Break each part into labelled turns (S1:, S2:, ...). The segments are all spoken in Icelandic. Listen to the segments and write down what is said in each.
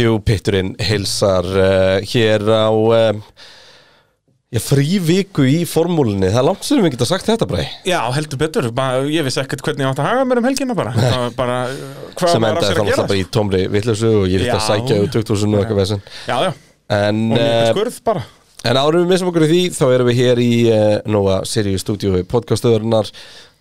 S1: Jú, Pitturinn hilsar uh, hér á um, já, fríviku í formúlinni. Það er langt sem við geta sagt þetta, Bræ.
S2: Já, heldur betur, bara, ég vissi ekkert hvernig ég átt að haga mér um helgina bara, Það var bara uh, hvað
S1: Sem
S2: var á
S1: endaði
S2: sér
S1: þá
S2: að gera
S1: náttúrulega bara í tómri villessu og ég þurfti að
S2: Já.
S1: sækja úr 2000 og eitthvað vesinn.
S2: Já, já,
S1: En,
S2: og mjög
S1: uh,
S2: skurð bara
S1: en árum við missum okkur í því, þá erum við hér í uh, Nóa Sirius Studio podcastöðurnar.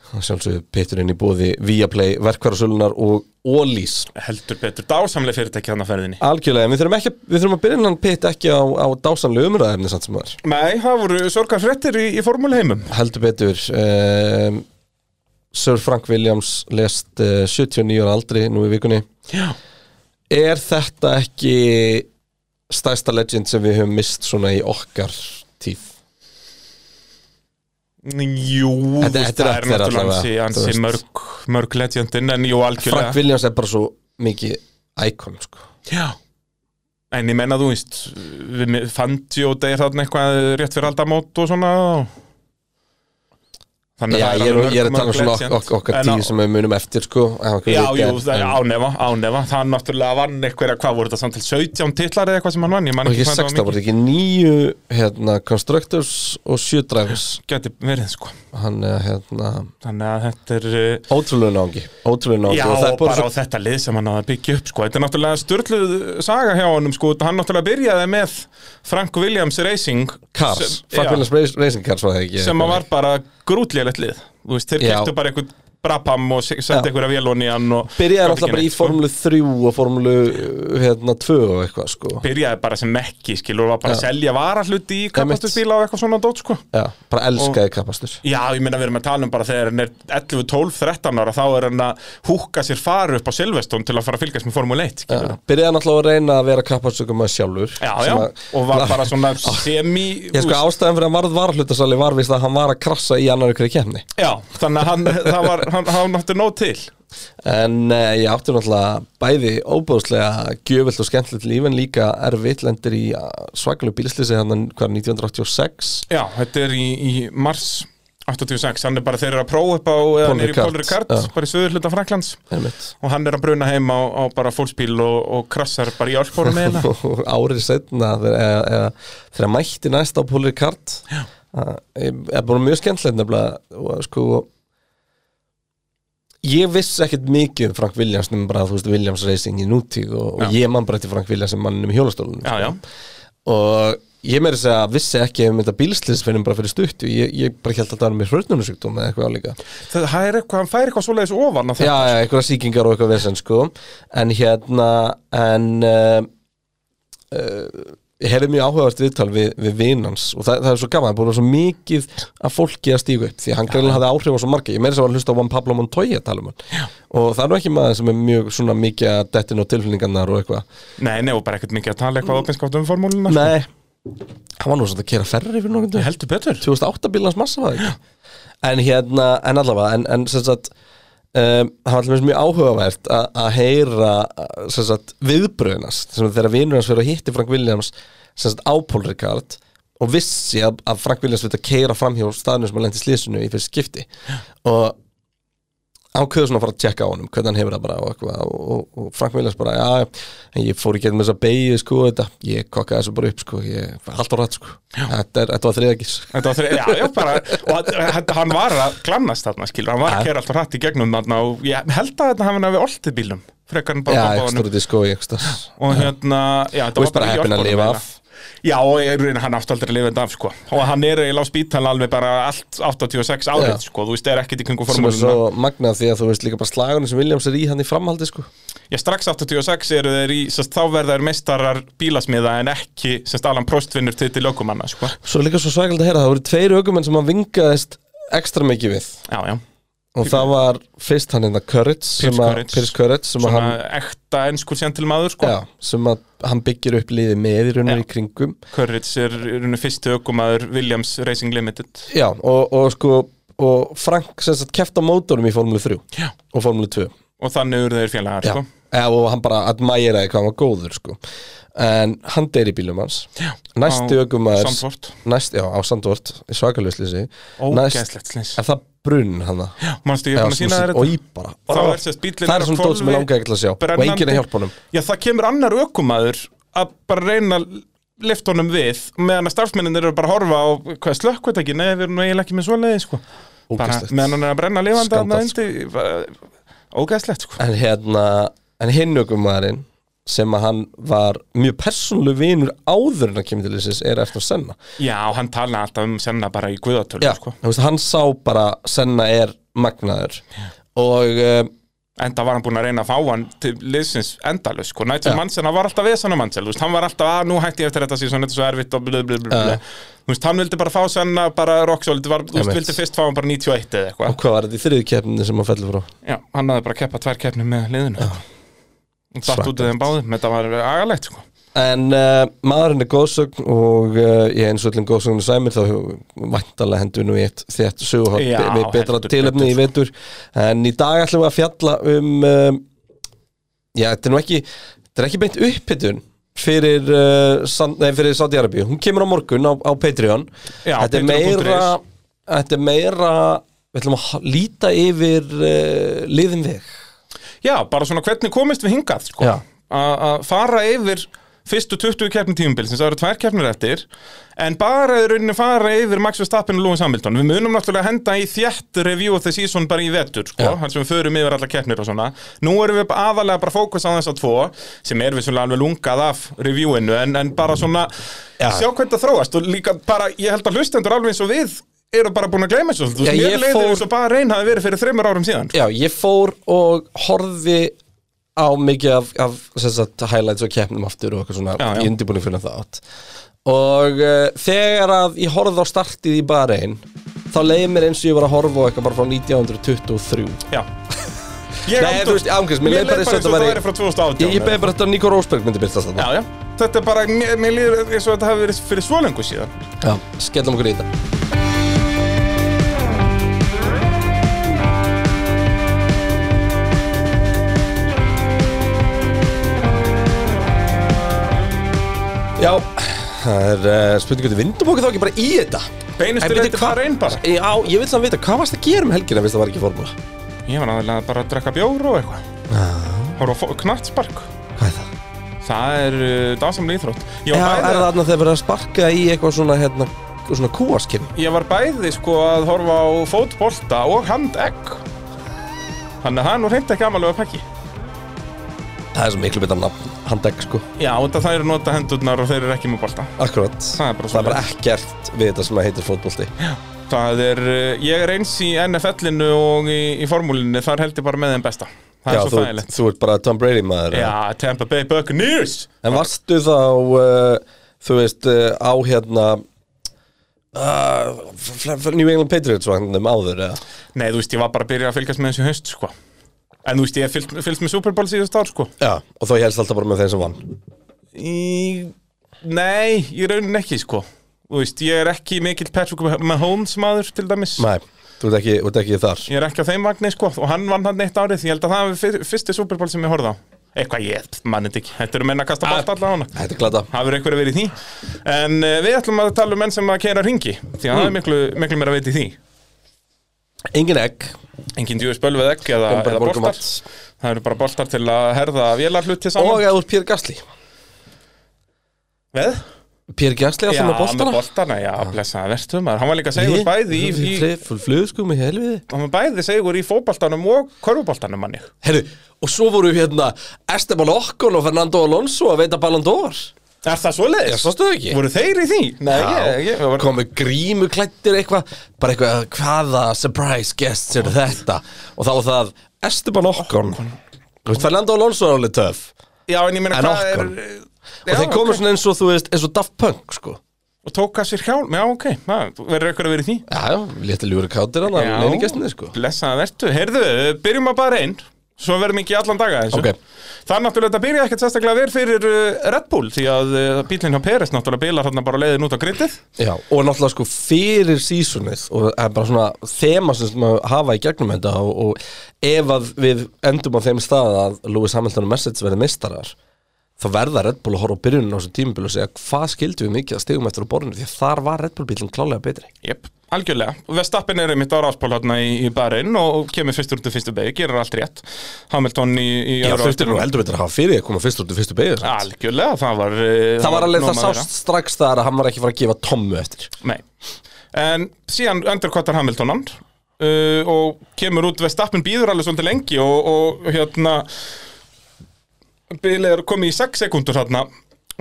S1: Sjálfsögðu Pitturinn í bóði Viaplay, verkvarasölunar og Ólís.
S2: heldur betur, dásamlega fyrirtæki þannig að ferðinni
S1: Algjörlega, en við þurfum, ekki, við þurfum að byrja hennan pitt ekki á, á dásamlega umræðefni samt sem var.
S2: Nei, það voru sorgar fréttir í, í formúleheimum
S1: heldur betur um, Sir Frank Williams lest uh, 79 ára aldri nú í vikunni
S2: Já,
S1: er þetta ekki stærsta legend sem við höfum mist svona í okkar tíð
S2: jú,
S1: Þetta- þetta er-
S2: það er
S1: þetta er
S2: náttúrulega
S1: allavega,
S2: ansi,
S1: þú
S2: ansi
S1: veist.
S2: mörg, mörg legendin en jú, algjörlega
S1: Frank Williams er bara svo mikið íkon sko.
S2: Já En ég menna þú veist við mi- fandi og degir þarna eitthvað rétt fyrir aldamót og svona og... Þannig
S1: Já,
S2: það
S1: ég, er,
S2: alveg
S1: ég er
S2: mörg-
S1: að tala um
S2: mörg
S1: svona ok
S2: legend.
S1: ok okkar
S2: En á-
S1: tíð sem við munum eftir sko, ef einhver
S2: Já,
S1: veit,
S2: jú,
S1: en-
S2: það er
S1: en-
S2: ánefa, ánefa Það náttúrulega vann eitthvað, hvað voru þetta samtal 17 titlar eða eitthvað sem hann vann, ég man
S1: og
S2: ekki
S1: ekki
S2: hvað
S1: 16
S2: það var
S1: voru
S2: mikið
S1: ekki nýju hérna, Constructors og 7 Drivers
S2: Gæti verið, sko
S1: hann er hérna
S2: Þannig að þetta er uh,
S1: ótrúlega náungi ótrúlega náungi
S2: Já,
S1: og það er bara
S2: bara
S1: svo
S2: á þetta lið sem hann náði að byggja upp sko. Þetta er náttúrulega störluð saga hjá honum sko. Hann náttúrulega byrjaði með Frank Williams Racing
S1: Cars,
S2: sem-
S1: Frank
S2: Já.
S1: Williams Race- Racing Cars var það ekki
S2: sem að var bara grútlélegt lið Þú veist, þeir
S1: Já.
S2: kæftu bara einhvern brapam og
S1: Já.
S2: setti einhverja vélón í hann og
S1: Byrjaði
S2: gat
S1: alltaf
S2: ekki
S1: bara í
S2: neitt, sko.
S1: formulu 3 og formulu uh, hérna 2 og eitthvað sko
S2: byrjaði bara sem mekki, skilur, var bara að selja varahluti í kapastusbíla og eitthvað svona dót, sko
S1: Já, bara elskaði kapastur
S2: Já, ég meina við erum að tala um bara þegar hann er 11, 12, 13 ára, þá er hann að húka sér faru upp á Silveston til að fara að fylgjast með Formule 1, skilur
S1: Byrjaði alltaf að reyna að vera kapastökum að sjálfur
S2: Já,
S1: sem
S2: já,
S1: að-
S2: og var bara svona semi
S1: Ég sko ástæðan fyrir að hann varð varhlutasali var vist að hann var að krassa í annar ykkur kemni
S2: Já, þannig að hann, það var, hann, hann átti nóg til
S1: En uh, ég átti náttúrulega bæði óbúðslega gjöfilt og skemmtilegt líf en líka erfitt lendir í eh, svakalug bílislýsi hann hérna, hvað 1986
S2: Já, þetta er í, í mars 86, hann er bara þeir eru að prófa upp á eða
S1: Paul
S2: hann er í
S1: Ricard,
S2: Paul Ricard,
S1: já.
S2: bara í söður hluta Fraklands
S1: einmitt.
S2: og hann er að bruna heim á, á bara fólksbíl og, og krassar bara í álsporum með hérna
S1: og árið setna þegar, eða- eða- þegar mætti næst á Pólir Kart er búin mjög skemmtilegt nefnilega og sko ég vissi ekkert mikið um Frank Williams nema bara þú veist Williams Racing í nútíð og, og
S2: Já.
S1: ég man bara til Frank Williams sem mannum í hjólastólunum sko.
S2: Já, já,
S1: og ég meiri segja vissi ekki um þetta bílslis fyrir bara fyrir stuttu ég, ég bara held að það var með hrötnunarsjúkdóm eða eitthvað álíka
S2: það það er eitthvað, hann fær eitthvað svoleiðis ofan á
S1: Já,
S2: þetta
S1: já, einhverja sýkingar og eitthvað vesen sko En hérna En uh, uh, Ég hefði mjög áhugavert viðtal við, við vinans Og það, það er svo gaman, það er búin að vera svo mikið Að fólki að stígu upp Því að hann greinlega hafði áhrif á svo marga Ég meira þess að var að hlusta á Juan Pablo Montoya tala um hann já. Og það er nú ekki maður sem er mjög svona mikið að Dettin og tilfinningarnar og eitthvað
S2: Nei, nei, og bara ekkert mikið að tala eitthvað opinskátt um formúluna sko.
S1: Mm. Nei, hann var nú svona að kera ferri fyrir nokkuð
S2: Heldur betur
S1: 2008 bílans massa var það ekki en hérna, en allavega en, en sem sagt um, það var alveg mjög áhugavert að að heyra uh, sem sagt viðbröðunas sem sagt, þegar vinur hans fyrir að hitti Frank Williams sem sagt á Paul Ricard og vissi að, að Frank Williams veit að keira framhjá staðnum sem hann lendi slísinu í fyrst skipti og ákveður svona að fara að tjekka á honum hvernig hann hefur það bara og, eitthvað, og, og, og Frank Williams bara, já, en ég fór í getum þess að beigja sko, þetta, ég kokkaði þessu bara upp sko, ég var halvt á rætt sko þetta, er, þetta var þriðagis
S2: Þetta var þre- Já, já, bara, og hann- hann- hann var að glannast þarna, skilur, hann var að kera alltaf hratt í gegnum þarna og ég held að þetta hafi náttúrulega oltið bílum, frekar en
S1: Já,
S2: bara
S1: ekki
S2: bombaðanum.
S1: stóru disko í einhvers staðar.
S2: og hérna já, þetta
S1: Þú
S2: var
S1: veist bara
S2: í
S1: heppin að
S2: Ölpunum
S1: lifa
S2: eiginlega.
S1: af.
S2: Já, og ég, raunin, hann átti aldrei að lifa þetta af sko. og hann er eiginlega á spítala alveg bara allt 86 árið,
S1: Já.
S2: sko. þú veist, það er ekkit í kringu
S1: sem er
S2: formúluna
S1: svo magnað því að þú veist líka bara slagunum sem Williams er í hann í framhaldi sko
S2: Já, strax 86 eru þeir í sest, þá verða þeir meistarar bílasmiða en ekki, sem stalan próstvinnur til til ökumanna, sko.
S1: Svo er líka svo svakalegt að heyra, það voru tveir aukumenn sem hann vingaðist ekstra mikið við
S2: Já, já,
S1: og það var fyrst hann hérna Courage sem að,
S2: Courage.
S1: Piers Courage sem að
S2: svona
S1: hann
S2: ekta ennskur sem til maður, sko.
S1: Já, sem að hann byggir upp liðið með í rauninni
S2: Já.
S1: í kringum
S2: Courage er, er unni fyrsti ökumaður Williams Racing Limited.
S1: Já, og, og sko og Frank sem sagt kefta mótorum í Formule 3
S2: Já.
S1: og Formule 2
S2: Og þannig eru þeir félagar,
S1: Já,
S2: sko.
S1: Eða, og hann bara admæraði hvað hann var góður sko. en hann deyr í bílum hans
S2: Já.
S1: næsti
S2: Á
S1: ökumæður
S2: Sandvort.
S1: næst, já, á Sandvort, svakalöslýsi
S2: Ógæslegt slins.
S1: en það brunn hann
S2: Manstu, ég er búin að sína þér þetta
S1: Í bara
S2: Þá
S1: Ó,
S2: er sérst bíllinn
S1: Það er svona dót sem ég langaði ekki til að sjá Og
S2: brennandi.
S1: enginn að hjálpa honum
S2: Já, það kemur annar ökumæður að bara reyna að lifta honum við meðan að starfsmenninir eru bara að horfa á hvað slökkvitæki, nei, við erum nú eiginlega ekki með svoleiði, sko. Bara,
S1: Ógeðslegt.
S2: meðan hann er að brenna lifandi
S1: Skandall,
S2: þarna undir, bara, ógæðslegt, sko.
S1: En hérna En hinn ökumæðurinn sem að hann var mjög persónlu vinur áður en að kemur til þessis er eftir að senna
S2: Já, hann tala alltaf um senna bara í
S1: Já,
S2: guðatölu, sko.
S1: þú veist, hann sá bara senna er magnaður og um,
S2: Enda var hann búin að reyna að fá hann til liðsins endalaus, sko. Nigel Mansell, hann var alltaf vesan á Mansell, þú veist, hann var alltaf að nú hætti ég eftir þetta síðan, þetta er svo erfitt og blöð, blöð, blöð, blöð. Þú veist, hann vildi bara fá senna, bara rocksólid, var, þú veist,
S1: Einmitt.
S2: vildi fyrst fá hann bara 91 eða eitthvað.
S1: hvað var þetta í þriðu keppni sem hann fellur frá
S2: Já, hann hafði bara keppað tvær keppnir með liðinu sko. og datt
S1: Svakalegt.
S2: út af þeim báðum, þetta var agalegt sko.
S1: En uh, maðurinn er góðsögn og uh, ég eins og öllum góðsögnu sæmir þá vantarlega hendur við nú í eitt þett söguhótt
S2: Já,
S1: með betra
S2: heldur
S1: tilefni í vetur en í dag ætlum við að fjalla um um, já, þetta er nú ekki þetta er ekki beint upphittun fyrir, uh, San, nei, fyrir Saudi Arabi hún kemur á morgun á, á Patreon
S2: Já,
S1: þetta, er
S2: patreon.is.
S1: meira, þetta er meira við ætlum að ha- líta yfir uh, liðin veg
S2: Já, bara svona hvernig komist við hingað sko.
S1: Já.
S2: A- að fara yfir fyrstu 20 keppnir tímubilsins, það eru tvær keppnir eftir en bara í rauninni fara yfir Max Verstappen og Lewis Hamilton, við munum náttúrulega henda í þjætt review of the season bara í vetur sko,
S1: Já.
S2: hann sem við förum yfir alla keppnir og svona nú erum við aðalega bara fókus á þessa tvo sem er við svona alveg lungað af reviewinu en, en bara svona
S1: Já.
S2: sjá hvernig það þróast og líka bara, ég held að hlustendur alveg eins og við eru bara búin að gleyma þessu svolítið.
S1: Já,
S2: Þú veist,
S1: ég
S2: mér leiði
S1: fór-
S2: eins og bara reyn hafi verið fyrir þreymur árum síðan
S1: Já, ég fór og horfi á mikið af, af sem sagt, highlights og keppnum aftur og eitthvað svona
S2: Já, já.
S1: í undirbúning fyrir það átt og uh, þegar að ég horfði á startið í Bahrein þá leiði mér eins og ég var að horfa á eitthvað bara frá 1923
S2: Já Ég
S1: Nei, þú veist, ángriðs, mér leið bara eins og þetta
S2: það
S1: væri-
S2: væri frá 2018
S1: Ég, ég beði bara þetta Nico Rosberg myndi byrstast
S2: Já,
S1: þetta
S2: já Þetta er bara, mér, mér líður eins og þetta hafi verið fyrir svo lengu síðan
S1: Já, skellum okkur í þetta Já, það er uh, spurningu til vindum okkur þá ekki bara í þetta
S2: Beinustu
S1: En bíddu,
S2: leiti
S1: hvað-
S2: bara einn bara
S1: Já, ég vil samt vita, hvað varst að gera um helgina fyrst það var ekki formúla?
S2: Ég var aðeinslega bara að drekka bjóru og eitthvað Hóru á knattspark
S1: Hvað er það?
S2: Það er uh, dásamlega íþrótt Ég
S1: Já,
S2: var
S1: er það
S2: bæði,
S1: þarna þegar verið að sparka í eitthvað svona, hérna, svona kúaskinn?
S2: ég var bæði sko að horfa á fótbolta og handegg Þannig að það er nú reynd ekki amalega pakki
S1: Það er svo miklu betra nafn, handegg sko
S2: Já, þetta það eru nota hendurnar og þeir eru ekki með bolta
S1: Akkurat
S2: Það er bara
S1: Það er bara
S2: svoleiðis.
S1: ekkert við þetta sem að heitir fótbolti
S2: Það er, uh, ég er eins í NFL-inu og í, í formúlinu, þar held ég bara með þeim besta. Það
S1: Já,
S2: er svo
S1: þú,
S2: þægilegt.
S1: þú ert bara Tom Brady maður
S2: Já, Tampa Bay Buccaneers!
S1: En varstu þá, uh, þú veist, uh, á hérna uh, fl- fl- New England Patriots vagnum áður eða?
S2: Nei, þú veist, ég var bara að byrja að fylgjast með þessu haust, sko. En þú veist, ég hef fylgst, fylgst með Super Bowl síðust ár, sko.
S1: Já Og þá helst alltaf bara með þeim sem vann
S2: Í... Nei, í raunin ekki, sko. Þú veist, ég er ekki mikill Patrick Mahomes maður, til dæmis.
S1: Nei, þú ert ekki, þú ert ekki þar
S2: Ég er ekki á þeim vagnir, sko. Og hann vann hann eitt árið, ég held að það hafi fyr- fyrsti Super Bowl sem ég horfði á. Eitthvað, ég mann þetta ekki. Þetta eru menna að kasta balt allavega hana.
S1: Þetta er glada
S2: hafur einhver verið í því en uh, við ætlum að tala um menn sem að keira ringi því að það er miklu, miklu meira að veit í því
S1: Engin egg
S2: engin djúi spölveð ekki eða,
S1: Bara
S2: Eh, eða
S1: borgum
S2: boltar
S1: allt.
S2: það eru bara boltar til að herða vélarhluti
S1: Og
S2: saman
S1: eða úr Pér Gasly
S2: veð?
S1: Pér Gasly að
S2: Já,
S1: sem að
S2: með
S1: boltana
S2: boltana, já, blessaða verstu maður hann var líka segur bæði í, í
S1: Full flugskúmi, helviði
S2: hann var bæði segur í fótboltanum og körfuboltanum manni
S1: Herru, og svo voru hérna Esteban Okkon og Fernando Alonso að veita Ballon d'Or
S2: er það svo leiðis?
S1: Ég sástu þau ekki
S2: voru þeir í því? Nei, ég,
S1: Já,
S2: ég, ég var
S1: komu grímu klættir eitthvað bara eitthvað, hvaða surprise guests eru þetta og þá var það Esteban Okkon Þú veist, Fernando Alonso er alveg töf
S2: já, en ég meina
S1: En
S2: hvað er
S1: Ocon. og
S2: Já,
S1: þeir komu
S2: ok.
S1: svona eins og, þú veist, eins og Daft Punk sko.
S2: og tók að sér hjálm, já, ok það verður eitthvað að vera í því
S1: Já, já, létti ljúri kátir hann
S2: Já.
S1: að leini gestinni sko.
S2: Blessaðan ertu, heyrðu, byrjum að bara einn Svo verðum ekki í allan daga þessu
S1: Ok.
S2: Það er náttúrulega, þetta byrja ekkert sérstaklega verið fyrir uh, Red Bull Því að uh, bílinn hjá Peres náttúrulega bilar hann bara leiðin út á grittið
S1: Já, og náttúrulega sko fyrir sísunnið og það er bara svona þema sem sem að hafa í gegnum þetta og, og ef að við endum á þeim stað að Lewis Hamilton og Mercedes verði mistarar þá verða Red Bull að horfa á byrjunum á þessu tímubil og segja hvað skildu við mikið að stegum eftir á borðinu því að þar var Red Bull bílinn klálega betri
S2: Jep, algjörlega, Vestappen er einmitt á ráspól hérna í, í barinn og kemur fyrst út úr fyrstu beigju, gerir allt rétt Hamilton í, í
S1: Já,
S2: öðru
S1: þurftir
S2: áttina.
S1: nú heldur betur að hafa fyrir því að koma fyrst út í fyrstu beigð
S2: Algjörlega, það var eh,
S1: Það var alveg,
S2: nóg
S1: það
S2: um að vera.
S1: sást strax þar að hann var ekki fara að gefa tommu eftir
S2: Nei En síðan underkottar Hamilton hann uh, og kemur út Vestappen býður alveg svolítið lengi og, og hérna bílið er komið í 6 sekundur þarna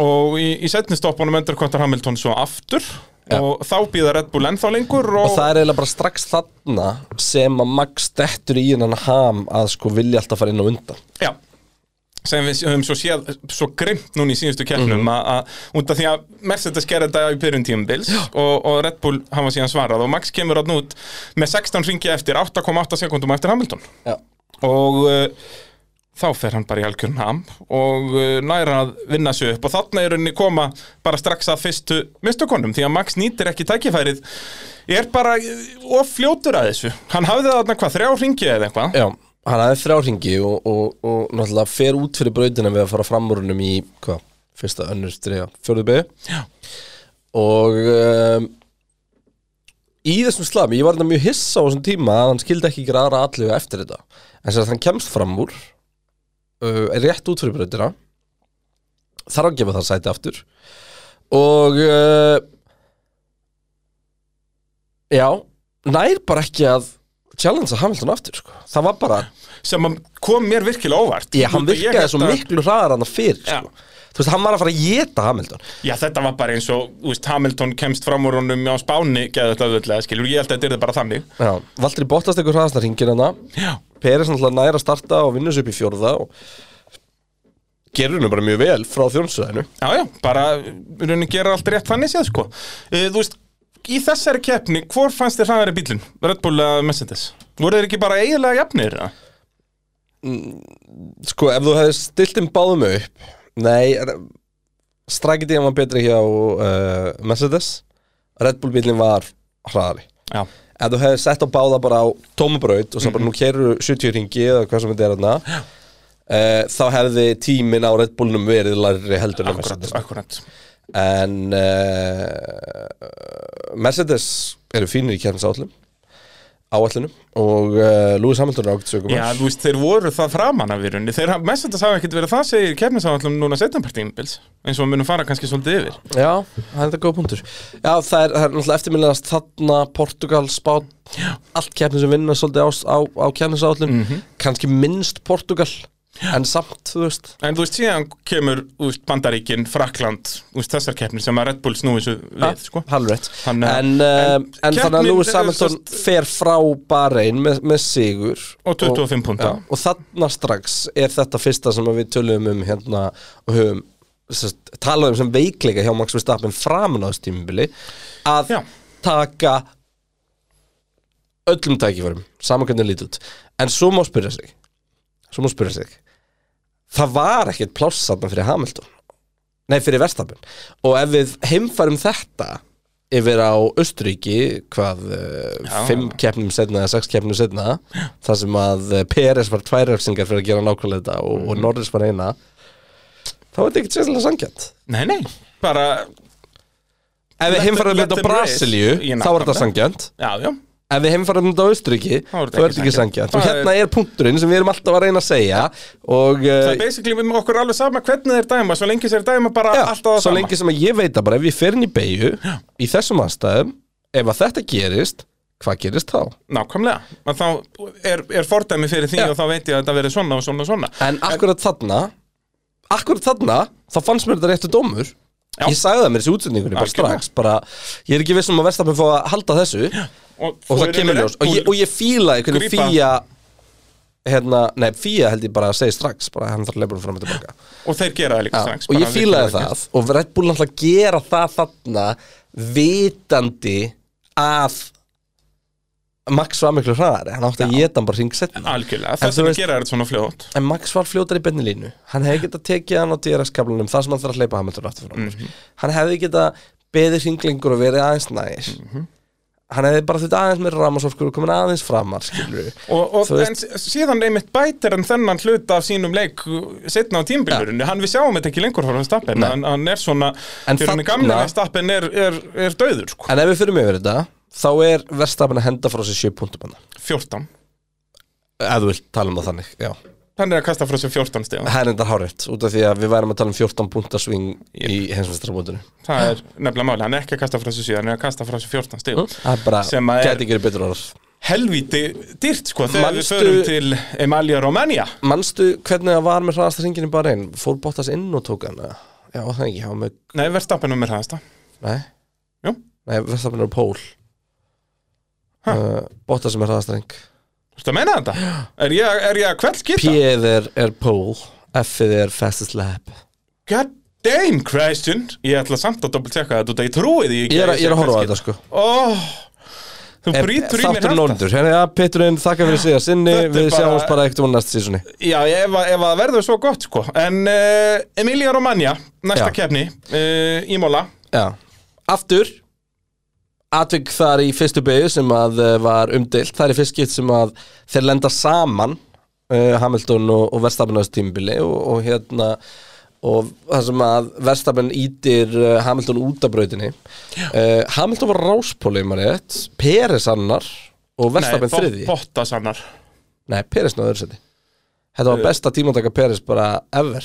S2: og í, í setni stoppunum underkottar Hamilton svo aftur
S1: Ja.
S2: og þá býða Red Bull ennþá lengur og,
S1: Og það er eiginlega bara strax þarna sem að Max dettur í hennan ham að sko vilja alltaf fara inn og undan
S2: Já sem við höfum svo séð svo grimt núna í síðustu keppnum mm að út af því að Mercedes gerði þetta í byrjun tímabils og, og Red Bull hafa síðan svarað og Max kemur hann út með 16 ringi eftir 8,8 sekundum eftir Hamilton
S1: Já,
S2: og uh, þá fer hann bara í algjörn ham og uh, næra að vinna sig upp og þarna er henni koma bara strax að fyrstu mistokonum því að Max nýtir ekki tækifærið er bara uh, of fljótur að þessu hann hafði þarna hvað, þrjá ringi eða eitthvað
S1: hann aðeins þrjá hringi og, og, og náttúrulega fer út fyrir brautina við að fara framúrunum í, hvað, fyrsta, önnur, þriða, fjörðu beigð
S2: Já.
S1: og um, í þessum slami, ég var þetta mjög hissa á þessum tíma að hann skildi ekki gera aðra allu eftir þetta en sér að hann kemst fram úr uh, er rétt út fyrir brautina þarf að gefa það sæti aftur og uh, já, nær bara ekki að challengea Hamilton aftur sko. það var bara,
S2: sem að kom mér virkilega óvart
S1: ég, hann
S2: Út af
S1: virkaði
S2: held
S1: svo
S2: að-
S1: miklu hraðar hann fyrir
S2: Já.
S1: sko. þú veist, hann var að fara að geta Hamilton
S2: Já, þetta var bara eins og, þú veist, Hamilton kemst fram úr honum á Spáni, geða þetta auðvitað, skilur, ég held að þetta yrði bara þannig.
S1: já, Valtteri Bottas tekur hraðasta hringin hann
S2: Já.
S1: hérna. Peres náttúrulega næra að starta og vinnur sig upp í fjórða og gerur hennu bara mjög vel frá þjónsöðinu
S2: Já, já, bara, við raunin gera allt rétt þannig séð, sko. E, þú veist, í þessari keppni, hvor fannst þér hraðari bílinn? Red Bull eða Mercedes? Voru þeir ekki bara eiginlega jafnir? eða?
S1: Sko, ef þú hefði stilt þeim báðum upp Nei, strækiti hann var betri hjá uh, Mercedes Red Bull bílinn var hraðari
S2: Já.
S1: Ef þú hefði sett á báða bara á tómubraut og svo
S2: Mhm.
S1: bara nú kerur 70 ringi eða hvað sem þetta er þarna uh, þá hefði tíminn á Red Bullnum verið larri heldur en á
S2: Akkurat,
S1: Mercedes
S2: akkurat.
S1: En uh, Mercedes eru fínir í kjærnsállum áallinu og uh, Lewis Hamilton er ágætt sögum
S2: Já, þú veist, þeir voru það framan af í rauninni. Þeir, Mercedes hafa ekkert verið það, segir keppnisáallum núna setjanpartímbils, eins og við munum fara kannski svolítið yfir.
S1: Já, það er þetta góð punktur Já, það er, það er náttúrulega eftirmiljanast þarna, Portugal, Spán allt kjærni sem vinna svolítið á, á, á kjærnisállum
S2: Mhm.
S1: kannski minnst Portugal en samt, þú veist
S2: En þú veist, síðan kemur þú veist, Bandaríkin, Frakland, þú veist, þessar keppnir sem að Red Bull snúi svo við, sko.
S1: Hallrétt En,
S2: Þannig að-
S1: en, uh, en, en þannig að
S2: keppnin
S1: Lewis
S2: er
S1: Hamilton
S2: sest-
S1: fer frá Bahrein með, með sigur
S2: Og 25 punkta.
S1: Já, og þarna strax er þetta fyrsta sem að við tölum um hérna og höfum sest, talað um sem veikleika hjá Max Verstappen framan á þessu tímubili að
S2: Já.
S1: taka öllum tækifærum saman hvernig lítið út en svo má spyrja sig svo má spyrja sig það var ekkert pláss þarna fyrir Hamilton nei fyrir Verstappen og ef við heimfærum þetta yfir á Östuríki hvað uh,
S2: Já.
S1: fimm keppnum setna eða sex keppnum setna þar sem að eh, Peres var tvær refsingar fyrir að gera nákvæmlega þetta og,
S2: Mm.
S1: og Norris var eina þá var þetta ekkert sérstaklega sangjant
S2: Nei, nei, bara,
S1: ef við
S2: Let-
S1: heimfærum
S2: let
S1: þetta á
S2: them race.
S1: Brasilíu
S2: Ég
S1: þá var þetta
S2: nákvæmlega.
S1: sangjant
S2: já, já,
S1: ef við heimfærum þetta á Östuríki þá
S2: Þá
S1: er
S2: er þetta
S1: þetta
S2: ekki
S1: ekki sangjant
S2: sanngjarnt.
S1: og
S2: Það
S1: hérna er punkturinn sem við erum alltaf að reyna að segja og
S2: það
S1: eh,
S2: er basically við með okkur alveg sama hvernig þeir dæma, svo lengi þeir dæma bara
S1: Já,
S2: alltaf það
S1: svo
S2: sama.
S1: lengi sem að ég veit að bara ef ég fer inn í beigju í þessum aðstæðum, ef að þetta gerist hvað gerist þá?
S2: Nákvæmlega, en þá er, er fordæmi fyrir því
S1: Já.
S2: og þá veit ég að þetta verið svona og svona og svona.
S1: En akkurat þarna akkurat þarna, þá fannst mér þetta réttu dómur
S2: Já.
S1: ég sagði það mér þessi útsendingunni bara
S2: Algjörlega.
S1: strax, bara ég er ekki viss um að versta með fá að halda þessu
S2: Og,
S1: og það kemur ljós, og ég, og ég fílaði hvernig
S2: Grípa.
S1: fíja hérna, nei, fíja held ég bara að segja strax bara hann þarf að leifur fram og tilbaka
S2: og þeir gera það líka
S1: Já,
S2: strax.
S1: og
S2: bara
S1: ég fílaði
S2: virkilega
S1: það og Red Bull náttúrulega gera það þarna vitandi að Max var miklu hraðari hann átti að geta hann bara hring setna
S2: Algjörlega,
S1: En þú
S2: þess að
S1: veist-
S2: gera þetta svona fljótt.
S1: en Max var fljótar í benni línu hann hefði getað tekið hann á DRS-kablanum þar sem hann þarf að hleypa Hamilton aftur frá mm
S2: Mhm.
S1: hann hefði getað beðið hringlingur og verið aðeins nægir
S2: Mhm.
S1: hann hefði bara þurft aðeins meira rámasorkur og komin aðeins framar skilur
S2: Og, og
S1: Þú veist-
S2: en sí- síðan einmitt bætir en þennan hluta af sínum leik setna á tímbilurinu, hann við sjáum þetta ekki lengur frá Stappen,
S1: Nei.
S2: hann, hann er svona
S1: En
S2: fyrir hann
S1: þarna-
S2: gamlega Stappen er, er, er döður sko.
S1: En ef við fyrir mig verið þetta þá er verstafin að henda frá sér 7 punktum hann
S2: 14
S1: ef þú vilt tala um það þannig, já
S2: Hann er að kasta frá sér 14 stíðan
S1: það er enda hárétt, út af því að við værum að tala um 14 punktasving yep. í hensmestarabóndinu
S2: Það er nefnilega máli, hann er ekki að kasta frá sér 7 Hann er að kasta frá sér 14 stíðan
S1: það er bara,
S2: Sem að er-
S1: gæti ekki verið betur orð
S2: Helvíti dýrt sko Þegar
S1: Manstu-
S2: við förum til Emalia Romania
S1: manstu hvernig það var með hraðasta ringin í bara einn, fór Bottas inn og tók hann eða? já, það ekki, hann var með
S2: Nei, verðstappen um er hraðasta
S1: nei,
S2: Jú.
S1: nei verstafin er á pól
S2: Ha.
S1: uh, Bottas sem er hraðasta ring
S2: Þú veist að meina þetta? Er ég, er ég að hvert skita?
S1: P-ið er, er pól F-ið er fastest lap
S2: God damn Christian Ég ætla samt að doppelt sekka þetta út að ég trúi því
S1: ég er, að- ég er að horfa á þetta sko
S2: oh, Þú brýtur í mér
S1: Þáttur
S2: hjartað.
S1: nóndur, hérna, ja, Peturinn, þakka fyrir sig að sinni
S2: Þetta er
S1: Við
S2: bara-
S1: sjáumst bara ekkert um næsta sísunni
S2: Já, ef, að- ef að verður svo gott sko En uh, Emilia Romagna, næsta
S1: Já.
S2: keppni uh, Í Móla
S1: Já, aftur Atvik þar í fyrstu beigju sem að eh, var umdilt Það er í fyrst skipt sem að þeir lenda saman uh, Hamilton og, og Verstappen á þessu tímbili og, og hérna og það sem að Verstappen ítir eh, Hamilton út af brautinni uh, Hamilton var ráspóli um hann rétt Peres annar og Verstappen þriði
S2: Bottas annar
S1: Nei, Peres náður öðru seti Þetta var besta tímataka Peres bara ever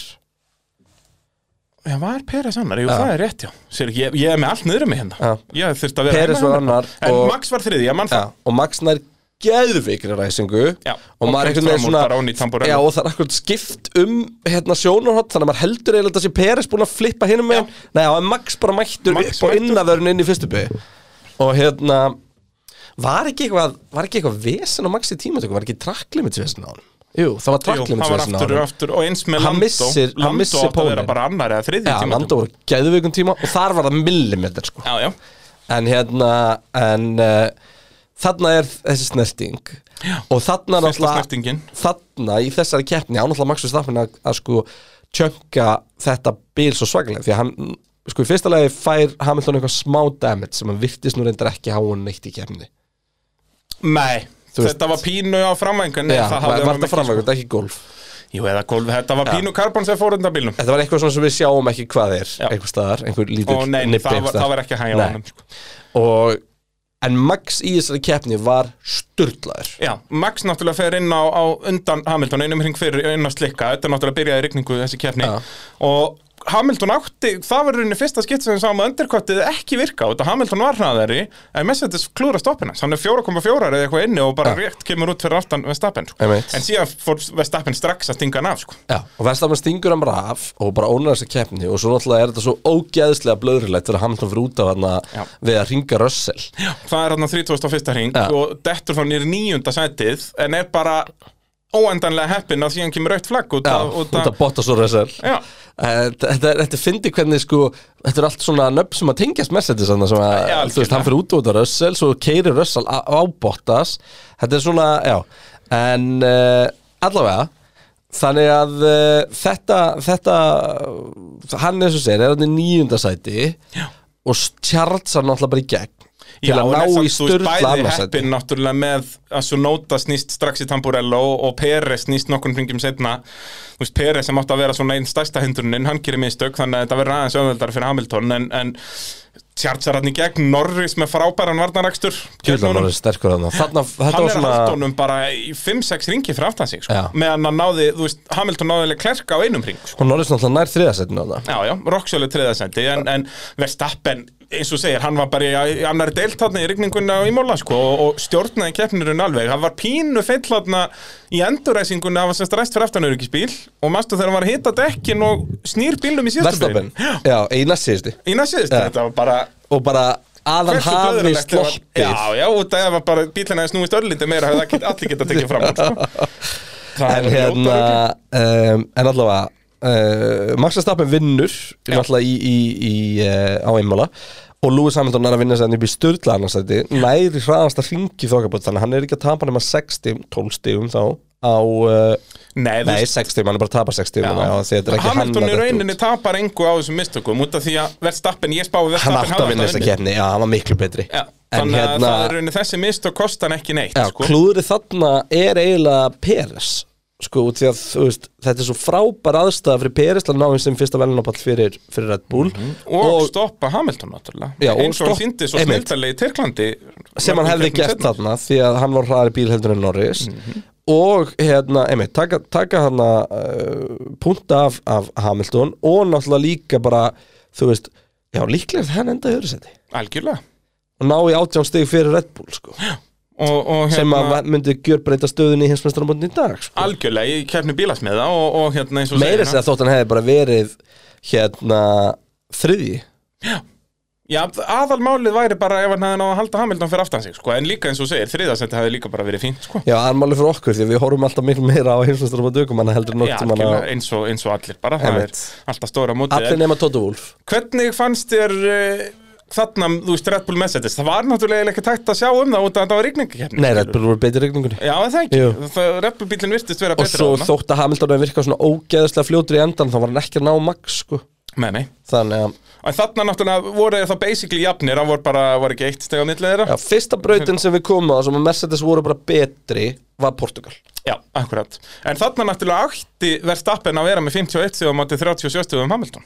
S2: Já, var Peres annar, jú, það er rétt, já Sér, ég, ég er með allt niður um mig hérna
S1: Já.
S2: Ég þurfti að vera
S1: Perez
S2: heima
S1: var
S2: hérna.
S1: annar
S2: En
S1: og-
S2: Max var þriði, ég mann það
S1: Já, og Max nær geðvikri ræsingu
S2: Já,
S1: og maður
S2: kemst
S1: einhvern veginn
S2: fram úr bara ofan í
S1: svona
S2: tambourinu.
S1: já, og það er akkur skipt um hérna sjónarhótt þannig að maður heldur eiginlega þessi Peres búin að flippa hinum með nei, þá er Max bara mættur
S2: Max
S1: upp á
S2: mættur.
S1: innavörun inn í fyrstu bygg og hérna var ekki eitthvað var ekki eitthvað vesen á Max í tímatöku var ekki trakklimitsvesen á hann jú, það var
S2: Jú, hann var
S1: trakklimitsvesen á
S2: aftur,
S1: hann
S2: aftur og eins með
S1: Hann
S2: Lando
S1: missir- hann
S2: Lando
S1: missir
S2: átti að vera
S1: pólinn.
S2: bara annar eða þriði
S1: já, Lando voru geðvikum tíma og þar var það millimetr sko
S2: Já, já,
S1: en hérna en uh, þarna er þessi snerting Já, og þarna
S2: fyrsta
S1: náttúrulega
S2: snertingin
S1: þarna í þessari keppni á náttúrulega Max Verstappen að, að sko tjönka þetta bíl svo svakalega því að hann sko í fyrsta lagi fær Hamilton eitthvað smá damage sem hann virtist nú reyndar ekki háa hann neitt í keppni
S2: Nei,
S1: Þú veist-
S2: þetta var pínu á framvængan
S1: Já, var, var þetta
S2: sko.
S1: framvægur, þetta er ekki golf
S2: Jú, eða golf, þetta var pínu karbon sem fór undan bílnum
S1: Þetta var eitthvað svona sem við sjáum ekki hvað er
S2: Já.
S1: einhver staðar, einhver lítill
S2: Og nei,
S1: nibbi
S2: það
S1: einhvers
S2: var,
S1: staðar.
S2: það var ekki hæg á
S1: Nei.
S2: honum sko.
S1: og, En Max í þessari keppni var sturlaður
S2: Já, Max náttúrulega fer inn á, á undan Hamilton einum hring fyrir inn á slikka Þetta er náttúrulega byrjaði í rigningu þessi keppni
S1: Já.
S2: Og Hamilton átti, það var í rauninni fyrsta skitt sem við sáum að undirkottið ekki virka Þetta Hamilton var hraðari, en Mercedes klúra stoppin hans Hann er 4,4 eða eitthvað inni og bara
S1: Já.
S2: rétt kemur út fyrir aftan Vestapen sko.
S1: Einmitt.
S2: En síðan fór Vestapen strax að stinga hann af sko.
S1: Já, og Verstappen stingur hann bara af og bara ónar þessa keppni og svo náttúrulega er þetta svo ógeðslega blöðrilegt fyrir að Hamilton fyrir út af hann
S2: Já.
S1: við að ringa Russell
S2: Það er hann 31. hring
S1: Já.
S2: og dettur frá nýr nýjunda sætið En er bara óendanlega heppin að síðan kemur rautt flagg út
S1: Já,
S2: af-
S1: út
S2: út af-
S1: af Bottas og Russell
S2: Já.
S1: Eh, Þetta þetta er- þetta er fyndi hvernig sko þetta er allt svona nöfn sem að tengjast Mercedes annað sem að,
S2: Já,
S1: þú veist, hann fyrir út út af Russell svo keirir Russell á, á Bottas Þetta er svona, já en uh, allavega þannig að uh, þetta, þetta hann eins og segir er hann í nýjunda sæti já. og Charles hann náttúrulega bara í gegn til
S2: Já,
S1: að
S2: en
S1: ná
S2: er samt,
S1: í
S2: þú veist,
S1: styrla
S2: Bæði
S1: annarsæti
S2: heppin náttúrulega með að svo Nóta snýst strax í Tamburello og Peres snýst nokkrum hringjum setna Þú veist, Peres sem átti að vera svona einn stærsta hindrunin, hann gerir mistök þannig að þetta verður aðeins öðveldar fyrir Hamilton en, en tjartsar hann í gegn Norris með frábæran varnarakstur gegn
S1: Kjöldan
S2: honum.
S1: var sterkur hann Þarna, þetta
S2: Hann
S1: var
S2: er
S1: svona
S2: að halda honum bara í 5-6 ringi fyrir aftan sig sko.
S1: Já.
S2: meðan hann náði, þú veist, Hamilton náði alveg klerka á einum ring sko.
S1: Hún Norris náttúrulega nær þriðasætinu á það
S2: Já, já, Roxjölu treðasendi en, en Verstappen, eins og segir, hann var bara í, í annari deilt þarna í rigningunna og í móla sko, og, og stjórnaði keppnirinn alveg hann var pínu feill þarna í enduræsingunni hann var semst ræst fyrir aftan öryggisbíl og manstu þegar hann var að hita dekkin og snýr bílum í síðustu
S1: Verstappen, já, eina síðusti
S2: í næst síðustu,
S1: Já.
S2: þetta var bara
S1: Og bara að hann
S2: hversu
S1: hafi
S2: blöðrulegt þetta var.
S1: sloppið
S2: Já, já, út af ef að bara bílinn aðeins núist örlindi meira hefði ekki- allir geta tekið fram úr, sko. Það
S1: En
S2: er ljóta
S1: hérna,
S2: rugl.
S1: um, en allavega uh, Max Verstappen vinnur Náttúrulega í, í, í uh, á einmála Og Lewis Hamilton er að vinna sæðan upp í styrla annarsæti Næri hraðasta hringi þokkabótt Þannig að hann er ekki að tapa nema 6 stíum 12 stíum þá á uh,
S2: Nei, þú
S1: Nei, 6 stíum, hann er bara að tapa 6 stíum
S2: Já. Hamilton í
S1: í
S2: rauninni tapar engu á þessum mistökum út af því að Verstappen, ég spáði
S1: hann
S2: Verstappen
S1: átti að vinna þessa keppni, já, hann var miklu betri
S2: Já,
S1: en
S2: þannig að
S1: hérna,
S2: Sko. það er í rauninni þessi mistök kostan ekki neitt
S1: já,
S2: sko.
S1: klúðrið þarna er eiginlega Peres sko út því að þú veist, þetta er svo frábær aðstæða fyrir Peris að ná eins sem fyrsta velunapall fyrir, fyrir Red Bull
S2: og, stoppa Hamilton náttúrulega
S1: Já, og
S2: eins og hann
S1: stopp-
S2: síndi svo
S1: einmitt.
S2: snildalegi í Tyrklandi
S1: sem hann hefði gert
S2: hérna.
S1: þarna því að hann var hraðar í bíl heldur en Norris og hérna, einmitt, taka, taka hann uh, punta af, af Hamilton og náttúrulega líka bara þú veist, já líklega hann enda í öðru seti
S2: algjörlega
S1: og ná í átján stig fyrir Red Bull sko,
S2: og, og
S1: sem að
S2: hérna,
S1: va- myndi gjörbreyta stöðunni í hinsmestramótin í dag sko.
S2: algjörlega í keppni bílasmiða og, og hérna eins og
S1: meira
S2: segir
S1: sér að þótt hann hefði bara verið hérna þriðji
S2: Já, aðalmálið væri bara ef hann hefði náð að halda Hamilton fyrir aftan sig sko. en líka eins og segir, þriðasendi hefði líka bara verið fínt sko.
S1: Já, það er málið fyrir okkur því að við horfum alltaf miklu meira á heimsmyndstur og dökumanna heldur
S2: Já,
S1: nokkuð manna
S2: algjörlega, eins, og, eins og allir bara það er
S1: Einmitt.
S2: alltaf stóra mótið
S1: Allir
S2: en
S1: nema Tóta Wolf
S2: Hvernig fannst þér uh, þarna, þú veist, Red Bull Mercedes það var náttúrulega eiginlega ekki tækt að sjá um það út af að það var rigningakefni
S1: Nei, Red Bull voru betur í regningunni
S2: Já, er það
S1: Jú.
S2: ekki, það, Red Bull bílinn virtist vera
S1: Og
S2: betur
S1: svo þótt að Hamilton hafi virkað svona ógeðslega fljótur í endan þá var hann ekki að ná max sko
S2: Nei, nei
S1: Þannig að
S2: En þarna náttúrulega voru þeir þá basically jafnir hann voru bara, var ekki eitt steg á millið þeirra
S1: já, fyrsta brautin sem við komum á sem að Mercedes voru bara betri var Portugal
S2: Já, akkurat En þarna náttúrulega átti Verstappen að vera með 51 stegum átti 37 stegum Hamilton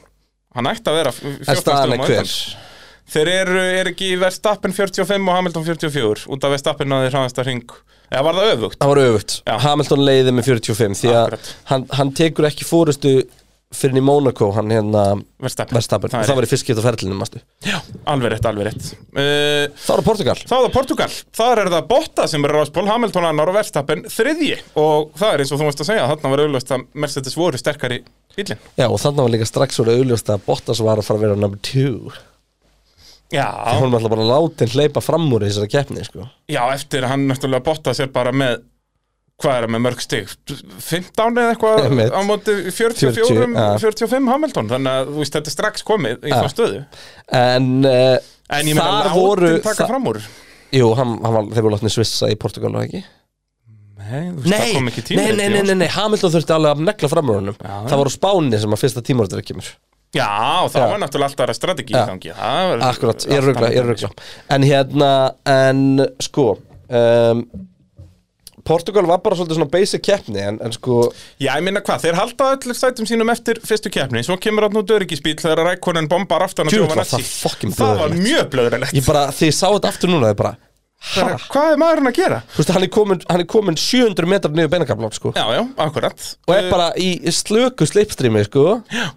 S2: Hann ætti að vera f- 14
S1: En staðan
S2: stegum
S1: er
S2: á
S1: hver
S2: undan Þeir eru er ekki Verstappen 45 og Hamilton 44 út af Verstappen náði hraðasta hring Eða var það öfugt?
S1: Það var öfugt
S2: Já.
S1: Hamilton leiði með 45 því að
S2: Akkurat.
S1: hann, hann tekur ekki fórustu fyrir í Monaco hann hérna
S2: Verstappen,
S1: Verstappen og
S2: Það er
S1: það var í fyrstskipt á ferlinum mástu
S2: Já, alveg rétt, alveg rétt uh,
S1: Það var Portugal
S2: Þá er það Portugal, þar er það Botta sem er ráspól, Hamilton annar og Verstappen þriðji og það er eins og þú veist að segja þarna var auðvitað að Mercedes voru sterkari bílinn.
S1: Já og þannig var líka strax voru auðljóst að Bottas var að fara að vera number 2
S2: Já,
S1: Hún var alltaf bara látin hleypa fram úr í þessari keppni sko
S2: já, eftir að hann náttúrulega Bottas er bara með hvað er hann með mörg stig 15 eða eitthvað
S1: Einmitt.
S2: á móti 44,
S1: 40, ja.
S2: 45 Hamilton þannig að þú veist þetta er strax komið í
S1: Ja.
S2: þá stöðu
S1: En, uh,
S2: en ég meina
S1: þar
S2: látin
S1: voru
S2: taka
S1: þa-
S2: fram úr
S1: Jú, hann, hann var, þeir voru látni svissa í Portugal og ekki
S2: Nei, þú veist það kom ekki tíma
S1: nei, nei, nei, nei, nei, Hamilton þurfti alveg að negla fram úr honum
S2: sko. Já.
S1: Það voru Spáni sem að fyrsta tímaritur kemur
S2: Já, það
S1: Já.
S2: var náttúrulega alltaf aðra strategi
S1: Ja.
S2: í gangi Það var-
S1: Akkurat, ég
S2: allt
S1: ruggla, ég
S2: annað.
S1: ruggla En hérna, en sko um, Portugal var bara svolítið svona basic keppni En, en sko,
S2: Já, ég minna hvað, þeir halda öll sætum sínum eftir fyrstu keppni, svo kemur hann út öryggisbíl þegar rækonin bombar aftan að
S1: Djöfull var
S2: Giovanazzi.
S1: það fucking
S2: Það var
S1: blöðrulegt.
S2: mjög blöðurlegt
S1: ég bara, því ég sá þetta aftur núna Ég bara,
S2: Bara,
S1: hæ?
S2: Hvað er maðurinn að gera?
S1: Þú veist, hann er komin, hann er komin 700 metrar niður beinakaflátt, sko
S2: Já, já, akkurat
S1: Og er bara í slöku slipstreami, sko Já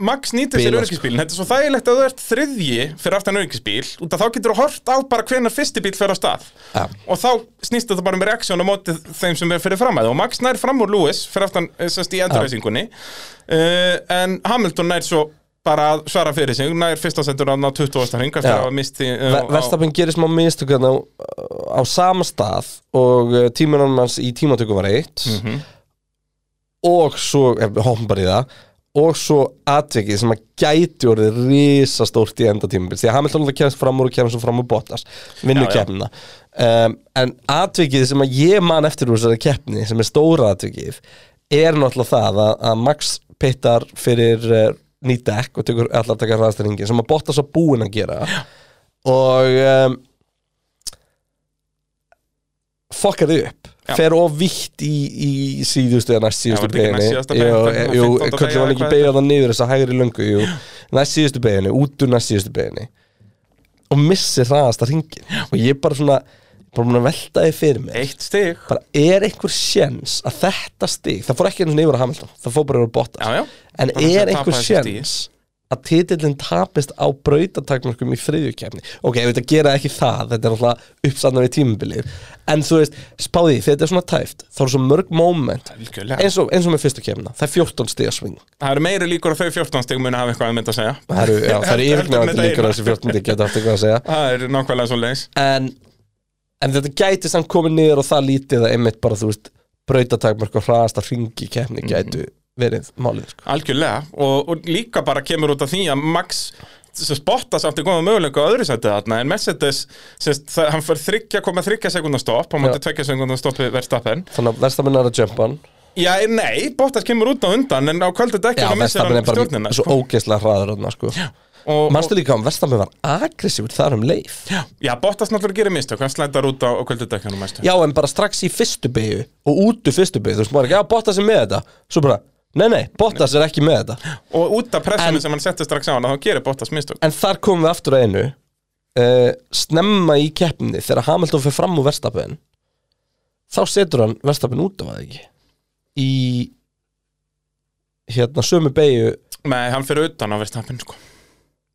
S2: Max nýtir sér
S1: Bílar,
S2: öryggisbílinn, þetta er svo þægilegt að þú ert þriðji fyrir aftan öryggisbíl út að þá getur þú hort á bara hvenar fyrsti bíl fer á stað
S1: Já.
S2: og þá snýst þetta bara um reaksjón á móti þeim sem er fyrir framæði og Max nær fram úr Lewis fyrir aftan eh, sest í endurreysingunni uh, en Hamilton nær svo bara að svara fyrir sig, nær fyrsta sendur að ná 20. hring eftir
S1: Já.
S2: að misti uh,
S1: Ver- Verstappen gerir smá mistök þarna á, á sama stað og uh, tímunum hans í tímatökum var eitt og svo, eh, hoppum bara í það og svo atvikið sem að gæti orðið risastórt í enda tímabil því að Hamilton alveg kemst fram úr og kemst svo fram úr Bottas vinnur
S2: Já, já.
S1: keppnina um, en atvikið sem að ég man eftir úr þessari keppni sem er stóra atvikið er náttúrulega það að, að Max pittar fyrir uh, nýtt dekk og tekur allar taka ræðstæringin sem að Bottas var búinn að gera já og um, fokkar þið upp
S2: Já.
S1: fer of vitt í, í síðustu eða næst
S2: var
S1: síðustu
S2: þetta ekki
S1: beginni
S2: næstsíðasta beygjan, þarna,
S1: jú,
S2: 15.
S1: hvernig
S2: beygjan
S1: var
S2: eða
S1: ekki
S2: hvað
S1: beigðan það niður þess að hægri löngu jú, næst síðustu beginni, út úr næst síðustu beginni og missir hraðasta ringin og ég er bara svona bara mun að velta þið fyrir mig
S2: Eitt stig
S1: bara er einhver sjens að þetta stig það fór ekki einu sinni yfir að Hamilton, það fór bara yfir að Bottas
S2: Já, já.
S1: en
S2: Bara til að
S1: er
S2: tapa
S1: einhver
S2: þessu stigi.
S1: sjens að titillin tapist á brautatakmörkum í þriðjukefni ok, ef þetta gera ekki það, þetta er alltaf uppsanna við tímabilið en þú veist, spáði, því, þetta er svona tæft þá er svo mörg moment
S2: Algjörlega.
S1: eins og, eins og með fyrstu kefna, það er 14 stiga sving
S2: Það eru meiri líkur að þau 14 stig muni hafa eitthvað að mynda að segja
S1: það eru, já, það eru
S2: Heldur- heldur með
S1: yfirgnæðandi
S2: þetta
S1: líkur
S2: eina.
S1: að þessi 14 stiga geta haft eitthvað að segja
S2: Það er nákvæmlega svo leis
S1: en, en þetta gæti samt komið niður og það lítið að einmitt bara þú veist brautatakmörk og hraðasta hringi keppni
S2: Mhm.
S1: gætu verið málið sko.
S2: Algjörlega og, og líka bara kemur út af því að Max sem spotta samt í góða möguleika á öðru sætið þarna en Mercedes, sem, það, hann fyrir þryggja koma þryggja sekundar stopp, hann
S1: Já.
S2: mátti tvekja sekundar stoppi verðstappen.
S1: þannig að verðstamenn er að jumpa hann
S2: Já, nei, Bottas kemur út á undan en á kvöldu dekki
S1: Já,
S2: þá missir
S1: Verstappen er
S2: hann
S1: bara
S2: stjórnina
S1: svo ógeðslega hraður hann sko.
S2: og,
S1: Manstu líka um Vestamöð var agressífur þar um leið
S2: Já, já Bottas náttúrulega gerir mistök, hann slætar út á, á kvöldudekkanum mæstu.
S1: Já, en bara strax í fyrstu beigju og út úr fyrstu beigju, þú veist, maður er ekki, já, Bottas er með þetta Svo bara, nei, nei, Bottas er ekki með þetta
S2: Og út af pressunum
S1: En-
S2: sem hann setti strax á hann, þá gerir Bottas mistök.
S1: En þar komum við aftur að einu uh, Snemma í keppni þegar Hamilton fer fram úr Vestamöðin Þá setur hann Vestamöðin út af það ekki Í Hérna, sömu beigju
S2: Nei, hann fyrir utan á verðstappin, sko.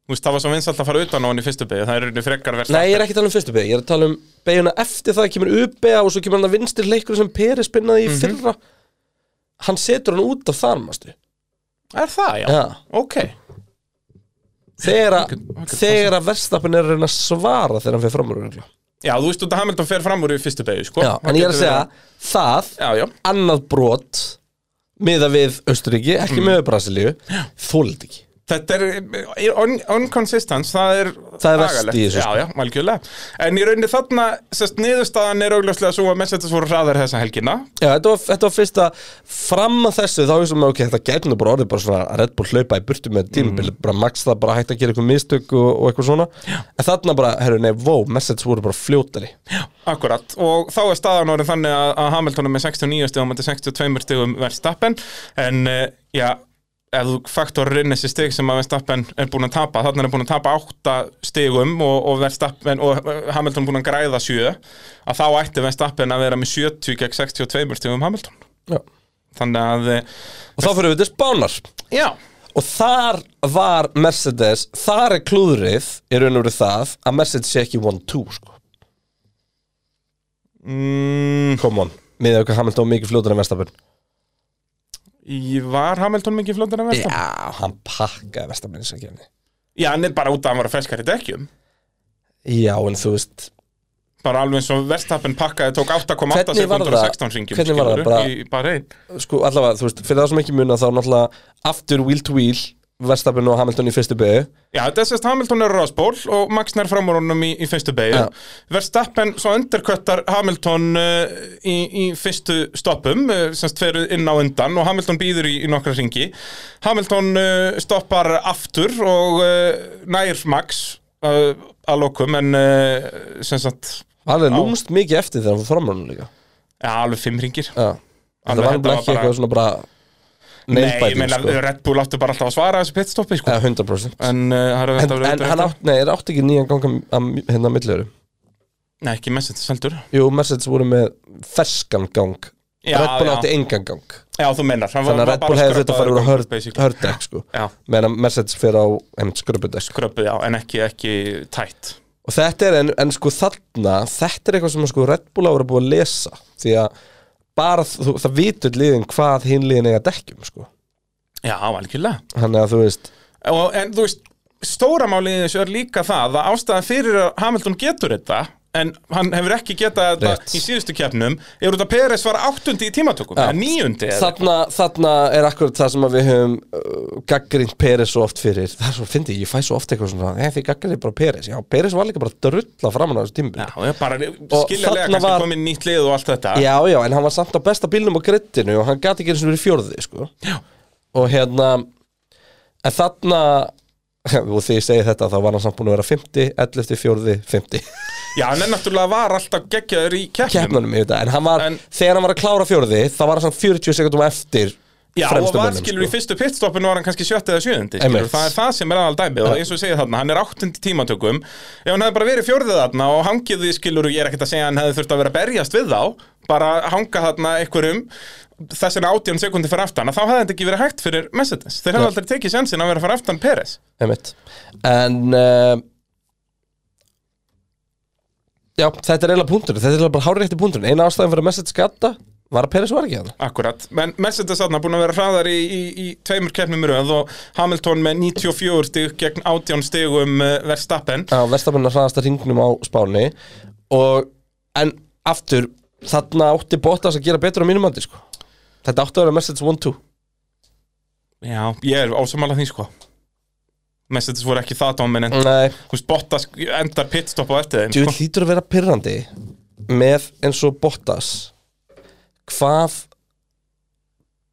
S2: Þú veist, það var svo vinsalt að fara utan á hann í fyrstu byggju, það er í rauninni frekar verðstappin.
S1: Nei, ég er ekki að tala um fyrstu beigju, ég er að tala um beigjuna eftir það kemur uppbeigja og svo kemur hann að vinstir leikur sem Peri spinnaði í
S2: Mhm.
S1: fyrra Hann setur hann út af þar, mástu
S2: Er það, já?
S1: Já.
S2: Ok.
S1: Þegar að-
S2: Hann getur- hann getur
S1: þegar að verðstappin er að reyna að svara þegar hann fer fram úr örugglega.
S2: Já, þú veist, út að Hamilton fer fram úr í fyrstu byggju, sko.
S1: Já,
S2: Þá
S1: en ég er að
S2: getur
S1: segja
S2: verið-
S1: það,
S2: Já, já.
S1: annað brot miða við Östuríki, ekki mm. með Brasilíu þólit ekki
S2: Þetta er on, unconsistence, það er
S1: Það er verst í
S2: agalegt.
S1: þessu, sko.
S2: Já, já, algjörlega En í rauninni þarna, sérst, niðurstaðan er augljóslega svo að Mercedes voru hraðar þessa helgina
S1: Já, þetta var, þetta var fyrsta fram að þessu þá er sem að ok, þetta gætinu bara orðið bara svona að Red Bull hlaupa í burtu með tímabil bara max það bara hægt að gera eitthvað mistök og, og eitthvað svona Mm. Já. en þarna bara, herru, nei, vó, message voru bara fljótari
S2: Akkurat, og þá er staðan orðin þannig að, að Hamilton er með 69 stegum og 62 stegum verðstappen En, eh, já, ef þú faktorir inn þessi steg sem að verðstappen er búin að tapa Þarna er búin að tapa 8 stegum og, og, Verstappen- og eh, Hamilton búin að græða 7 Að þá ætti verðstappen að vera með 70 gegn 62 stegum Hamilton
S1: Já.
S2: Þannig að, eh,
S1: og þá fyrir við til spánar
S2: já
S1: og þar var Mercedes þar er klúðrið, er raun og verið það að Mercedes sé ekki 1-2 sko.
S2: Mm,
S1: come on, miðað okkar Hamilton mikið fljótari en Verstappen
S2: í- var Hamilton mikið fljóttur en Verstappen?
S1: Já, hann pakkaði Verstappen eins og kemni
S2: Já, hann er bara út að hann var að ferskar í dekkjum
S1: Já, en þú veist
S2: Bara alveg eins og Verstappen pakkaði tók
S1: Hvernig
S2: 8,8
S1: var
S2: sekundur og
S1: það?
S2: 16 ringjum
S1: Hvernig var það? Bara-
S2: Í bara einn
S1: sko allavega, þú veist, fyrir það sem ekki muna þá náttúrulega aftur wheel to wheel Verstappen og Hamilton í fyrstu byggju
S2: Já, þetta er sérst Hamilton er á rásból og Max nær fram úr honum í, í fyrstu beigju
S1: Já.
S2: Verstappen svo underkvöttar Hamilton uh, í, í fyrstu stoppum uh, semst fer inn á undan og Hamilton býður í, í nokkra ringi Hamilton uh, stoppar aftur og uh, nær Max uh, að lokum en uh, sem sagt
S1: hann er lúmst mikið eftir þegar hann fór framrunum líka
S2: Já, alveg fimm ringir
S1: Já. þetta var
S2: Alveg, þetta
S1: bara
S2: var
S1: ekki
S2: bara-
S1: eitthvað svona bara
S2: Nei, ég
S1: neilbæting
S2: meina,
S1: sko.
S2: Red Bull áttu bara alltaf að svara þessu pitstoppi, sko
S1: ja, 100% en,
S2: En uh, það er
S1: en,
S2: þetta verið
S1: hann átt, nei, er átt ekki nýjan ganga að- hérna millöru
S2: Nei, ekki Mercedes heldur
S1: Jú, Mercedes voru með ferskan gang
S2: Já,
S1: Red Bull
S2: já.
S1: átti engan gang
S2: Já, þú meinar hann var-
S1: Þannig að
S2: var
S1: Red
S2: bara
S1: Bull hefði þetta
S2: skröpaður
S1: farið úr á
S2: gangur,
S1: hörd-
S2: basically.
S1: hördekk sko.
S2: Já,
S1: meðan að Mercedes fyrir á einmitt skröpudekk sko.
S2: skröpuð, já, en ekki, ekki tætt
S1: Og þetta er, en, en sko þarna, þetta er eitthvað sem sko Red Bull ára búið að lesa Því að bara, þú, það vitur liðin hvað hinn liðin eiga dekkjum, sko
S2: Já, algjörlega
S1: Þannig að þú veist,
S2: og, En þú veist, stóra málið í þessu er líka það að ástæðan fyrir að Hamilton getur þetta en hann hefur ekki getað þetta
S1: Rétt.
S2: í síðustu keppnum er út að Peres var áttundi í tímatökum
S1: Já.
S2: eða níundi eða
S1: þarna, þarna er akkurat það sem að við höfum uh, gaggrind Peres svo oft fyrir Það er svo, fyndi, ég fæ svo oft eitthvað svona, nei því gaggrindir bara Peres Já, Peres var líka bara að drulla framan á þessu tímbil
S2: Já, ég bara skiljalega
S1: þarna
S2: kannski
S1: var-
S2: komið nýtt lið og allt þetta
S1: Já, já, en hann var samt á besta bílnum á grittinu og hann gati ekki eins og verið fjórði, sko
S2: Já.
S1: Og hérna, en þarna, og því ég segi þetta, þá var hann samt búin að vera 50, 11, 4, 50
S2: Já, hann er náttúrulega var alltaf geggjaður í keppnum
S1: Keppnunum í þetta, en hann var,
S2: En-
S1: þegar hann var að klára fjórði, þá var hann samt 40 sekundum eftir
S2: Já, og
S1: fremstu
S2: var
S1: mönnum, sko.
S2: skilur í fyrstu pitstoppinu var hann kannski sjötti eða sjöndi skilur,
S1: Einmitt.
S2: það er það sem er aðal dæmi og eins og segja þarna, hann er áttundi í tímatökum ef hann hefði bara verið fjórðið þarna og hangið því skilur, ég er ekkert að segja að hann hefði þurft að vera að berjast við þá, bara hanga þarna einhverjum, þess vegna átján sekundi fyrir aftan, að þá hefði þetta ekki verið hægt fyrir Mercedes, þeir hefði aldrei tekið sensin að vera fyrir aftan Peres,
S1: Einmitt. En uh, Já, þetta er eiginlega punkturinn Þetta er eiginlega bara hárétti punkturinn Eina ástæðan fyrir að message skatta var að Peres var ekki hann
S2: akkurat menn Mercedes þarna búin að vera hraðar í, í, í tveimur keppnum í röð og Hamilton með 94 stig gegn átján stigum eh, Verstappen
S1: á vestabennar hraðasta ringnum á Spáni og en aftur þarna átti Bottas að gera betur á mínum andi sko. þetta átti að vera message 1-2
S2: Já, ég er ásamála því sko Mercedes voru ekki það dómin en
S1: nei,
S2: þú veist, Bottas endar pitstopp á eftir þeim
S1: þú
S2: sko.
S1: hlýtur að vera pyrrandi með eins og Bottas hvað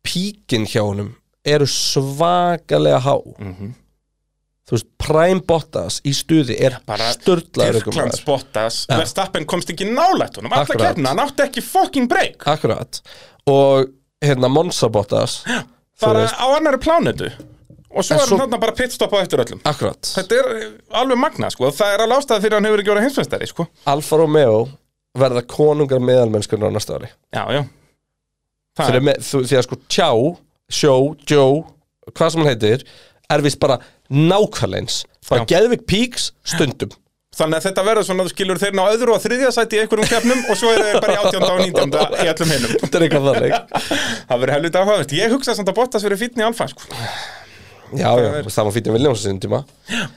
S1: píkin hjá honum eru svakalega há þú veist, Prime Bottas í stuði er
S2: bara
S1: störtlaður
S2: Tyrklands Bottas Verstappen komst ekki nálætt honum alla
S1: Akkurat.
S2: kefna, hann átti ekki fucking break
S1: Akkurat Og hérna Monza Bottas
S2: bara
S1: veist.
S2: á annari plánetu og svo
S1: En
S2: er hann
S1: svo-
S2: þarna bara pitstopp á eftir öllum
S1: Akkurat
S2: þetta er alveg magna sko, það er alveg ástæða fyrir að hann hefur ekki verið hinsmestari sko.
S1: Alfa Romeo verða konungar meðalmennskunar á næsta ári
S2: já, já Það
S1: Þeir eru með, þú, Því að sko Tjá, Sjó, Jó Hvað sem hann heitir Er vist bara nákvæmleins Bara geðvik píks stundum
S2: Þannig að þetta verður svona, þú skilur þeir ná öðru og þriðja sæti í einhverjum keppnum og svo eru þeir bara í 18. og 19. í öllum hinum.
S1: Þetta er eitthvað þannig
S2: Það verður helvita áhugavert. Ég hugsa samt að Bottas verið fínn í alfa, sko.
S1: Já, já, þú veist, það var fítið Williams sinni tíma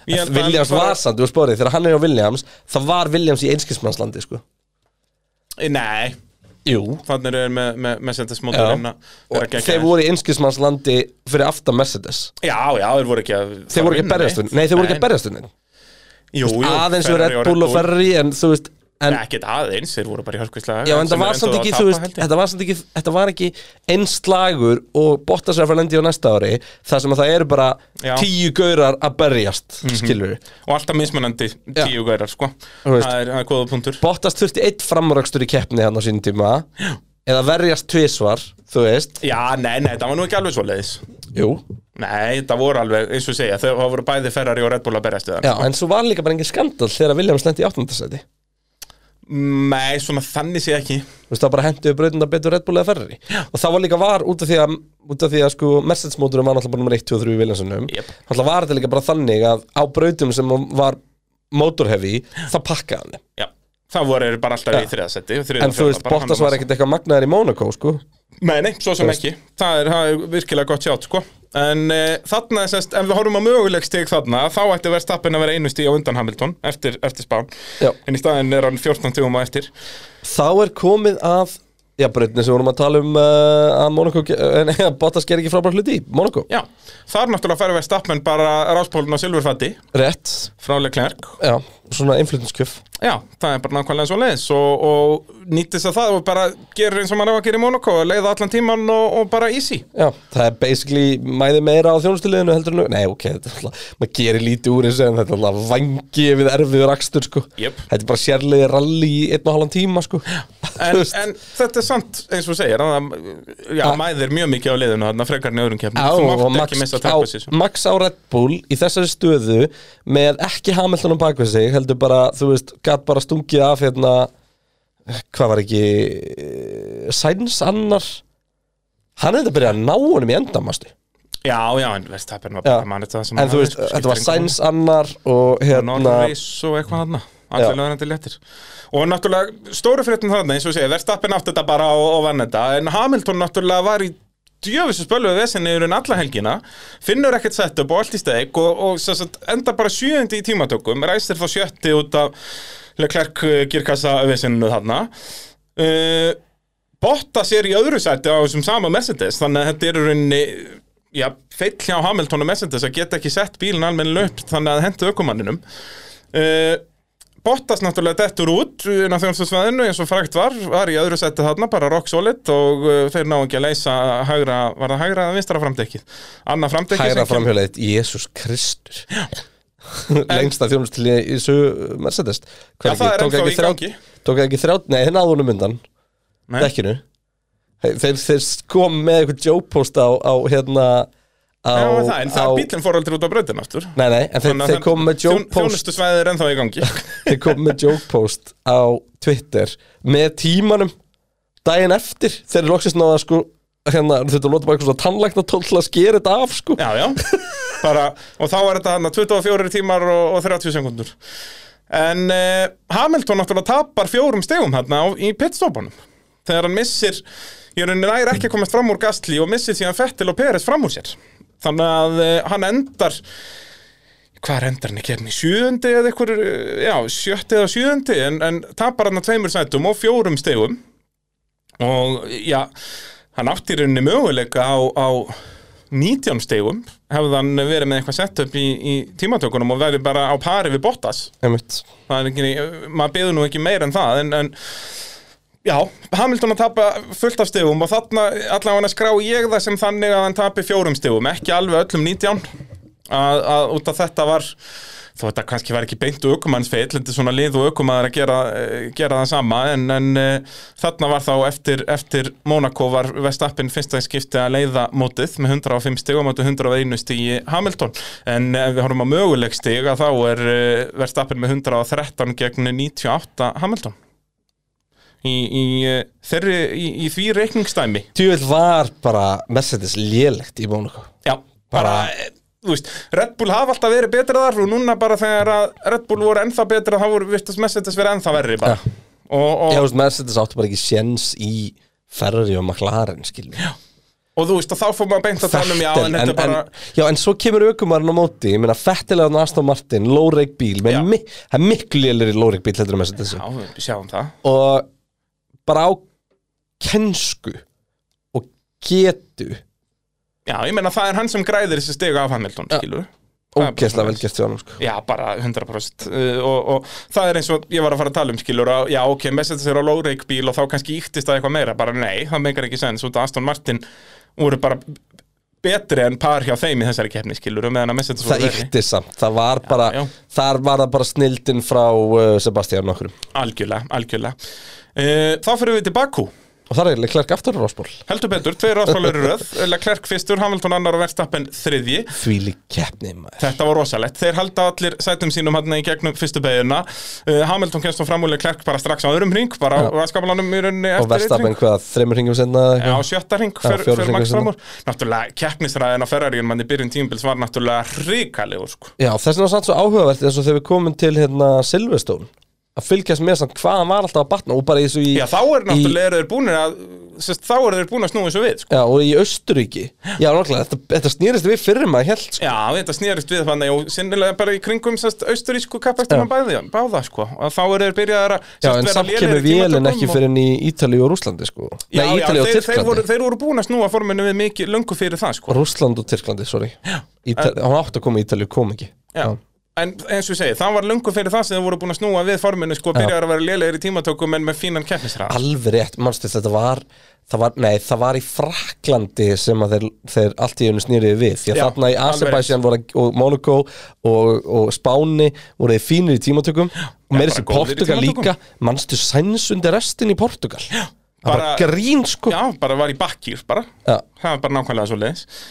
S2: Ég held að
S1: Williams
S2: hann bara-
S1: var samt, þú veist bórið, þegar hann er á Williams Það var Williams í einskismannslandi, sko
S2: Nei,
S1: Jú
S2: þannig eru þeir með, með, hérna. með sendis
S1: Já.
S2: mótorinn að vera
S1: og
S2: gegn-
S1: þeir voru í einskismannslandi fyrir aftan Mercedes
S2: Já, já, þeir voru ekki að...
S1: þeir voru ekki að berjast um nei, þeir voru ekki að berjast um
S2: Jú, jú.
S1: aðeins við
S2: Ferrari
S1: Red Bull og Ferrari en þú veist en,
S2: Nei, ekkert aðeins, þeir voru bara í hörkvíslega.
S1: já, en það var samt ekki, þú veist, þetta var samt ekki þetta var ekki einslagur og Bottas er að fara að lendi á næsta ári þar sem að það eru bara
S2: Já.
S1: tíu gaurar að berjast mm skilur við
S2: Og alltaf mismunandi
S1: Já.
S2: tíu gærar, sko.
S1: Þú
S2: Það
S1: veist.
S2: er, það er góða punktur.
S1: Bottas þurfti eitt framrökstur í keppni hann á sínum tíma eða verjast tvisvar þú veist
S2: Já, nei, nei, það var nú ekki alveg svo leiðis.
S1: jú
S2: Nei, það voru alveg, eins og segja, þau- það voru bæði Ferrari og Red Bull að berjast við hann.
S1: já, en svo var líka bara engin skandal þegar Williams lendi í áttundasæti
S2: Nei, svona þannig sé ekki
S1: þú veist, það bara henduðu brautina betur Red Bull eða Ferrari og það var líka var út af því að út af því að sko Mercedes móturum var náttúrulega bara nummer 1, 2 og 3 í Viljansunum
S2: Jep.
S1: náttúrulega var þetta líka bara þannig að á brautum sem var motorhefi það pakkaði hann
S2: Já, það voru þeir bara
S1: Já.
S2: alltaf í þriðasetti
S1: en þú veist, Bottas var ekkert eitthvað magnaðar í Monaco sko
S2: Nei, nei, svo sem ekki Það er, það er virkilega gott sjátt, sko En uh, þarna, er semst, ef við horfum á möguleg stig þarna Þá ætti verðstappin að vera einu stig á undan Hamilton Eftir, eftir spán
S1: Já.
S2: En í staðinn er hann 14 tíum á eftir
S1: þá er komið að já, brautinu sem vorum að tala um uh, að Monaco, ge- eh, nei, að Bottas ger ekki frábært hluti í Monaco,
S2: Já, þar náttúrulega færi verðstappin bara ráspólun á silfurfatti
S1: rétt
S2: Frá Leclerc
S1: já, svona einflutningskjöf
S2: Já, það er bara nákvæmlega svo leiðis og, og nýttist að það og bara gerir eins og maður á að gera í Monaco leiða allan tíman og, og bara easy
S1: Já, það er basically mæði meira á þjónustuliðinu heldur en Nei, ok, þetta er alltaf, maður gerir lítið úr þessu en þetta er alltaf vangi við erfiður akstur sko.
S2: Jep.
S1: Þetta er bara sérlega rally í einn og halvan tíma sko.
S2: En,
S1: Þú veist,
S2: en þetta er sant, eins og þú segir hann, já,
S1: Ah.
S2: mæðir mjög mikið á liðinu þarna frekar en í öðrum keppnum,
S1: á,
S2: þú
S1: og
S2: mátt
S1: Max,
S2: ekki
S1: á,
S2: missa tempo sísum
S1: Max á Red Bull í þessari stöðu með ekki Hamilton á bakvið sig heldur bara, þú veist, gatt bara stungið af hérna, hvað var ekki eh, Sainz annar hann er þetta að byrja að ná honum í endamastu
S2: Já, já, en veist, það er bara
S1: Já.
S2: bara mann þetta sem
S1: en þú veist, þetta var Sainz annar og hérna
S2: Norris og eitthvað þarna allir
S1: Já.
S2: löðrandi léttir og náttúrulega stóru fréttin þarna eins og segja Verstappen átti þetta bara og, og vann þetta en Hamilton náttúrulega var í djöfis spölvu vesinni yfir en alla helgina finnur ekkert setup og allt í steg og, og sem sagt, enda bara sjöundi í tímatökum ræsir þá sjötti út af Leclerc uh, girkassa vesinu þarna uh, Bottas er í öðru sæti á þessum sama Mercedes þannig að þetta er í rauninni já, feill hjá Hamilton og Mercedes að geta ekki sett bílinn almennilega upp þannig að hentu ökumanninum uh, Bottas náttúrulega dettur út inn á þjónstasvæðinu eins og frægt var var í öðru sæti þarna, bara rock solid og uh, þeir ná ekki að leysa hægra, var það hægra að vinstra framdekkið annað framdekkið
S1: hæra
S2: sem kemur-
S1: framhjólaðið Jésús Kristur lengsta þjónustili í þessu Mercedes Hvað
S2: Já, það er
S1: tók
S2: ennþá
S1: ekki
S2: í
S1: þrjá-
S2: gangi.
S1: tók það ekki þrjá nei, þeir náðunum undan,
S2: Nei.
S1: dekkinu Hey, þeir, þeir kom með eitthvað joke-post á, á hérna á,
S2: Já, það, en það
S1: á-
S2: er bílinn fór aldrei út á bröðin aftur
S1: nei, nei, en þeir, þeir kom með joke-post
S2: Þjónustusvæðið er ennþá í gangi
S1: þeir kom með joke-post á Twitter með tímanum daginn eftir þeir eru loksins náða sko hérna, þetta lóta bara eitthvað svona tannlækna til að skera þetta af sko
S2: Já, já bara, Og þá er þetta hann 24 tímar og, og 30 sekundur En uh, Hamilton náttúrulega tapar fjórum stegum hérna á, í pitstopunum Þegar hann missir Ég raunin næri ekki að komast fram úr Gastli og missir síðan Fettil og Peres fram úr sér Þannig að uh, hann endar Hvar endar hann í kefni? Sjöundi eða eitthvað, já, sjötti eða sjöundi en, en tapar hann að tveimur sætum og fjórum stegum og já, hann átti í rauninni möguleika á, á 19 stegum hefði hann verið með eitthvað setup í, í tímatökunum og verið bara á pari við Bottas
S1: einmitt
S2: það er ekki, maður beður nú ekki meir en það en, en já, Hamilton að tapa fullt af stegum og þarna allavega hann að skrá ég það sem þannig að hann tapi fjórum stegum, ekki alveg öllum 19 að, að út af þetta var þó þetta kannski var ekki beint aukumannsfeill þetta er svona lið og aukumannar að gera, eh, gera það sama en, en eh, þarna var þá eftir, eftir Monaco var Vestappin fyrsta í skipti að leiða mótið með 105 stig og móti 101 stig í Hamilton en eh, ef við horfum á möguleg stig að þá er Vestappin með 113 gegn 98 Hamilton í, í, eh, þeirri, í, í því reikningstæmi
S1: Tjúvel var bara Mercedes lélegt í Mónaco
S2: Já, bara,
S1: Bara-
S2: bara þú veist, Red Bull hafa alltaf verið betra þar og núna bara þegar að Red Bull voru ennþá betra þá voru virtust Mercedes verið ennþá verri bara.
S1: Já.
S2: Og,
S1: Já, þú
S2: og,
S1: veist, Mercedes áttu bara ekki séns í Ferrari og McLaren, skilur Já,
S2: og þú veist, og þá fór maður beint að tala um já, en þetta er bara,
S1: já, en svo kemur aukumarinn á móti Ég meina, fettilega á Aston Martin, Lóreik bíl
S2: Já.
S1: með mi Það er miklu lélir í Lóreik bíl heldur en Mercedes
S2: já, við sjáum það
S1: Og bara á kensku og getu
S2: Já, ég meina það er hann sem græðir þessi stiga af Hamilton, skilur Það er bara
S1: Ógeðslega vel
S2: svoleiðis.
S1: gert hjá honum, sko
S2: Já, bara 100% uh, og, og það er eins og ég var að fara að tala um skilur að, já, ok, Mercedes er á lóreik bíl og þá kannski íktist það eitthvað meira, bara nei, það meikar ekki sens út að Aston Martin voru bara betri en par hjá þeim í þessari keppni skilur meðan að Mercedes
S1: Það
S2: voru verri
S1: ykti samt, það var bara
S2: já.
S1: Þar var það bara snildin frá uh, Sebastian okkur Og
S2: Algjörlega, algjörlega uh, Þá fyrir við til Bakú
S1: þar er Leclerc aftur rásból
S2: Heldur betur, tveir ráðsmálar í röð Leclerc fyrstur, Hamilton annar og Verstappen þriðji
S1: Því lík keppni maður
S2: Þetta var rosalegt, þeir halda allir sætum sínum hann í gegnum fyrstu beiguna uh, Hamilton kemst þá fram úr Leclerc bara strax á öðrum ring bara á raskapalanum í rauninni
S1: Og
S2: eftir einn hring.
S1: Verstappen hvað, þreymur hringum senna
S2: Já, á sjötta ring
S1: Já,
S2: fyrir,
S1: fjóra
S2: fyrir
S1: hringa
S2: Max
S1: seinna.
S2: fram úr Náttúrulega, keppnisræðin á Ferrari mann í byrjun tímbils var náttúrulega ríkalegur sko.
S1: Já, þess vegna var samt svo áhugavert eins og þegar við komum til hérna Silverstone að fylgjast með samt hvað hann var alltaf að batna og bara eins og í,
S2: Já, þá er náttúrulega eru þeir búinir að sest, þá eru þeir búin að snúa þessu við sko.
S1: já, og í Östuríki Já, nákvæmlega, þetta, þetta snýrist við fyrir maður held sko.
S2: Já, þetta snýrist við þannig og sinnilega bara í kringum sest, austurísku kappastum að bæði, báða sko. og þá eru þeir byrjaðar að sest,
S1: Já, en
S2: vera
S1: samt
S2: lélegir
S1: kemur
S2: í tímatökum
S1: vélinn ekki
S2: og-
S1: fyrir enn í Ítalíu og Rúslandi sko.
S2: Já,
S1: Nei,
S2: já,
S1: Ítalíu og
S2: þeir, þeir, voru,
S1: Tyrklandi
S2: þeir voru búin að snúa forminu við mikið löngu fyrir það sko.
S1: Rúsland og Tyrklandi, sorry Ítal... Hann átti að koma í Ítalíu, kom ekki
S2: Já. En eins og ég segi, það var löngu fyrir það sem þeir voru búin að snúa við forminu sko, byrjaðar að vera lélegir í tímatökum en með fínan keppnisræð
S1: Alveg rétt, manstu þetta var Það var, nei, það var í Fraklandi sem að þeir, þeir allt í einu snýriði við því að
S2: Já,
S1: þarna í
S2: alveg
S1: Azerbaijan voru að- og Monaco og, og Spáni voru þeir fínir í tímatökum og meiri
S2: bara
S1: sér
S2: góðir í
S1: Portugal
S2: tímatökum.
S1: líka manstu sæns undir restin í Portugal já, bara,
S2: bara-
S1: grín sko
S2: Já, bara var í bakkýr bara
S1: Já.
S2: Það var bara nákvæmlega svo leiðis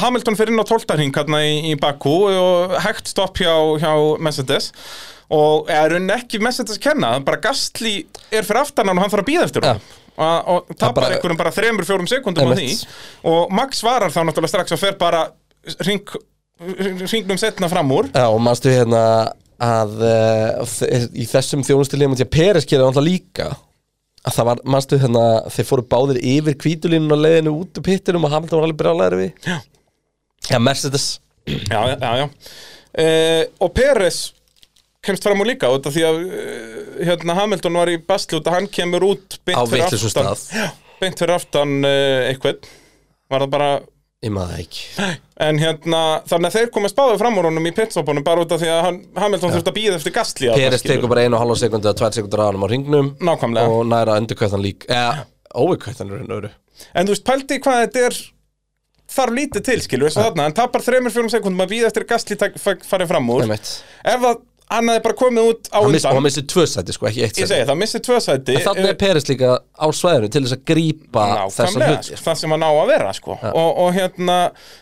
S2: Hamilton fyrir inn á 12. hring hérna í, í Bakú og hægt stopp hjá, hjá Mercedes og er hann ekki Mercedes kenna bara Gastli er fyrir aftan hann og hann þarf að býða eftir hann og, og tapar
S1: bara-
S2: einhverjum bara 3-4 sekundum á því
S1: Einmitt.
S2: og Max svarar þá náttúrulega strax og fer bara hring, hringnum setna fram úr
S1: Já, og manstu hérna að uh, þe- í þessum þjónustilíðum að Peres gerði alltaf líka að það var, manstu hérna þeir fóru báðir yfir kvítulínun og leiðinu út úr pittinum og Hamilton var alveg brjálæður við
S2: Já.
S1: Já, Mercedes
S2: Já, já, já, já. Eh, og Peres kemst fram úr líka út af því að eh, hérna, Hamilton var í basli út að hann kemur út beint
S1: Á
S2: fyrir
S1: vitlausum
S2: aftan
S1: stað.
S2: Já, beint fyrir aftan uh, eitthvað var það bara
S1: Ég maður það ekki
S2: en hérna þannig að þeir komast báðu fram úr honum í pitstopunum bara út af því að hann, Hamilton þurfti að býða eftir gasli
S1: Peres tekur bara einu og halva sekundi eða tvær sekundur á hann á ringnum
S2: nákvæmlega
S1: og næra endurkvæðan líka eða óvikvæðan er henni öru
S2: en þú veist pældi hvað þetta er þarf lítið til skilur eins og þarna hann tapar 3-4 sekundum að býða eftir að gasli farið fram úr
S1: Einmitt.
S2: ef að hann hefði bara komið út á
S1: Hann miss- og
S2: undan
S1: hann missi tvö sæti sko, ekki eitt
S2: Ég
S1: sæti
S2: segi eh, það, missið tvö sæti
S1: Þannig er Peres líka á svæðinu til þess að grípa þessar
S2: Nákvæmlega,
S1: hlutir
S2: sko, það sem hann á að vera sko. og, og hérna,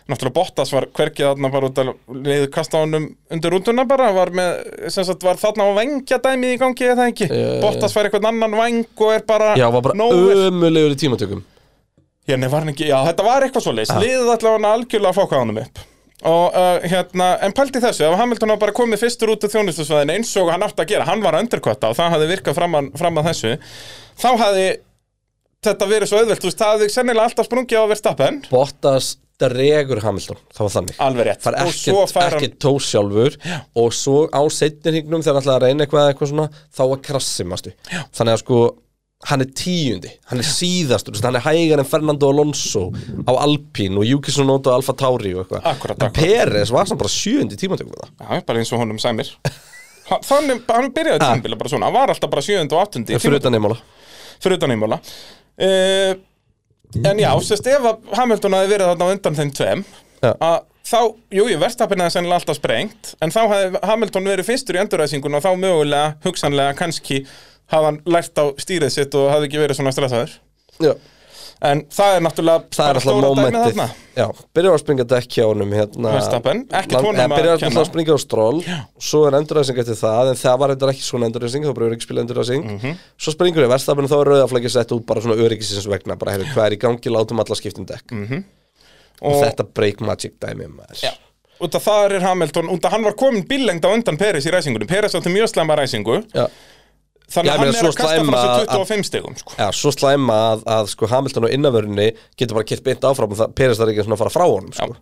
S2: náttúrulega Bottas var hverkið þarna bara út að leiðu kasta honum undir rúnduna bara var, með, sem sagt, var þarna á vengja dæmið í gangi eða ekki, Bottas fær eitthvað annan veng og er bara,
S1: Já, var bara
S2: sko. nógu vel-
S1: ömulegur í tímatökum
S2: Já, nei, var hann ekki, já, þetta var eitthvað svoleiðis Liðið allavega hann algjörlega að fóka honum upp Og uh, hérna, en pælti þessu Ef Hamilton hafa bara komið fyrstur út af þjónustusvæðin Eins og hann átti að gera, hann var að underkvötta Og það hafði virkað fram að, fram að þessu Þá hafði þetta verið svo auðvelt Þú veist, það hafði sennilega alltaf sprungið á Verstappen
S1: Bottas dregur Hamilton það var þannig
S2: Alveg rétt
S1: fær
S2: Ah, Og svo
S1: ekkert,
S2: fær hann-
S1: ekkert tós sjálfur og svo á setningnum þegar hann ætlaði að reyna eitthvað, eitthvað svona, þá var krassi mastu. þannig að sko hann er tíundi, hann er síðastur þú veist, hann er hægar en Fernando Alonso á Alpine og Yuki Sonoda og Alfa Tauri og eitthvað,
S2: Akkúrat,
S1: en
S2: akkúrat.
S1: Peres var samt bara sjöundi tímatökum það
S2: Já, bara eins og honum sæmir Ha- Þannig, hann byrjaði tímbila bara svona Hann var alltaf bara 7. og 8. í
S1: en fyrir utan neymála
S2: fyrir utan Eh, einmála uh, en já, sérst, ef að Hamilton hafi verið þarna á undan þeim tveim
S1: Mm. Já.
S2: að þá, jú, ég verðstapin aðeins ennilega alltaf sprengt en þá hafði Hamilton verið fyrstur í enduræsingun og þá mögulega, hugsanlega, kannski hafði hann lært á stýrið sitt og hafði ekki verið svona stressaður
S1: Já.
S2: en það er náttúrulega
S1: Það er
S2: bara
S1: alltaf
S2: stóra dæmið
S1: momentið
S2: þarna.
S1: Já, byrjar að springa dekki á honum hérna,
S2: Verstappen, ekkert
S1: Land-
S2: honum
S1: eða
S2: að
S1: Byrjar
S2: kenna.
S1: alltaf að springa á stról Svo er enduræsing eftir það En það var reyndar ekki svona enduræsing Þá bara öryggisbíl enduræsing
S2: Mhm.
S1: Svo springur við verstafinu Þá er rauðaflækja sett út bara svona öryggisins vegna Bara heyrðu hvað er í gangi Látum alla skiptum dekk Og
S2: Mhm. og,
S1: þetta break magic dæmi um maður
S2: Já. út af það er Hamilton, út af hann var komin billengd á undan Peres í ræsingunum Peres átti mjög slæma ræsingu
S1: Já. Já,
S2: þannig
S1: ég
S2: að
S1: meina,
S2: hann er
S1: svo
S2: að kasta frá
S1: slæma
S2: sér
S1: að-
S2: 25 stegum sko.
S1: Já, svo slæma að, að sko Hamilton á innavörunni getur bara kilt beint áfram og það perist það er ekki svona að fara frá honum sko.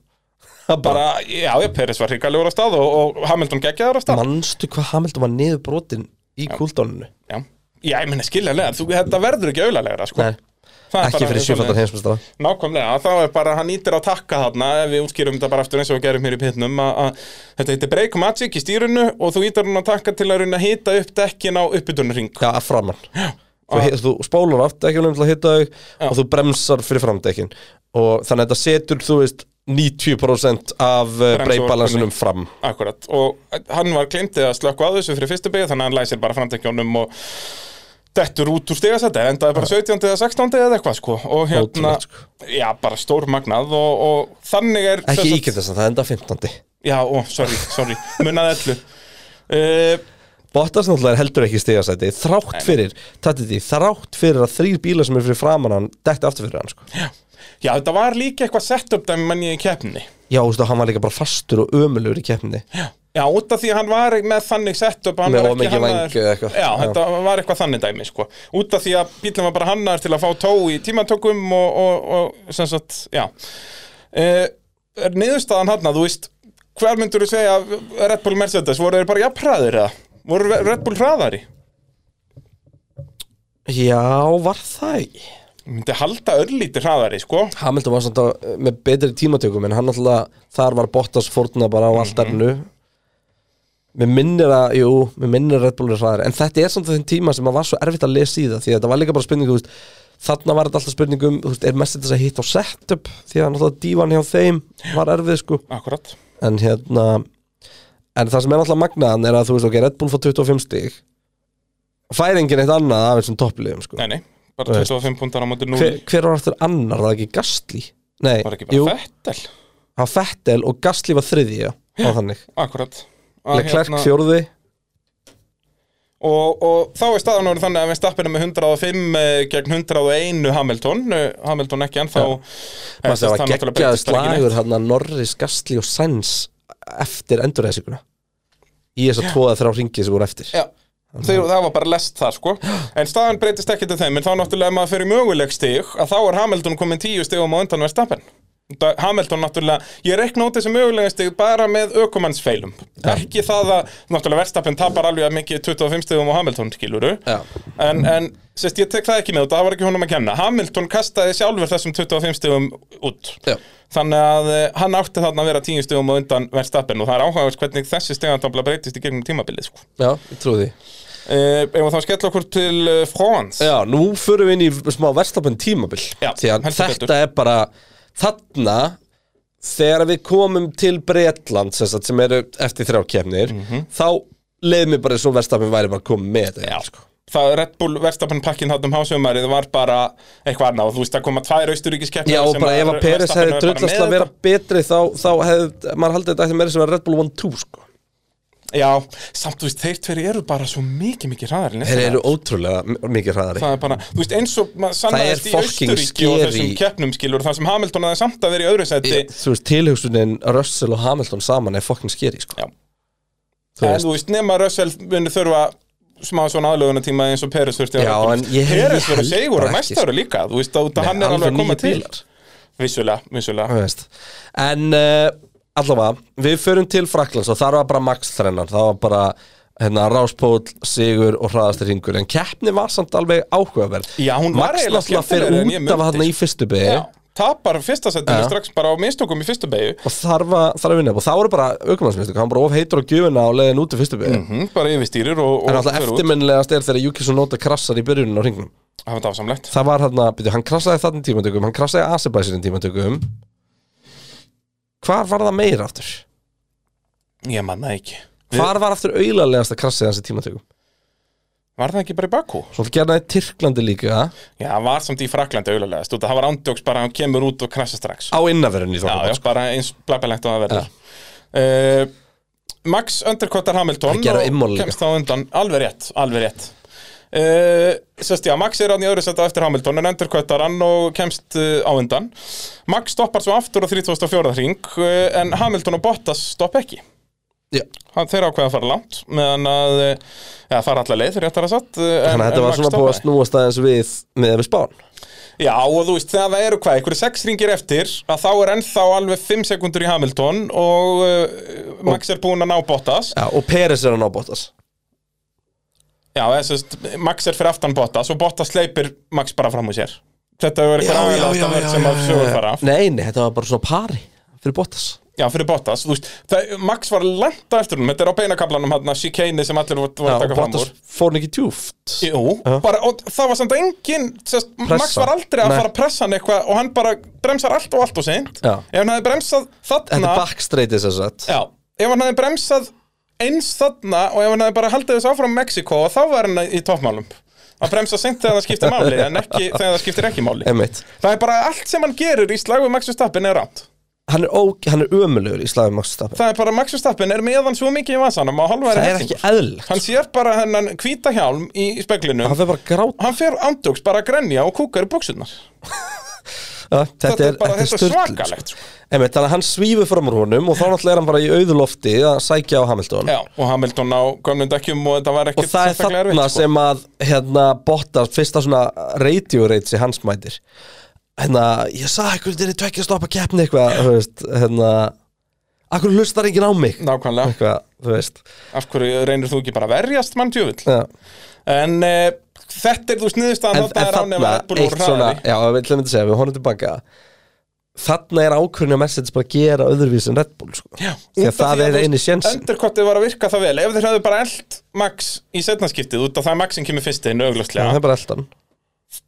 S1: Það er bara,
S2: bara, já, já, Peres var hrikalegur á stað og, og Hamilton geggjaður á stað
S1: manstu hvað Hamilton var niður brotin í kúldóninu
S2: Já, já ég meina skiljanlega, þú, þetta verður ekki auðalegra sko.
S1: Nei, ekki fyrir sjöfaldar heimsmestara
S2: Nákvæmlega, þá er bara, hann ítir á takka þarna ef við útskýrum þetta bara aftur eins og við gerum hér í pitnum að að þetta heitir break magic í stýrunu og þú ítir hann á takka til að runa að hita upp dekkin á uppbytunarring
S1: Já, að framann Þú, hi-
S2: Ah.
S1: þú spólar aftur ekki um til að hitta þau og þú bremsar fyrir framdekkin og þannig að þetta setur, þú veist 90% af
S2: Bremsuorkunni.
S1: breybalansunum fram
S2: Akkurat, og hann var kleimtið að slökku að þessu fyrir fyrstu byggja þannig að hann læsir bara framtekjónum og dettur út úr stigasætti endaði bara 17. eða 16. eða eitthvað sko og hérna,
S1: Ótrúlegt, sko.
S2: já bara stór magnað og, og þannig er sem
S1: Ekki
S2: sagt-
S1: íkjöld þess að það enda 15.
S2: Já, ó, sorry, sorry, munnaði ellu uh,
S1: Bottas náttúrulega er heldur ekki stigasæti þrátt fyrir, tætti því, þrátt fyrir að þrýr bílar sem er fyrir framann hann dætti aftur fyrir hann sko.
S2: Já, þetta var líka eitthvað sett upp dæmi manni í keppni
S1: Já, þú veist að hann var líka bara fastur og ömulur í keppni
S2: Já, út af því að hann var með þannig sett upp
S1: Með of mikið væng eða eitthvað.
S2: Já,
S1: Já.
S2: þetta var eitthvað þannig dæmi, sko Út af því að bílum var bara hannaður til að fá tó í tímatökum og, og, og sem sagt, já uh, Niðurstaðan hann þú veist Hver myndur þú segja að Red Bull Mercedes voru þeir bara jafnhraðir eða? Voru Red Bull hraðari?
S1: Já, var það ekki
S2: Ég myndi halda örlítið hraðari, sko
S1: Hamilton var svona eh, með betri tímatökum en hann náttúrulega, þar var Bottas fórna bara á
S2: Mhm.
S1: alltarinu Mér minnir að, jú, mér minnir að Red Bull er hraðar en þetta er samt þeim tíma sem að var svo erfitt að lesa í það því að þetta var líka bara spurning, þú veist þarna var þetta alltaf spurning um, þú veist, er mest þess að hitta á setup því að náttúrulega dívan hjá þeim var erfið sko
S2: Akkurat
S1: en hérna en það sem er alltaf magnaðan er að þú veist ok, Red Bull fór 25 stig fær enginn eitt annað af þessum toppliðum sko.
S2: Nei, nei,
S1: Þú
S2: bara
S1: veist.
S2: 25 púntar á móti 0
S1: hver, hver var eftir annar, var það ekki Gastli? Nei,
S2: Var ekki
S1: jú,
S2: bara fettel
S1: það var Fettel og Gastli var þriðji, já, á þannig
S2: Akkurat Að hérna- Eh,
S1: Leclerc fjórði,
S2: og, og þá er staðan orðin þannig að við stappinum með 105 eh, gegn 101 Hamilton eh, Hamilton ekki ennþá
S1: Já.
S2: Eh,
S1: maður það
S2: sem sagt,
S1: var
S2: hann náttúrulega
S1: geggjaði
S2: breytist bara ekki neitt.
S1: slagur hann að Norris, Gastli og Sainz eftir endurreðsíkuna í þess að tvoða þrjá ringið sem voru eftir
S2: Já, Þeir, það var bara lest þar sko en staðan breytist ekki til þeim en þá náttúrulega ef maður fyrir möguleg stig að þá er Hamilton komin 10 stigum á undan við stappin Hamilton náttúrulega, ég reikna út þessi mögulega stig bara með ökumannsfeilum ekki það að, náttúrulega verðstappin tapar alveg að mikið 25 stigum á Hamilton skiluru
S1: Já.
S2: en, en sérst, ég tek það ekki með út það var ekki honum að kenna Hamilton kastaði sjálfur þessum 25 stigum út
S1: Já.
S2: þannig að eh, hann átti þarna að vera 10 stigum á undan verðstappin og það er áhugavert hvernig þessi stigantabla breytist í gegnum tímabilið sko.
S1: já, ég trúi því
S2: uh, ef þá skella okkur til uh, France
S1: Já, nú förum við inn í smá verstafan tímabil
S2: Já,
S1: Því að
S2: heldur
S1: þetta
S2: betur.
S1: er bara þarna þegar við komum til Bretland sem, sagt, sem eru eftir þrjá kemnir þá leið mér bara svo verstafan væri bara komið með þetta
S2: Mhm. Já, sko. Það Red Bull verðstapann pakkin þarna um hásumarið var bara eitthvað annað og þú veist að koma tvær austuríkiskeppnir
S1: Já, og bara ef að Peres hefði drullast að vera betri þá, þá hefði, maður haldið þetta eftir meira sem að Red Bull 1-2 sko
S2: Já, samt þú veist, þeir tveir eru bara svo mikið mikið hraðar en
S1: Þeir eru ótrúlega m- mikið hraðari
S2: Það er bara, þú veist, eins og maður
S1: er
S2: sannaðist í
S1: fucking
S2: Austuríki og
S1: scary.
S2: þessum keppnum skilur þar sem Hamilton aðeins samt að vera í öðru seti
S1: Ég- Þú veist, tilhugsunin Russell og Hamilton saman er fucking skeri sko
S2: Já.
S1: Þú
S2: En
S1: veist.
S2: þú veist, nema Russell muni þurfa smá svona aðlöguna tíma eins og Peres þurfti
S1: Já, en ég- ég
S2: Peres verður
S1: held
S2: segur á
S1: bara ekki, sko.
S2: næsta ári líka þú veist, út
S1: Nei,
S2: að hann er alveg að koma
S1: níu
S2: til
S1: bílar.
S2: Vissulega, vissulega
S1: Þú veist. En uh, allavega, við förum til Fraklands og þar var bara Max þrennan, það var bara hérna, ráspól, sigur og hraðastir hringur en keppni var samt alveg áhugaverð
S2: Já, hún var
S1: Max
S2: eiginlega
S1: náttúrulega fer
S2: skemmtilegri
S1: út
S2: en ég
S1: af
S2: mundi, sko.
S1: hann í fyrstu byggi
S2: Já, tapar fyrsta setinu
S1: Já.
S2: strax bara á mistökum í fyrstu beigju
S1: og þar var þar að vinna og það voru bara aukumannsmyndstök, hann bara of heitur á gjöfuna og leiðin út í fyrstu byggi
S2: mm, bara yfirstýrir og,
S1: En
S2: og
S1: alltaf
S2: fer út.
S1: eftirminnilegast er þegar Júkisson Nóta krassar í byrjunum á hringnum
S2: Það var dásamlegt
S1: Það var hann að, byrju, hann krassaði þannig tímatökum, hann krassaði Asibæsirinn tímatökum hvar var það meira aftur?
S2: Ég manna ekki
S1: Hvar var aftur auðarlegasta krassið hans í tímatökum?
S2: Var það ekki bara í Bakú?
S1: Svolítið gerna í Tyrklandi líka
S2: Já, það var samt í Fraklandi auðvitað Þú veit, það var ándjóks bara að hann kemur út og krasja strax
S1: á innanverðinni í
S2: Já,
S1: Þorflóð
S2: já, bara eins blabbalegt og það verður uh, Max underkottar Hamilton
S1: Það gera
S2: og
S1: Immol líka.
S2: Kemst þá undan, alveg rétt, alveg rétt uh, Sest já, Max er hann í öðru setta eftir Hamilton En underkottar hann og kemst uh, á undan Max stoppar svo aftur á 34. ring uh, En Hamilton og Bottas stopp ekki
S1: Já.
S2: Hann, þeir ákveða að fara langt meðan að, eh, eða fara allar leið eh, réttar að satt
S1: Þannig að þetta var svona búið að snúast aðeins við með við spán
S2: Já, og þú veist, þegar það eru hvað, einhverju sex ringir eftir að þá er ennþá alveg 5 sekundur í Hamilton og uh, Max er búinn að ná Bottas
S1: Já, og Peres er hann á Bottas
S2: Já, þessast, Max er fyrir aftan Bottas og Bottas leipir Max bara fram úr sér Þetta hefur
S1: Já,
S2: eitthvað
S1: já, já,
S2: aðeins að
S1: já,
S2: verð sem
S1: já,
S2: að
S1: já,
S2: sögur
S1: já.
S2: fara
S1: Nei, nei, þetta var bara svona pari fyrir Bottas
S2: Já, fyrir Bottas, þú veist, það, Max var langt á eftir hún, þetta er á beinakablanum hann að chicane sem allir voru voru
S1: Já,
S2: að
S1: og
S2: taka fram
S1: Bottas
S2: úr Hérna-
S1: fór hann ekki djúft
S2: Jú, bara, og það var samt engin sest, Max
S1: Pressa.
S2: var aldrei að
S1: Nei.
S2: fara að pressa hann eitthvað og hann bara bremsar allt og allt og seint
S1: Já.
S2: Ef hann hefði bremsað
S1: Þetta
S2: þarna
S1: er backstreitið sem sagt
S2: Já, ef hann hefði bremsað eins þarna og ef hann hefði bara haldið þessu áfram Mexiko og þá var hann í toppmálum að bremsa seint þegar það skiptir máli en ekki þegar það skiptir ekki máli
S1: Einmitt.
S2: Það er bara allt sem hann gerur í slagu Max Verstappen er rátt
S1: Hann er, ó, hann er ömulegur í slagum Max Verstappen
S2: Það er bara Max Verstappen er meðan svo mikið í vasanum að halva
S1: Það er ekki eðlilegt
S2: Hann sér bara hennan hvíta hjálm í
S1: Hann
S2: speklinum
S1: fyrir bara að gráta
S2: Hann fer ándjóks bara að grenja og kúkar í buksunar
S1: Þetta,
S2: Þetta er bara þetta er
S1: sturlun,
S2: svakalegt sko.
S1: sko. Einmitt, Þannig að hann svífur fram úr honum og þá náttúrulega er hann bara í auðu lofti að sækja á Hamilton
S2: Já, og Hamilton á gömlum dekkjum og þetta var
S1: Og
S2: ekkert
S1: það er
S2: sérstaklega
S1: þarna
S2: erfitt, sko.
S1: sem að hérna, Bottas, fyrsta svona radioreitsi hans mætir hérna, ég sagði ykkur þeirri tvekja að stoppa keppni eitthvað, þú veist, hérna akkur hlustar enginn á mig
S2: Nákvæmlega,
S1: eitthvað, þú veist
S2: af hverju reynir þú ekki bara að verjast mann djöfull
S1: já.
S2: En uh, þetta er þú
S1: en,
S2: sniðustaðan
S1: en
S2: þarna er án ef
S1: þarna,
S2: að Red Bull
S1: eitt
S2: voru
S1: svona
S2: hraðari
S1: já, við ætlum að segja, við honum tilbaka þarna er ákvörðinu að Mercedes bara gera öðruvísi en Red Bull, sko
S2: Já,
S1: því
S2: út
S1: að
S2: af
S1: það er
S2: þú
S1: eini
S2: veist,
S1: sjensin
S2: Undercottið var að virka það vel Ef þeir hefðu bara eld Max í setnaskiptið Út af það er Max sem kemur fyrst inn
S1: það
S2: auglustlega
S1: er bara eldan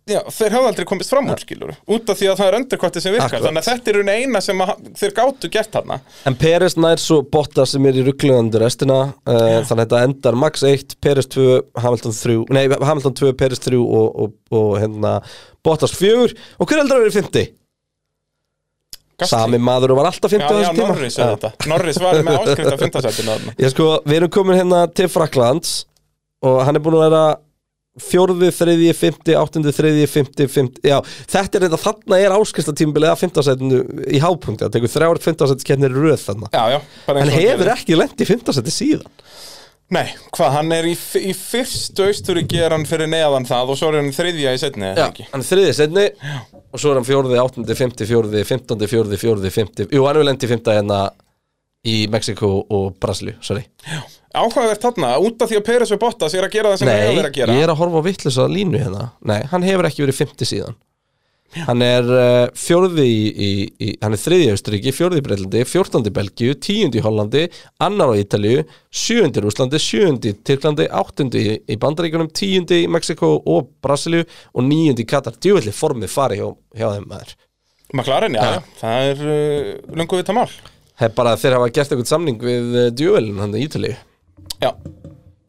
S2: Já, þeir hefðu aldrei komist fram úr skilur Út af því að það er undercottið sem virkar
S1: Akkurat.
S2: Þannig að þetta er raun eina sem að, þeir gátu gert þarna
S1: En Peres nær svo Bottas sem er í ruggluðandu restina uh, Þannig að þetta endar Max 1, Peres 2, Hamilton 3 Nei, Hamilton 2, Peres 3 og, og, og hérna Bottas 4 Og hver heldur að vera 50?
S2: Gastli.
S1: Sami maður og var alltaf 50 á
S2: Já, já,
S1: þessum tíma.
S2: Norris er þetta Norris var með áskrift af fymtasættinu þarna
S1: Ég sko, við erum komin hérna til Fraklands Og hann er búin að vera Fjórði, þriðji, fymti, áttundi, þriðji, fymti, fymti Já, þetta er þetta þarna er áskristatímbilið að fymtasætinu í hápunkti Það tekur þrjár fymtasætiskeppnir í röð þarna
S2: Já, já, bara eins
S1: En
S2: og hann gerði.
S1: hefur ekki lent í fymtasæti síðan
S2: Nei, hvað, hann er í, í fyrstu austuríki er hann fyrir neðan það og svo er hann þriðja í setni, eða
S1: Já,
S2: ekki?
S1: hann er þriðið setni og svo er hann fjórði, áttundi, fymti, fjórði, fymtóndi, fjórði, fjórði, fymti Jú, hann er lendi fymta hérna í Mexiko og Brasilíu, sorry
S2: áhugavert þarna, út af því að Peres og Bottas er að gera það sem það
S1: Nei,
S2: er að gera
S1: ég er að horfa á vittlusa línu hérna Nei, hann hefur ekki verið fymti síðan Hann er uh, fjórði í, í, í, hann er þriðið Austuríki, fjórði í Breitlandi, fjórtandi í Belgíu, tíundi í Hollandi, annar á Ítalíu, sjöundi í Rúslandi, sjöundi í Tyrklandi, áttundi í, í Bandaríkunum, tíundi í Mexiko og Brasilíu og níundi í Katar. Djúvillig formið fari hjá, hjá þeim maður.
S2: McLaren, já, það er uh, lungu vita mál
S1: Það er bara að þeir hafa gert eitthvað samning við djúvelin hann í Ítalíu
S2: já,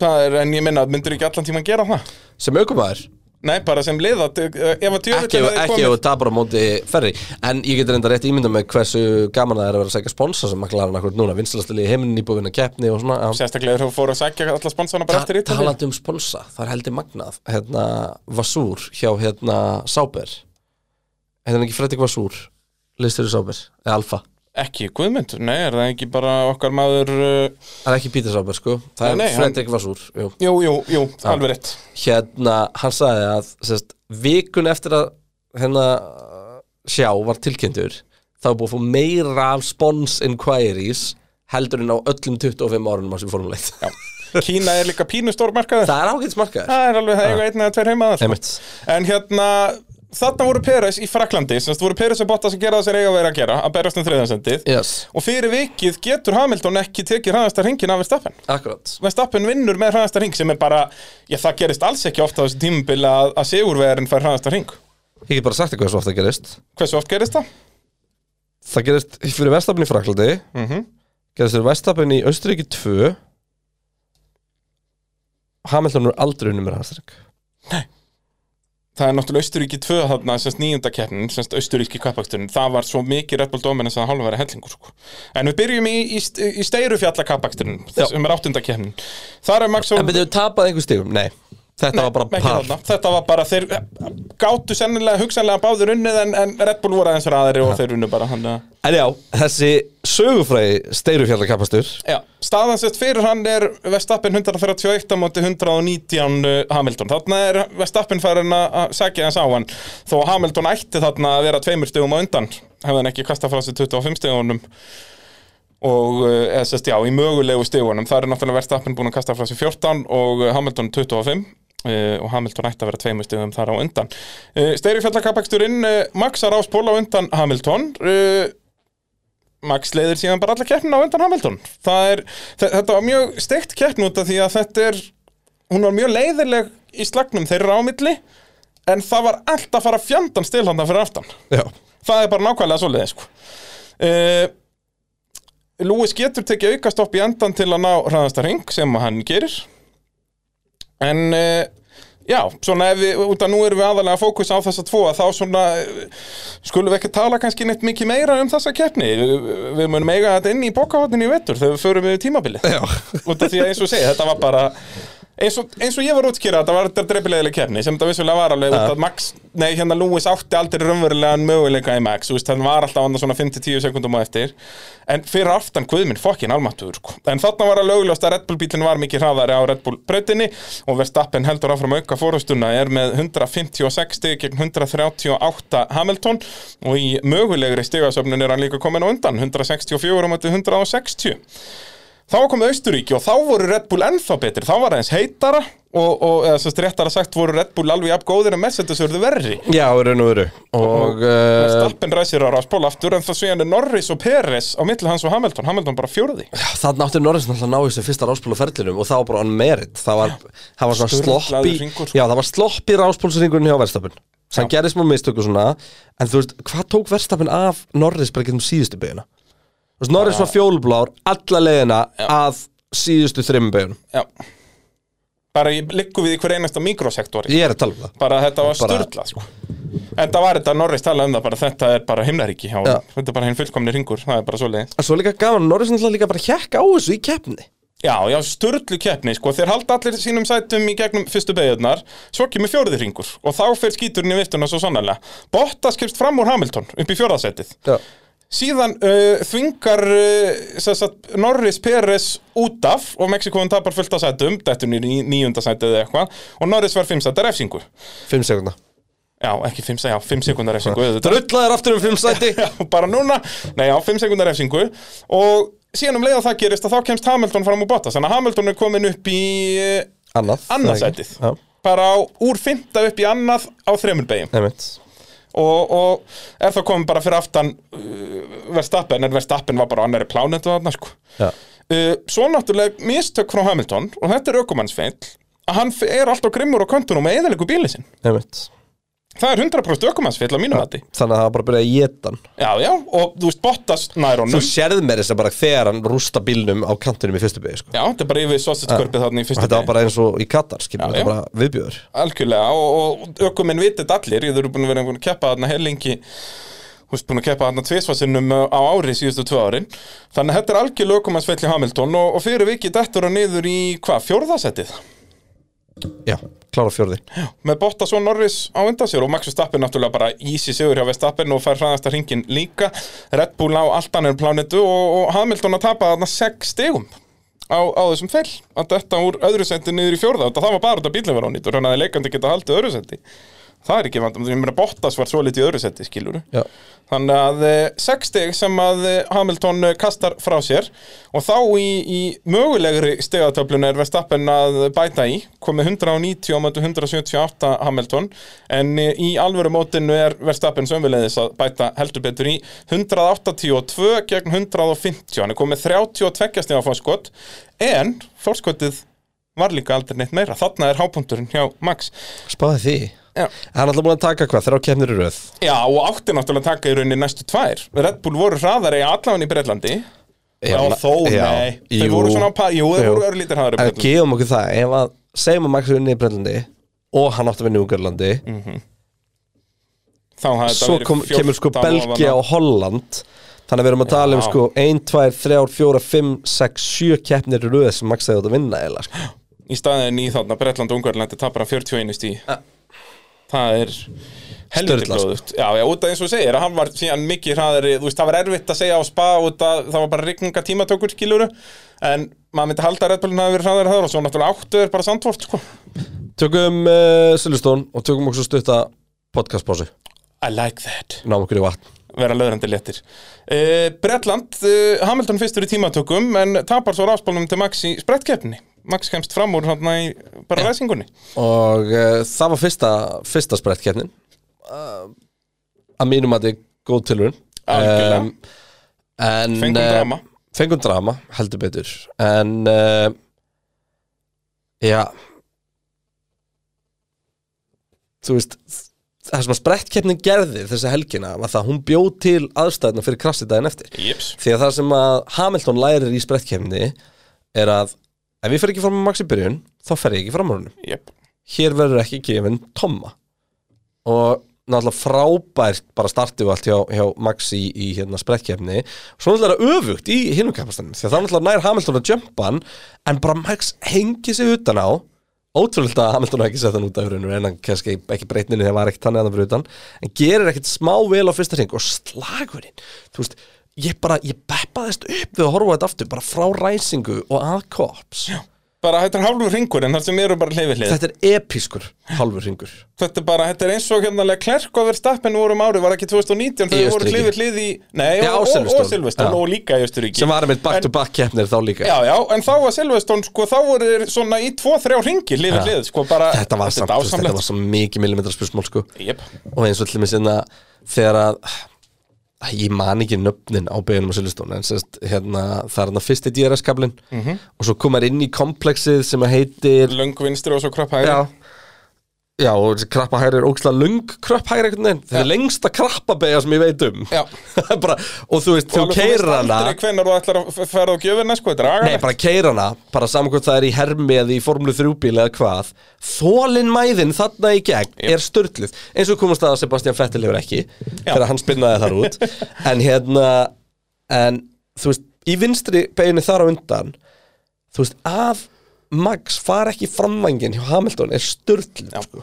S2: það er, en ég minna, myndur ekki allan tíman gera það
S1: sem aukumæður
S2: nei, bara sem liða, eh, ef að
S1: ekki,
S2: djöfull
S1: ekki ef þú tapar á móti ferri en ég getur enda rétt ímynda með hversu gaman það er að vera að segja sponsa sem maklar hann akkur núna vinstlastalið í heiminn í búinna keppni og svona Já.
S2: sérstaklega þegar þú fóru að sækja alla sponsana bara eftir
S1: Ta-
S2: Ítalíu
S1: talandi um sponsa, það er heldur magnað hérna Vasúr hjá hérna Sáber hérna ekki Fredrik Vasúr listur í Sáber, eða Alfa
S2: ekki Guðmund, nei, er það ekki bara okkar maður uh,
S1: það er ekki Pítur Sáber sko, það er
S2: Nei, nei, hann-
S1: Fredrik Vasúr jú.
S2: jú, jú, jú, alveg rétt
S1: hérna, hann sagði að sérst, vikun eftir að hérna sjá var tilkynntur þá er búið að fá meira af spons inquiries heldur en á öllum 25 árunum á sem formuleitt
S2: já. Kína er líka pínu stórmarkaður
S1: það er ágætt smarkaður
S2: það er alveg það eiga einn eða tveir heima þar, sko.
S1: Einmitt.
S2: En hérna, þarna voru Peres í Fraklandi Semst voru Peres og Bottas að gera það sem eiga að vera að gera Að berast um þriðansendið
S1: yes,
S2: Og fyrir vikið getur Hamilton ekki tekið hraðasta hringin af Verstappen
S1: akkurat
S2: Verstappen vinnur með hraðasta hring sem er bara Já, það gerist alls ekki ofta á þessu tímubil að, að sigurvegarinn fær hraðasta hring
S1: ég get bara sagt eitthvað svo ofta gerist
S2: Hversu oft gerist það?
S1: það gerist fyrir Verstapin í Fraklandi
S2: mm
S1: gerist fyrir Verstapin í Austuríki 2 Hamilton er aldrei unnum með Hamstrík
S2: Það er náttúrulega Austuríki 2 þarna, semst nýjunda keppnin, semst Austuríki kappaksturinn. Það var svo mikið Red Bull Dominance að hálfa verið hellingur, sko. En við byrjum í, í, í steirufjalla kappaksturinn, sem er áttunda keppnin. Þar er Max
S1: En byrjuðu tapað einhver stígum? Nei, þetta var bara
S2: Ekki
S1: par
S2: þarna. Þetta var bara, þeir gáttu sennilega, hugsanlega báður unnið, en, en Red Bull voru aðeins ræðari og þeir unnu bara. Hann,
S1: En já, þessi sögufræði steirufjallakapastur
S2: já, staðan sett fyrir hann er Vestappin 131 á móti 119 uh, Hamilton. Þarna er Vestappin farin að að sækja hans á hann, þó að Hamilton ætti þarna að vera tveimur stegum á undan, hefði hann ekki kastað frá sér 25 stegunum. og uh, eða sérst já, í mögulegu stígunum það er náttúrulega Verstappen búin að kasta frá sér 14 og uh, Hamilton 25 uh, og Hamilton ætti að vera tveimur stígum þar á undan uh, Steiri fjallakapaksturinn uh, Max að ráspól á undan Hamilton uh, Max leiðir síðan bara alla keppnina á undan Hamilton það er, þe- þetta var mjög steikt keppn út af því að þetta er hún var mjög leiðileg í slagnum þeirra ámilli en það var allt að fara fjandan stilhanda fyrir aftan
S1: Já,
S2: það er bara nákvæmlega svoleiði sko. uh, Lewis getur tekið aukastopp í endan til að ná hraðasta ring sem að hann gerir en uh, já, svona ef við, út að nú erum við aðalega fókus á þessa tvo að þá svona eh, skulum við ekki tala kannski neitt mikið meira um þessa keppni við, við munum eiga þetta inn í bókahotninu í vettur þegar við förum yfir tímabilið
S1: já,
S2: út af því að eins og segja, þetta var bara eins og, eins og ég var að útskýra, þetta var þetta dreifilegileg kefni sem þetta vissulega var alveg út af Max, nei hérna Lewis átti aldrei raunverulegan möguleika í Max, þú veist, hann var alltaf annað svona 5-10 sekundum á eftir en fyrir aftan guðminn, fokkin almattur sko. en þarna var alveg augljóst að Red Bull bílinn var mikið hraðari á Red Bull brautinni og Verstappen heldur áfram að auka fórhustuna er með 156 stig gegn 138 Hamilton og í mögulegri stigasöfnun er hann líka komin á undan 164 á móti 160 Þá var komið Austuríki og þá voru Red Bull ennþá betri, þá var það eins heitara og, og eða, sérst, réttara sagt voru Red Bull alveg jafn góðir en Mercedes voru verri
S1: já, í raun og veru Og uh,
S2: Stappen ræsir á ráspól aftur en það svo er Norris og Peres á milli hans og Hamilton, Hamilton bara fjórði
S1: þarna átti Norris náttúrulega að ná þessu fyrsta ráspól á ferlinum og það var bara on merit það var, það var svona
S2: Sturlaður
S1: sloppi
S2: hringur, sko.
S1: já, það var sloppi ráspólsringurinn hjá Verstapin sem hann gerði smá mistöku svona en þú veist, hvað tók Verstapin af Norris bara getum síðustu beiguna þú veist, Norris var fjólblár alla leiðina að síðustu þreymum beigunum
S2: Já Bara ég liggum við í hver einasta mikrosektori
S1: ég er að tala um það
S2: bara þetta var
S1: Bara-
S2: sturla sko. en það var þetta Norris tala um það bara þetta er bara himnaríki hjá,
S1: Já.
S2: honum. þetta er bara hinn fullkomni ringur, það er bara svoleiðis
S1: en svo líka gaman, Norris náttúrulega líka bara hjekk á þessu í keppni
S2: Já, já, sturlu keppni, sko, þeir halda allir sínum sætum í gegnum fyrstu beigjarnar, svo kemur fjóriði hringur og þá fer skíturinn í viftuna svo sannarlega. Bottas kemst fram úr Hamilton upp í fjórðasætið.
S1: já,
S2: Síðan uh, þvingar uh, sem sagt, Norris Peres út af og Mexikoðan tapar fullt af sætum, dættur niður í níunda sætið eða eitthvað og Norris var fimm sætar efsingu.
S1: fimm sekundar
S2: Já, ekki fimm, sæ- já, fimm sekundar efsingu, auðvitað.
S1: drullaður aftur um fimm sæti
S2: Já, bara núna, nei já, 5 sekundar refsingu og síðan um leið að það gerist að þá kemst Hamilton fram úr Bottas þannig að Hamilton er komin upp í eh,
S1: annað
S2: annað
S1: það er ekki.
S2: sætið
S1: já,
S2: bara á, úr fymta upp í annað á þremur beigum
S1: nefnt
S2: og, og er það komin bara fyrir aftan uh, Verstappen, en Verstappen var bara á annari plánetu þarna sko
S1: já,
S2: uh, Svo náttúrulega mistök frá Hamilton og þetta er ökumannsfeill að hann f- er alltaf grimmur á kontunum með eðalegu bílið sinn
S1: nefnt
S2: Það er 100% ökumannsfeill á mínum hætti
S1: þannig að það var bara að byrja að geta hann
S2: Já, já, og þú veist Bottas nær honum
S1: Þú sérð mér þess að bara þegar hann rústa bílnum á kantinum í fyrstu bygg sko.
S2: Já, þetta er bara yfir sausage-körpið þarna í
S1: og
S2: fyrsta
S1: þetta var bara eins og í Katar skilur,
S2: Já,
S1: þetta
S2: já.
S1: var bara viðbjöður
S2: Algjörlega, og, og ökuminn vitið allir Ég þurfum búin að vera búin að keppa þarna hellingi Þú veist búin að keppa þarna tvisvarsinnum á ári síðustu tvö árin Þannig að þetta er algjörlega ökumannsfell í Hamilton og, og fyrir vikið dettur hann niður í, hvað, fjórðasettið?
S1: Já, klára fjörði
S2: Með Bottas og Norris á undan sér og Max Verstappen náttúrulega bara easy sigur hjá Verstappen og fær hraðasta hringin líka Red Bull á allt annar plánetu og, og Hamilton að tapa þarna 6 stegum á, á þessum fell að þetta úr öðru sendi niður í fjórða og það var bara út af bílinn var ónýtur þannig að leikandi geta haldið öðru sendi það er ekki vandam, ég meina Bottas var svo litið í öðru sendi skilur
S1: Já,
S2: Þannig að 6 stig sem að eh, Hamilton eh, kastar frá sér og þá í, í mögulegri stigatöflun er Verstappen að bæta í komið 190 á mætu 178 Hamilton en eh, í alvöru mótinu er Verstappen sömulegðis að bæta heldur betur í 182 gegn 150 hann er komið 32 stiga fórskot en fórskotið var líka aldrei neitt meira þarna er hápunkturinn hjá Max
S1: Spáði því
S2: já,
S1: Hann er alltaf búin að taka hvað, þrjá kemnir í röð
S2: já og átti náttúrulega að taka í rauninni næstu tvær Red Bull voru hraðari allavega í Breitlandi já,
S1: la-
S2: þó,
S1: já,
S2: nei, þeir
S1: jú.
S2: voru svona á pa- jú, þeir
S1: Jú.
S2: voru örlítir hraðari í
S1: En
S2: Bretlandi.
S1: gefum okkur það, ef að segjum að Max er unni í Brellandi og hann átti að vinna í Ungarlandi
S2: þá hafði þetta
S1: svo
S2: verið
S1: kom,
S2: 14
S1: kemur sko
S2: ofan á-
S1: Belgia og Holland þannig að við erum að tala um
S2: Já.
S1: sko 1, 2, 3, 4, 5, 6, 7 keppnir í röð sem Max hefði átt að vinna eða sko.
S2: í staðin í þarna Bretland og Ungarlandi tapar hann 41 stí
S1: Ja.
S2: það er helviti
S1: Sturlað, sko.
S2: blóðugt já, já, út af eins og þú segir, hann var síðan mikið hraðari þú veist, það var erfitt að segja á spa út að það var bara rigninga tímatökur skiluru en maður myndi halda að Red Bullin hafi verið hraðari hraðar og svo náttúrulega áttu er bara sandvort sko.
S1: Tökum uh, Silvestón og tökum okkur svo stutta podcastpásu,
S2: I like that
S1: náum okkur í vatn
S2: vera löðrandi léttir uh, Bretland, uh, Hamilton fyrstur í tímatökum en tapar svo ráspálnum til Max í sprettkeppni Max kemst fram úr hann í bara ræsingunni
S1: og uh, það var fyrsta, fyrsta sprettkeppnin uh, að mínum að þetta er góð tilhörun
S2: Algjörlega.
S1: en,
S2: Fengum
S1: eh,
S2: drama.
S1: fengum drama, heldur betur en uh, já þú veist það sem að sprettkeppnin gerði þessa helgina var það að hún bjóð til aðstæðna fyrir krassi daginn eftir
S2: Jips
S1: því að það sem að Hamilton lærir í sprettkeppni er að ef ég fer ekki fram á Maxi byrjun þá fer ég ekki fram á honum
S2: Jep
S1: hér verður ekki gefin tomma og náttúrulega frábært bara startið og allt hjá, hjá Max í, í hérna sprekkefni svo náttúrulega er það öfugt í hinnum kapastanum því að það náttúrulega nær Hamilton að jumpa hann en bara Max hengi sig utan á ótrúlega að Hamilton hafi ekki sett hann út af rauninu en hann kannski ekki breytninni þegar var ekkert þannig að það fyrir utan en gerir ekkert smá vel á fyrsta hring og slagurinn, þú veist ég bara, ég beppaðist upp við að horfa á þetta aftur bara frá ræsingu og að kops
S2: bara þetta er hálfur ringur en þar sem eru bara hleyfið hlið
S1: þetta er episkur hálfur hringur
S2: þetta er bara, þetta er eins og hérna Klerk og Verstappen voru um árið, var ekki
S1: Í
S2: 2019 þegar voru
S1: Austurríki.
S2: hleyfið hlið í, nei,
S1: Já, á
S2: og, og, og
S1: Silverstone.
S2: Silveston
S1: Já.
S2: og líka í Östuríki
S1: sem var með back-to-back keppnir þá líka
S2: Já, já, en þá var Silveston, sko, þá voru þeir svona í 2-3 ringi hlið við
S1: Já.
S2: hlið, sko, bara
S1: þetta var samt, þú veist, þetta var
S2: dásamlegt
S1: svo mikið millimetra spursmál sko
S2: Jep,
S1: og eins og allir með sinna þegar að Æ, ég man ekki nöfnin á beginum á Silvestón en sérst, hérna, það er hann að fyrsti DRS-kablin
S2: Mhm.
S1: og svo komar inn í kompleksið sem að heitir
S2: löng vinstri og svo krapp hægri
S1: já, já og þessi krappa hægri er óksla lung kröpp hægri einhvern veginn það er lengsta krappa beigja sem ég veit um
S2: Já.
S1: Það er bara, og þú veist, þú
S2: alveg,
S1: keirir
S2: veist
S1: hana
S2: aldrei hvenær þú ætlar að f- fara á gjöfina, sko, þetta er
S1: Nei,
S2: agalegt
S1: bara keira hana, bara saman hvort það er í hermi eða í formlu þrjúbíl eða hvað Þólin mæðin þarna í gegn er störtluð eins og komast að Sebastian Vettel hefur ekki þegar hann spinnaði þar út en hérna, en þú veist, í vinstri beginni þar á undan þú veist, að Max far ekki framvængin hjá Hamilton er störtluð sko.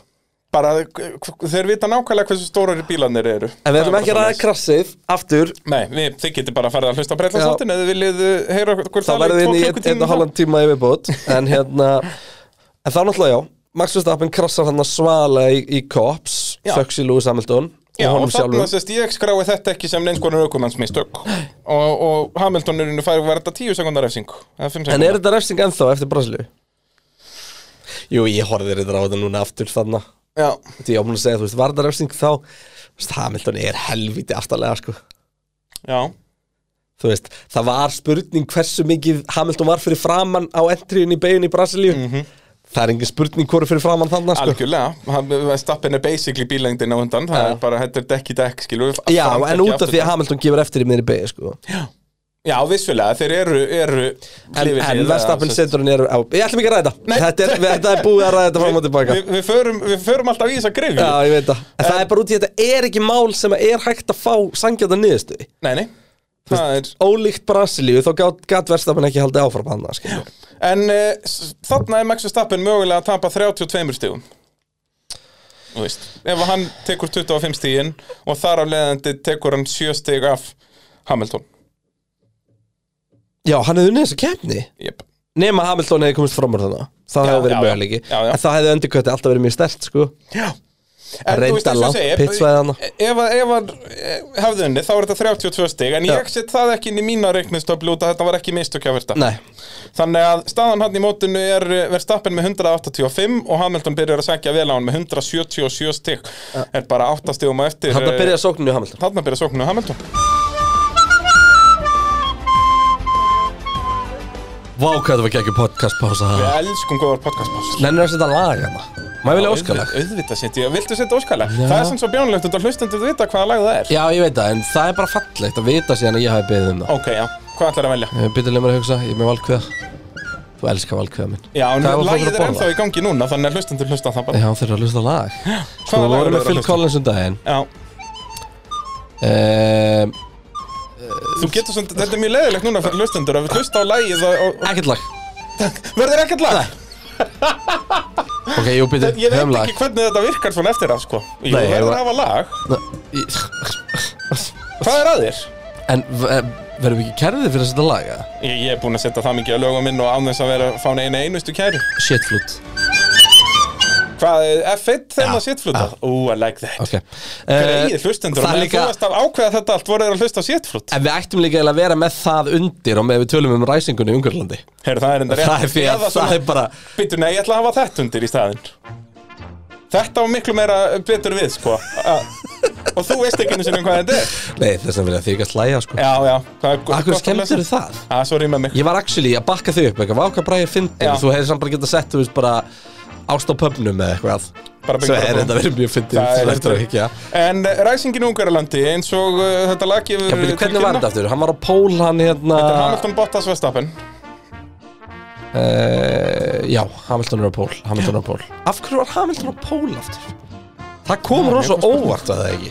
S2: Bara, k- k- þeir vita nákvæmlega hversu stórar bílanir eru
S1: en
S2: Það
S1: við
S2: er
S1: ætlum
S2: bara
S1: ekki að ræða
S2: svoleiðis.
S1: krassið aftur,
S2: Nei, við, þið getur bara að fara að hlusta á breytlandsáttin eða viljið uh, heyra okkur
S1: þá
S2: tala
S1: verðum við
S2: tvo
S1: inn í einn-
S2: klukkutíma
S1: einn og halvan tíma yfirbót en hérna en þá náttúrulega já, Max Verstappen krassar hann að svala í, í Cops
S2: Já.
S1: þöks í Lewis Hamilton
S2: Já,
S1: og
S2: og
S1: honum
S2: þarna
S1: sjálfum
S2: sérst ég skrái þetta ekki sem neins konar aukumannsmistök og, og Hamiltonurinn fær verða 10 sekundar refsing eða 5
S1: en er
S2: sekundar
S1: þetta refsing ennþá eftir Brasilíu? Jú, ég horfði þetta á þetta núna aftur þarna
S2: Já,
S1: því ég á múin að segja, þú veist, var þetta refsing þá Þú veist, Hamilton er helviti aftarlega sko
S2: já,
S1: Þú veist, það var spurning hversu mikið Hamilton var fyrir framann á entryun í beginn í Brasilíu Það er engin spurning hvori fyrir framann þarna sko
S2: algjörlega Hann- Stappen er basically bílengdin á undan það
S1: Já.
S2: er bara, þetta er dekk í dekk, skilur við
S1: Já, en
S2: Aftan dekki,
S1: út af
S2: aftur
S1: því að
S2: dekk.
S1: Hamilton gefur eftir í miðri beigja sko.
S2: Já, vissulega, þeir eru, eru
S1: En,
S2: hlið við
S1: en
S2: hlið,
S1: Verstappen
S2: eða, sem sagt.
S1: setur hann er á, Ég ætlum ekki að ræða þetta þetta er, þetta er búið að ræða þetta fram og tilbaka
S2: Við, við, förum, við förum alltaf í þessa grifju
S1: Já, ég veit það En það er bara út í að þetta er ekki mál sem er hægt að fá sangjönda niðurstu
S2: Nei, nei, það er
S1: Ólíkt Brasilíu, þá gat, gat Verstappen ekki haldið áfram hann skilur.
S2: En uh, þarna er Max Verstappen mögulega að tapa 32 stígum Þú veist Ef að hann tekur 25 stígin og þar af leiðandi tekur hann 7 stíg af Hamilton
S1: Já, hann hefði unnið þessu keppni
S2: yep.
S1: Nema Hamilton hefði komist fram úr þannig Það
S2: Já,
S1: hefði verið
S2: já, já.
S1: möguleiki
S2: Já, já.
S1: En það hefði öndurkvætti alltaf verið mjög stert sko.
S2: Já
S1: Hann reyndi að langt pitsvæði hana.
S2: E, Ef að, ef að eh, hefði unni þá er þetta 32 stíg En
S1: Já.
S2: ég set það ekki inn í mína reiknistöflu út að þetta var ekki mistökja Verstappen
S1: Nei,
S2: Þannig að staðan hann í mótinu er eh, Verstappen með 185 og Hamilton byrjar að sækja vel á hann með 177 stíg Er bara 8 stígum að eftir
S1: hann
S2: eh,
S1: byrjaði sókninu í Hamilton
S2: Þarna byrja sóknu Hamilton
S1: Vá, hvað þetta var geggjum podcast pása
S2: Við elskum góðar podcastpásur
S1: Nennir að setja lag hérna Maður vilja óskalag
S2: Auðvitað setja, viltu setja óskalag?
S1: Já.
S2: Það er sem svo bjónulegt, þetta hlustendur vita hvaða lag það er
S1: Já, ég veit það, en það er bara fallegt að vita síðan að ég hafi beðið um það
S2: Ok, já, hvað ætlar að velja?
S1: Ég byrja leið Eh, mér að hugsa, ég er með valkveða Þú elskar valkveða minn
S2: Já, en
S1: Hvað var fólk
S2: lagið
S1: að
S2: er
S1: borða?
S2: ennþá í gangi núna, þannig að hlustendur hlusta á það bara
S1: Já, þeir eru að hlusta á lag Sko,
S2: Hvaða
S1: við
S2: lag
S1: vorum
S2: eru
S1: með
S2: þeir að
S1: Phil
S2: hlusta á?
S1: Collins um daginn
S2: Já,
S1: um,
S2: þú getur svona, þetta er mjög leiðilegt núna fyrir hlustendur að við hlusta á lagið og, og
S1: Ekkert lag
S2: verður ekkert lag
S1: Ok, jú, byrja,
S2: Ég veit
S1: höfum lag
S2: ekki hvernig þetta virkar svona eftir á, sko Jú,
S1: Nei,
S2: Nei,
S1: ég-
S2: verður að hafa lag Hvað er að þér?
S1: En ver- verðum við ekki kærðið fyrir að setja lag, eða?
S2: Ég, ég er búinn að setja það mikið að lögum minn og án þess að vera að fá neina einustu kæri
S1: Shitflute
S2: Hvað, er F1 þegar
S1: Já,
S2: það sittfluta? Ooh, I like that
S1: Ok
S2: Hver er
S1: Eh,
S2: í þér hlustendur?
S1: Það er líka
S2: Þú varst að ákveða þetta allt, voru þeir að hlusta á sittflut
S1: En við ættum líka eiginlega að vera með það undir og með við tölum um ræsingunni í Ungarlandi
S2: Heyrðu, það er enda rétt
S1: Það er fyrir að það er bara
S2: Býtu, nei, ég ætla að hafa þetta undir í staðinn Þetta var miklu meira betur við, sko A- Og þú veist ekki einu sinni um hvað þetta er
S1: Nei, þess að vilja þig að slæja, sko
S2: Já, já hvað er go-
S1: Akkur
S2: gott að lesa?
S1: skemmtir það?
S2: Á, sorry með mig
S1: Ég var actually að bakka þig upp eitthvað Váka bræði fyndin
S2: Já.
S1: Þú hefði samt bara getað sett, þú veist, bara Ást á pöfnum eða eitthvað
S2: Bara
S1: Svo
S2: byggt
S1: er
S2: bara
S1: þetta verið mjög fyndin
S2: Það er
S1: Þú eftir að
S2: þetta.
S1: higgja
S2: En eh, ræsingin í Ungarlandi, eins og uh, þetta lag gefur
S1: Já, byrju,
S2: til
S1: hvernig var
S2: kynna.
S1: þetta aftur? Hann var á pól, hann hérna
S2: Þetta er Hamilton Bottas Vestapen
S1: Eh, já, Hamilton er á pól, Hamilton er á pól Af hverju var Hamilton á pól aftur? Það kom rosa óvart að það ekki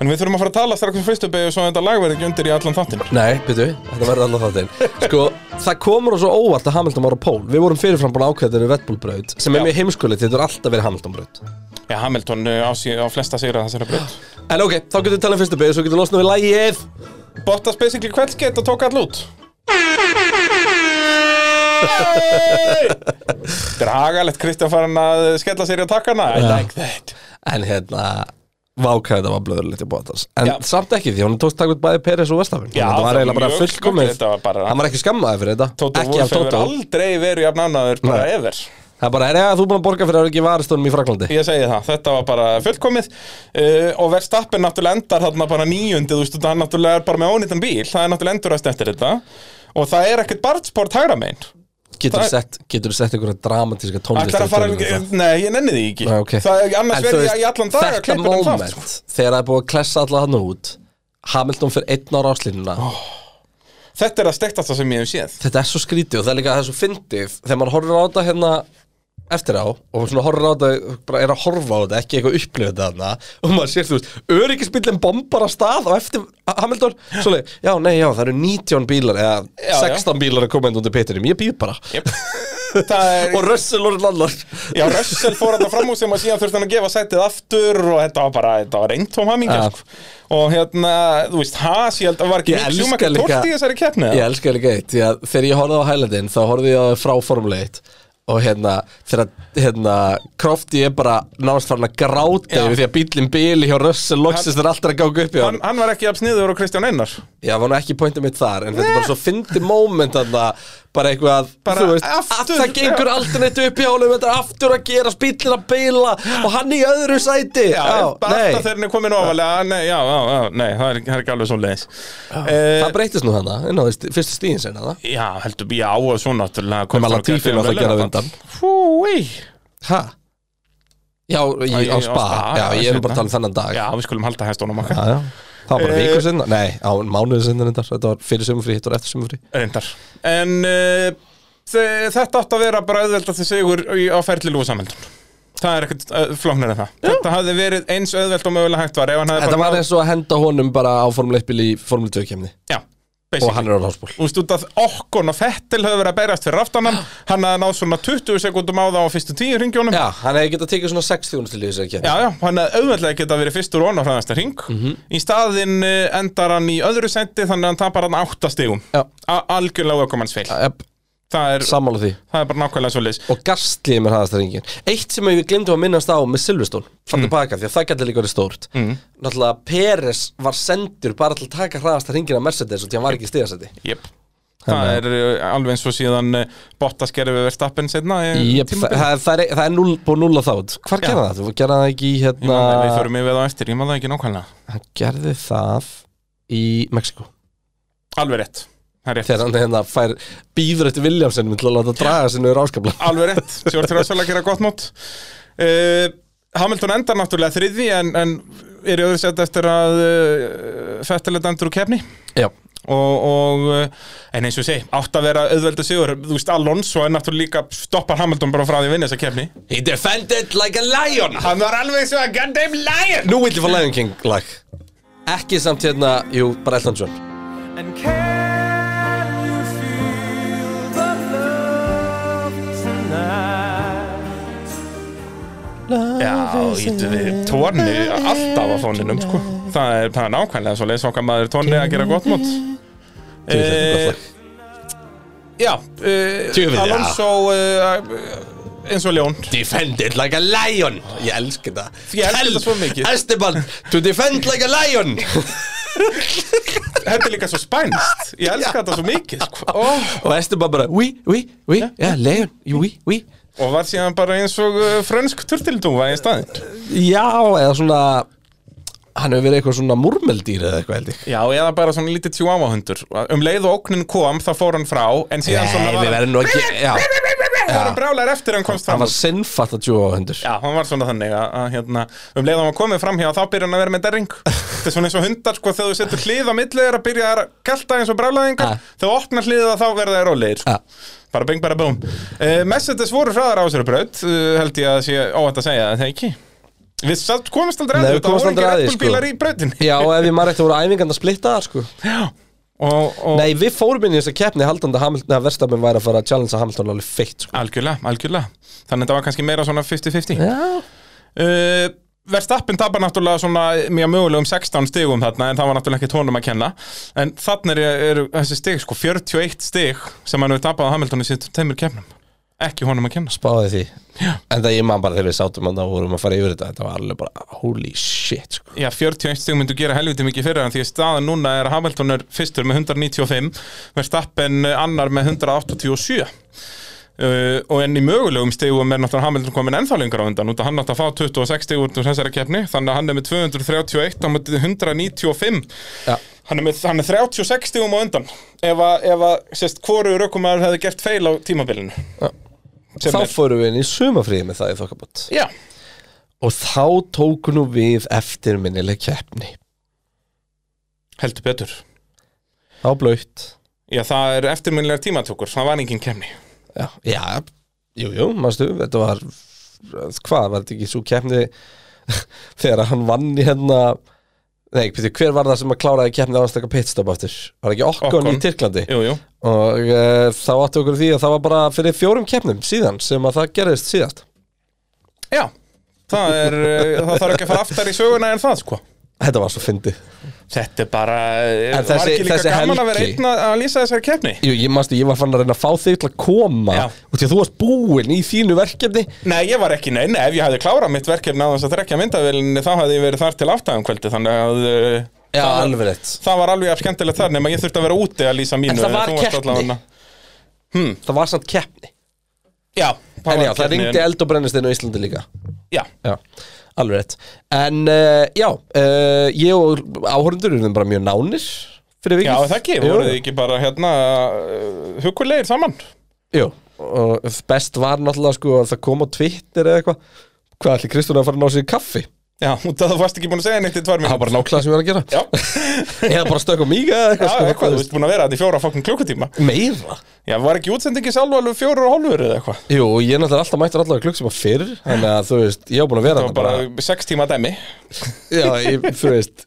S2: En við þurfum að fara að tala strax um fyrstu beigju Svo þetta lag verði ekki undir í allan þáttinn
S1: Nei, byrju, þetta verður alveg þáttinn Sko, það kom rosa óvart að Hamilton var á pól Við vorum fyrirfram búin ákveðinu Red Bull braut sem
S2: Já.
S1: er mjög heimskulegt, þetta er alltaf verið Hamilton braut
S2: Já, Hamilton uh, á, sí- á flesta sigra þessari breyt
S1: En ok, þá getum við talað um fyrstu beigð, svo getum við losnað við lægið
S2: Bottas basically kveldskeitt og tók all út Dragalegt Kristján farin að skella sér í að takkana I like that
S1: En hérna, vákæði þetta var blöðurlegt í Bottas En
S2: Já.
S1: samt ekki, því hún tókst takk út bæði Peres og Vestafinn
S2: Já,
S1: Þetta
S2: það
S1: var
S2: var
S1: eiginlega bara
S2: mjög
S1: fullkomið
S2: skemmtilegt, þetta var bara-
S1: Hann var ekki skammaði fyrir þetta
S2: Toto
S1: Ekki af
S2: Wolff hefur
S1: Tótó
S2: aldrei verið jafn annaður bara
S1: Nei.
S2: ever
S1: Það er bara, er ég að þú búin að borga fyrir að vera ekki varistónum í Fraklandi?
S2: Ég segi það, þetta var bara fullkomið uh, og Verstappen náttúrulega endar þarna bara níundið, þú veist, það er náttúrulega bara með ónýttan bíl, það er náttúrulega endurast eftir þetta og það er ekkert barnsport hægra megin
S1: Getur þú
S2: Það-
S1: sett, getur þú sett einhverja dramatíska tónlist
S2: Ætlar að fara, nei, ég nenni því ekki
S1: Nei, ok.
S2: það, annars
S1: En þú
S2: verði ég
S1: veist,
S2: í allan dag að
S1: Þetta
S2: klippa um
S1: moment,
S2: það sko.
S1: þegar það er búið að klessa alla hann út Hamilton fyrir einn ára áslínuna
S2: Þetta er að stektast það sem ég hef séð
S1: Þetta er svo skrítið og það er líka það er svo fyndið Þegar maður horfir á þetta hérna eftir á og svona horfir á þetta, bara er að horfa á þetta ekki eitthvað upplifið þetta þarna og maður sér þú veist, öryggisbílinn bombar að stað og eftir Hamilton, svoleið já, nei, já, það eru 19 bílar eða
S2: Já, já.
S1: 16 bílar að koma inn undir pitinum, ég býð bara
S2: yep. Það er,
S1: og Russell orðin annar
S2: já, Russell fór hann fram úr sem að síðan þurfti hann að gefa sætið aftur og þetta var bara, þetta var reyntóm hamingja
S1: Ja.
S2: sko. og hérna, þú veist, Haas ég held að var ekki
S1: Ég
S2: mikil
S1: elska
S2: sjúmakar
S1: líka-
S2: tórt í þessari keppni
S1: Ég
S2: eða?
S1: elska líka eitt, því að þegar ég horfði á Highlandin þá horfði ég á þau frá Formule 1 og hérna, þegar hérna Crofty er bara náðast farin að gráta
S2: Já.
S1: yfir því að bílinn bíli hjá Russell loksist er alltaf að ganga upp í
S2: hann,
S1: hann
S2: hann var ekki jafn sniður og Kristján Einar
S1: Já, var nú ekki pointið mitt þar, en þetta er bara svo fyndi moment að það, bara eitthvað að,
S2: Bara
S1: þú veist, að
S2: aftur,
S1: það gengur
S2: já.
S1: aldrei neitt upp í hálum, þetta er aftur að gera bílinn að bíla og hann í öðru sæti
S2: Já, bara alltaf þegar hann er komin ofalega nei, já, já, já, nei, það er, það er ekki alveg svo leiðis Eh,
S1: Það breytist nú hana, inn á því fyrstu stíðin sinna það
S2: Já, heldur, já, og svo náttúrulega
S1: Nema Latifi var það að gera á undan.
S2: Fúi
S1: Hæ? Já,
S2: Á-
S1: ég, á
S2: á
S1: spa,
S2: Spa,
S1: já,
S2: já,
S1: ég er
S2: seinna.
S1: bara að tala um þennan dag
S2: Já, við skulum halda hæstunum okkar
S1: já, já. Það var bara
S2: Eh,
S1: vikur sinna, nei, á mánuðu sinna reyndar Þetta var fyrir sumufrí, þetta var eftir sumufrí
S2: reyndar en uh, þetta átt að vera bara auðveldast að sigur í- á ferli Lúi Samhildun það er ekkert uh, flóknar en það þetta hafði verið eins auðveld og mögulega hægt var ef hann hafði
S1: Þetta var eins og að henda honum bara á Formule 1 bíl í Formule 2 kemni
S2: já,
S1: Og
S2: basically
S1: hann er á hásból
S2: Þú veist út að okkon og Fettil höfðu verið að berjast fyrir aftan hann hann hafði náð svona 20 sekundum á það á fyrstu tíu ringjónum já,
S1: Já, hann hefði getað tekið svona 6 þjónustil í þessari kemni
S2: já, hann hafði auðveldlega geta verið fyrstur og annar hraðasta ring
S1: Mhm.
S2: í staðinn eh, endar hann í öðru sendi þannig að hann tapar hann átta stigum
S1: Já.
S2: A- algjörlega ökumannsfeil
S1: Jep,
S2: það, er-
S1: sammála því
S2: það er bara nákvæmlega svo leis
S1: Og gastlið með hraðasta ringin Eitt sem við glemdum að minnast á með Silvestón Fann
S2: Mm.
S1: tilbaka, því að það gæti líka verið stórt Náttúrulega Peres var sendur bara til að taka hraðasta ringin af Mercedes Og því hann var ekki stigasæti
S2: Jep. Það er uh, alveg eins og síðan uh, Bottas gerði við verðstappin setna
S1: Jep, það, það, það er, það er núl, búið núla þátt Hvar
S2: Já.
S1: gerða það? Þú gerða það ekki í hérna
S2: Við förum yfir það á eftir, ég maður það ekki nákvæmlega
S1: Hann gerði það í Mexiko
S2: Alveg rétt það er rétt
S1: þegar hann hérna fær býður eftir Williamsonum til að láta draga sinni úr áskapla
S2: Alveg rétt, George Russell að gera gott mót uh, Hamilton endar náttúrulega þriði en, en er í öðru sett eftir að uh, Fettileg dæmdur úr kefni
S1: Já,
S2: og, og uh, en eins og ég segi, átt að vera auðveldu sigur, þú veist Alonso er náttúrulega líka stoppar Hamilton bara frá því að vinna þessa kefni
S1: He defended like a lion
S2: Hann var alveg svo að goddamn lion
S1: Nú vil ég fá Lion King lag Ekki samt hérna, jú, bara Elton John
S3: And can you feel the love tonight?
S2: Já, ítum við tónu alltaf á fóninum sko. það, er, það er nákvæmlega svo leys okkar maður tónu að gera gott mót Eh,
S1: Þú veit þetta er gott lag.
S2: Já, uh,
S1: Djöfull,
S2: Alonso uh, eins og ljón
S1: Defended like a lion Ég elska það
S2: Ég elska þetta svo mikið.
S1: Esteban, to defend like a lion
S2: Þetta er líka svo spænst Ég elska þetta svo mikið sko. oh.
S1: Og Esteban bara, oui, oui, oui Já, lion, oui, oui
S2: Og var síðan bara eins og uh, frönsk turtildúfa í staðin
S1: Já, eða svona Hann hefur verið eitthvað svona múrmeldýr eða eitthvað held ég
S2: Já, eða bara svona lítið tjúámahundur Um leið og óknin kom, þá fór hann frá En síðan svona
S1: Nei, við verðum nú ekki Já,
S2: Það var hann brálar eftir hann komst
S1: hann
S2: fram
S1: var sinnfatt að tjóa á hendur
S2: Já, hann var svona þannig að, að hérna, um leið að hann komið fram hjá þá byrja hann að vera með derring Þetta er svona eins og hundar sko þegar þú setur hlið á milli þeirra byrja þær að kelta eins og brálaðingar
S1: Ah.
S2: þegar þú opnar hliðið þá verða þeir rólegir sko.
S1: Ah.
S2: bara bing bara búm uh, Mercedes voru hraðar á sér braut uh, held ég að sé óvænt að segja það er ekki Við samt komumst aldrei að
S1: Nei,
S2: því,
S1: við
S2: það
S1: komumst
S2: voru ekki
S1: aldrei að því,
S2: Red Bull bílar
S1: sko.
S2: í brautinni
S1: Já, og ef ég maður eftir voru æfingarn að splitta það, sko
S2: Já. og, og
S1: Nei, við fórum inn í þessa keppni haldandi að Hamilton, að verstafinn væri að fara að challengea Hamilton alveg feitt, sko
S2: algjörlega, algjörlega þannig að það var kannski meira svona 50-50
S1: Já,
S2: uh, Verstappen tapar náttúrulega svona mjög mögulegum 16 stigum þarna en það var náttúrulega ekki tónum að kenna en þarna eru er, þessi stig sko 41 stig sem hann hefur tapað á Hamilton í sitt teimur kemnum ekki honum að kenna
S1: spáði því Já. En það ég man bara þegar við sátum hann og vorum að fara yfir þetta Þetta var alveg bara, holy shit, sko
S2: Já, 41 stig myndu gera helviti mikið fyrir hann því að staðan núna er að Hamilton er fyrstur með 195 Verstappen eh, annar með 187 uh, og enn í mögulegum stigum er náttúrulega Hamilton komin ennþá lengur á undan út að hann átt að fá 26 stig út úr þessari keppni þannig að hann er með 231 á móti 195
S1: Já,
S2: Hann er, með, hann er 36 stigum á undan ef að, ef að sérst, hvoru rökkumæður hefði gert feil á tímabilinu Sem
S1: þá
S2: er-
S1: fórum við inn í sumafríði með það í þokkabót
S2: Já,
S1: Og þá tóku nú við eftirminnileg keppni
S2: heldur betur
S1: Þá blöytt
S2: Já, það er eftirminnilega tímatökur, það var engin kemni
S1: Já, já, jú, jú, manstu, þetta var, hvað, var þetta ekki svo keppni þegar hann vann í hérna, nei, byrju, hver var það sem að kláraði keppni ánstaka pitstop aftur? Var ekki Okkon í
S2: Ocon.
S1: Tyrklandi?
S2: Jú, jú,
S1: Og e, þá áttu okkur því að það var bara fyrir fjórum keppnum síðan sem að það gerðist síðast.
S2: já Það, er, eh, það þarf ekki að fara aftar í söguna en það sko
S1: Þetta var svo fyndið.
S2: Þetta er bara, eh,
S1: En
S2: var
S1: þessi-
S2: ekki líka
S1: þessi
S2: gaman að vera
S1: helgi-
S2: einn að að lýsa þessari kemni
S1: Jú, ég manstu, ég var fann að reyna að fá þig til að koma
S2: Já.
S1: og því að þú varst búinn í þínu verkefni.
S2: Nei, ég var ekki, nei, nei, ef ég hafði klárað mitt verkefni á þess að trekja myndavélinni þá hafði ég verið þar til aftæðum kvöldi þannig að eh,
S1: Já,
S2: það-
S1: alveg rétt.
S2: Það var alveg jafn skemmtilegt þar nema ég þurfti að vera úti að lýsa mínu
S1: En það var
S2: þú varst
S1: keppni.
S2: allavega-
S1: Það var samt keppni.
S2: Já,
S1: En já, það
S2: keppni,
S1: ringdi
S2: en-
S1: eld og brennistinn á Íslandi líka.
S2: Já,
S1: Já, alveg rétt En uh, já, uh, ég og áhörundur erum bara mjög nánir fyrir vikið
S2: já er það ekki,
S1: Jú,
S2: voruð þið ekki bara hérna uh, hugulegir saman
S1: Jú, og best var náttúrulega sko að það kom á Twitter eða eitthvað Hvað ætli Kristján að fara að ná sér í kaffi?
S2: Já, út að þú varst ekki búin að segja neitt í tvær
S1: Það
S2: mínútur
S1: var bara nákvæmlega sem ég var að gera
S2: Já,
S1: Eða bara stökk á mig eða
S2: já
S1: eitthvað sko,
S2: eitthvað, þú veist búin að vera þetta í fjóra fokkn klukkutíma
S1: Meira?
S2: Já, var ekki útsendingi sjálf alveg fjóra og hálfur eða eitthvað
S1: Jú, og ég er náttúrulega alltaf mættur allavega klukk sem að fyrr Þannig að þú veist, ég á búin að vera
S2: Það var
S1: þarna
S2: bara sex tíma dæmi
S1: Já, ég, þú veist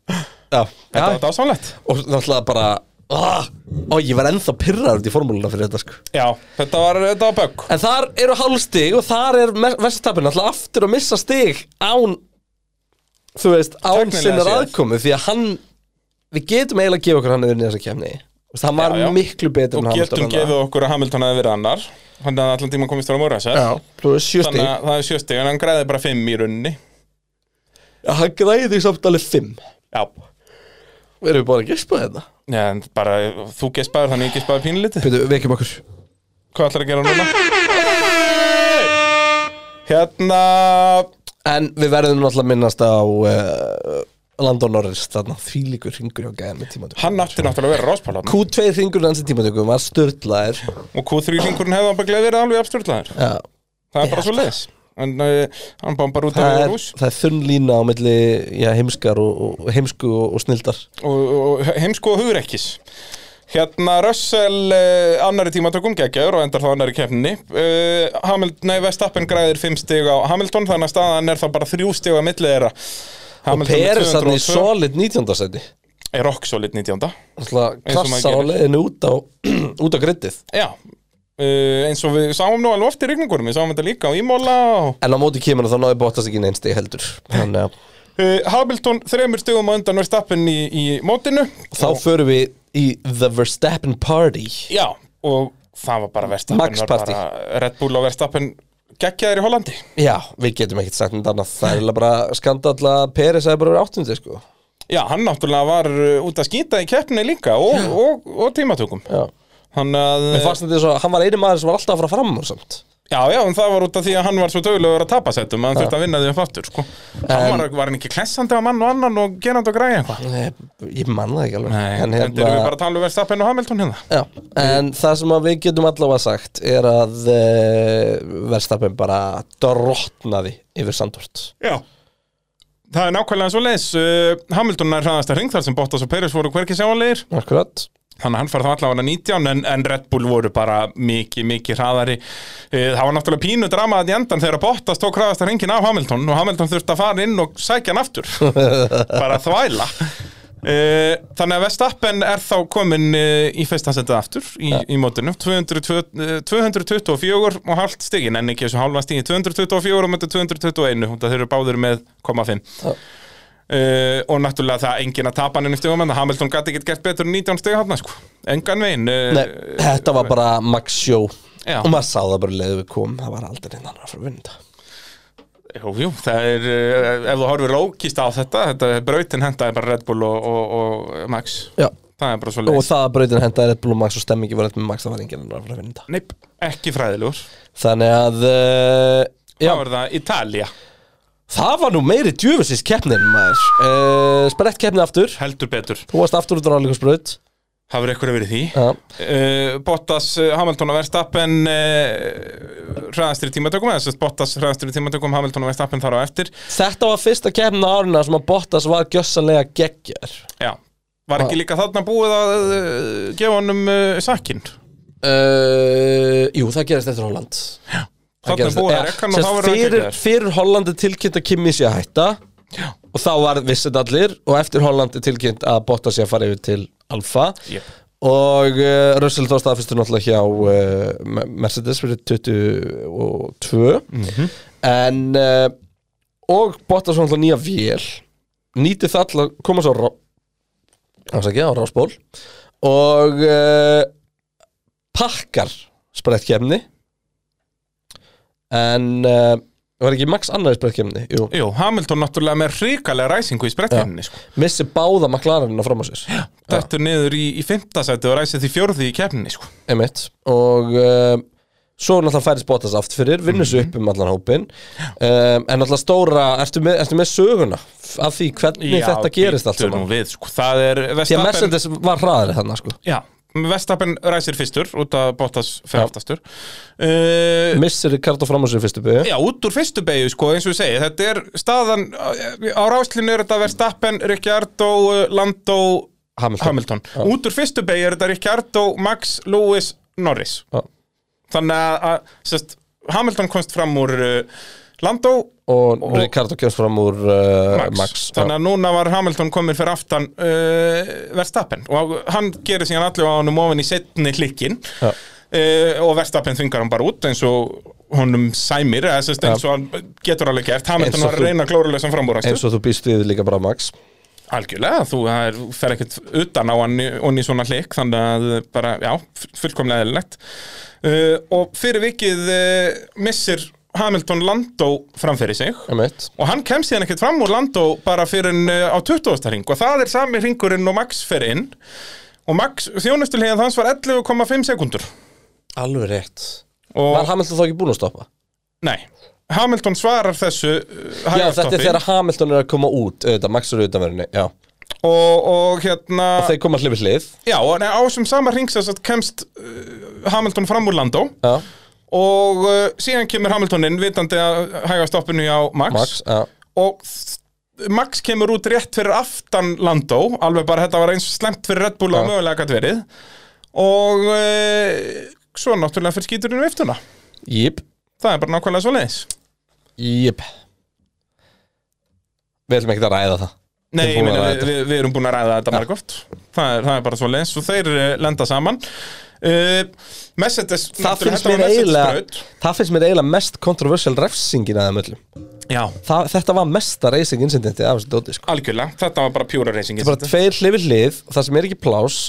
S1: Já,
S2: Þetta var
S1: já.
S2: dásamlegt
S1: og náttúrulega bara ah, Ó, ég var ennþá pirrar út í formúluna fyrir þetta sko
S2: Já, þetta var, þetta var bögg
S1: En þar eru hálfstig og þar er Vestapin alltaf aftur að missa stig án þú veist, án
S2: Tæknilega
S1: sinnar
S2: séð.
S1: aðkomu því að hann, við getum eiginlega að gefa okkur hann yfir nýjast að kemni hann var
S2: Já, já.
S1: miklu betur en
S2: Og getum
S1: Hamilton
S2: gefið okkur að Hamilton hefði verið annar Þannig að allan tíma komist þar á morgun
S1: þú veist, sjö
S2: Þannig
S1: stig
S2: að það er sjöstig En hann græði bara fimm í runni
S1: hann græði því samt alveg fimm
S2: Já,
S1: erum við bara að hérna? gispa þetta
S2: Já en bara, þú gespaður þannig ég gespaði pínlítið
S1: Byrju, vekjum okkur
S2: Hvað ætlar að gera núna? Hérna
S1: en við verðum náttúrulega að minnast á uh, Landon Norris þarna þvílíkur hringur hjá gæðan með tímatökum
S2: Hann átti náttúrulega að vera ráspálan
S1: Q2 hringur hans í tímatökum var störtlaðir
S2: og Q3-ringurinn hefði hann bara gleðið verið alveg afsturlaðar
S1: ja,
S2: Það er bara svo leiðis En uh, hann bán bara út af
S1: það,
S2: það
S1: er,
S2: rús
S1: það er þunn lína á milli já, heimskar og, og heimsku og, og snildar
S2: og, og heimsko og hugrekkis Hérna Russell uh, annari tímatökum geggjör og endar þá annari keppninni uh, Hamilton, nei, Vestappen græðir 5 stig á Hamilton þannig að staðan er þá bara 3 stig á milli þeirra
S1: og
S2: Hamilton með
S1: Peres hann í
S2: 202,
S1: solid 19. seti
S2: er rock solid 19. Eins og maður
S1: klassar á
S2: gerir.
S1: leiðinu út á út á grittið
S2: Já, uh, eins og við sáum nú alveg oft í rigningunum, við sáum þetta líka á Ímóla og
S1: en á móti kemur þá náði Bottas ekki neins stig heldur þannig að
S2: Uh, Hamilton þremur stegum á undan Verstappen í, í mótinu
S1: þá förum við í The Verstappen Party
S2: Já, og það var bara Verstappen
S1: Max
S2: var
S1: party.
S2: bara Red Bull og Verstappen geggjaðir í Hollandi
S1: já, við getum ekkert sagt um þarna það er eiginlega bara skandalla að Peres hefði bara verið áttundi sko
S2: Já, hann náttúrulega var uh, út að skýta í keppni líka og, og, og, tímatökum
S1: já.
S2: Hann að, uh,
S1: Mér fannst þetta svo, hann var einu maður sem var alltaf að fara fram og samt
S2: já, já, en það var út af því að hann var svo dögulegur að tapa settum að hann þurfti að vinna því upp aftur, sko Hann var, var hann ekki klessandi á mann og annan og gerandi og græja eitthvað
S1: Ég, ég man það ekki alveg
S2: Nei,
S1: en,
S2: en
S1: hérna-
S2: erum við bara að tala um Verstappen og Hamilton hérna
S1: Já, en það sem að við getum allavega sagt er að uh, verðstapin bara drotnaði yfir Sandort
S2: Já Það er nákvæmlega svo leis uh, Hamilton er hraðasta hring þar sem Bottas og Peres voru hverki sjáanlegir
S1: Akkurat
S2: Þannig að hann fær þá allavega 19 en, en Red Bull voru bara mikið, mikið hraðari uh, Það var náttúrulega pínu dramaðan í endan þegar Bottas tók hraðasta hringin af Hamilton og Hamilton þurfti að fara inn og sækja hann aftur Bara þvæla uh, Þannig að Vestappen er þá komin uh, í fyrsta setið aftur í, í mótinu 202, eh, 224 og halvt stigin en ekki þessu halva stigin 224 og mættu 221 og það þeir eru báður með 0,5
S1: Já.
S2: Uh, og náttúrulega það enginn að tapa hann í stegum en Hamilton gæti ekkert gert betur en 19 steg hann sko. engan veginn
S1: Nei,
S2: uh,
S1: þetta var bara Max Show
S2: Já.
S1: og maður sá það bara leðu við komum það var aldrei neinn annar að fara að vinna þetta.
S2: jú, jú, það er, uh, ef þú horfir lókist á þetta, þetta brautin hendaði bara Red Bull og, og, og Max
S1: Já,
S2: það er bara svo
S1: og
S2: leið
S1: það að brautin hendaði Red Bull og Max og stemmingi var eitthvað með Max það var enginn annar að fara að vinna þetta.
S2: Neip, ekki fræðilegur
S1: Þannig að uh,
S2: þá
S1: já,
S2: er það Ítalía,
S1: það var nú meiri djöfusins keppnin maður uh, Sprett keppni aftur
S2: heldur betur
S1: Þú varst aftur út á ráðleikusbraut
S2: hafur eitthvað verið því
S1: Já,
S2: uh, Bottas, uh, Hamilton og Verstappen uh, hraðastri tímatökum eða sem sagt Bottas hraðastri tímatökum Hamilton og Verstappen þar á eftir
S1: Þetta var fyrsta keppnin á áruna sem að Bottas var gjössanlega geggjar
S2: Já, var ekki líka þarna búið að uh, gefa honum uh, sakinn
S1: uh, Jú, það gerist eftir Holland Það
S2: Þarna er
S1: gerist-
S2: búið
S1: Já,
S2: að rekka hann
S1: sem
S2: og þá
S1: sagt,
S2: verður hann
S1: fyrir,
S2: geggjaður.
S1: fyrir Hollandi tilkynnt að Kimi sé að hætta Já. og þá var vissið allir og eftir Hollandi tilkynnt að Bottas sé að fara yfir til Alfa
S2: Yep.
S1: og uh, Russell þá staðfistur náttúrulega hjá uh, Me- Mercedes fyrir 22 en uh, og Bottas var náttúrulega nýja vél nýti það til að koma svo rá- ásækja á rásból og uh, pakkar sprettkefni en uh, var ekki Max annar í sprettkefni jú,
S2: Jú, Hamilton náttúrulega með hrikalega ræsingu í sprettinni sko.
S1: missi báða maklarinn á fram á sér
S2: Dættur niður í, í fimmtasæti og ræsið því fjórði í keppninni sko.
S1: Einmitt. og uh, svo náttúrulega færist Bottas aft fyrir vinnur svo
S2: Mhm.
S1: upp um allan hópin um, en náttúrulega stóra, ertu með, ertu með söguna f- af því hvernig þetta gerist allt
S2: býttu nú
S1: saman
S2: við, sko. Það er
S1: því að
S2: Verstappen
S1: Mercedes var hraðari þannig sko.
S2: Já, Verstappen ræsir fyrstur út að Bottas
S1: Já.
S2: fyrir aftastur uh,
S1: missir Ricardo fram á sér í fyrstu byggju
S2: Já, út úr fyrstu beigju, sko, eins og ég segi Þetta er staðan, uh, á ráslinu er þetta Verstappen, Ricciardo, uh, Lando
S1: Hamilton,
S2: Hamilton. Út úr fyrstu beig er þetta Ricciardo, Max, Lewis, Norris.
S1: Já.
S2: Þannig að- að sest, Hamilton komst fram úr uh, Lando,
S1: og, Ricardo kemst fram úr uh,
S2: Max.
S1: Max,
S2: Þannig að núna var Hamilton komin fyrir aftan uh, Verstappen og hann gerir síðan allir á honum ofin í setni klikkin
S1: Já.
S2: uh, og Verstappen þvingar hann bara út eins og honum sæmir, eða sest, eins og hann getur alveg gert.
S1: Eins
S2: Hamilton
S1: og
S2: var
S1: þú-
S2: að reyna glóruleysan framúræstu.
S1: eins og þú býst við líka bara Max
S2: Algjörlega, þú það er, fer ekkert utan á hann onni svona hlik, þannig að bara, já, fu- fullkomlega eðlilegt. Uh, og fyrir vikið uh, missir Hamilton Landó framfyrir sig
S1: Einmitt.
S2: og hann kemst síðan ekkert fram úr Landó bara fyrir en uh, á 20. ring og það er sami ringurinn og Max fyrir inn og Max, þjónustulíðan hans var 11,5 sekundur
S1: alveg rétt
S2: og
S1: var Hamilton þá ekki búin að stoppa?
S2: nei, Hamilton svarar þessu eh,
S1: Já, þetta er þegar Hamilton er að koma út auðvitað, Max er auðvitað verðinni, já
S2: og, og hérna
S1: Þeir koma allir við hlið
S2: Já, en á sem sama ringsess að kemst uh, Hamilton fram úr Landó
S1: Já,
S2: og uh, síðan kemur Hamilton inn vitandi að hæga stoppinu á Max,
S1: Max, já
S2: og s- Max kemur út rétt fyrir aftan Landó alveg bara þetta var eins og slemt fyrir Red Bull
S1: Já.
S2: og mögulega gætt verið og uh, svo náttúrulega fyrir skíturinn um viftuna
S1: Jip,
S2: það er bara nákvæmlega svo leiðis
S1: jip Við ætlum ekki að ræða það
S2: Nei,
S1: Við
S2: ég
S1: erum búin að
S2: meina,
S1: ræða
S2: við,
S1: þetta.
S2: við, við erum búin að ræða þetta margóft það, er- það er bara svo leins og þeir eh, lenda saman uh, Mercedes
S1: Það
S2: náttúrulega,
S1: finnst
S2: þetta var
S1: mér eiginlega
S2: Mercedes
S1: Það finnst mér eiginlega mest controversial refsingin að það möllum
S2: braut. Já,
S1: það, Þetta var mesta racing incidenti af þessu dóti sko.
S2: algjörlega, þetta var bara pjúra reysingin
S1: bara tveir hlið við hlið, það sem er ekki pláss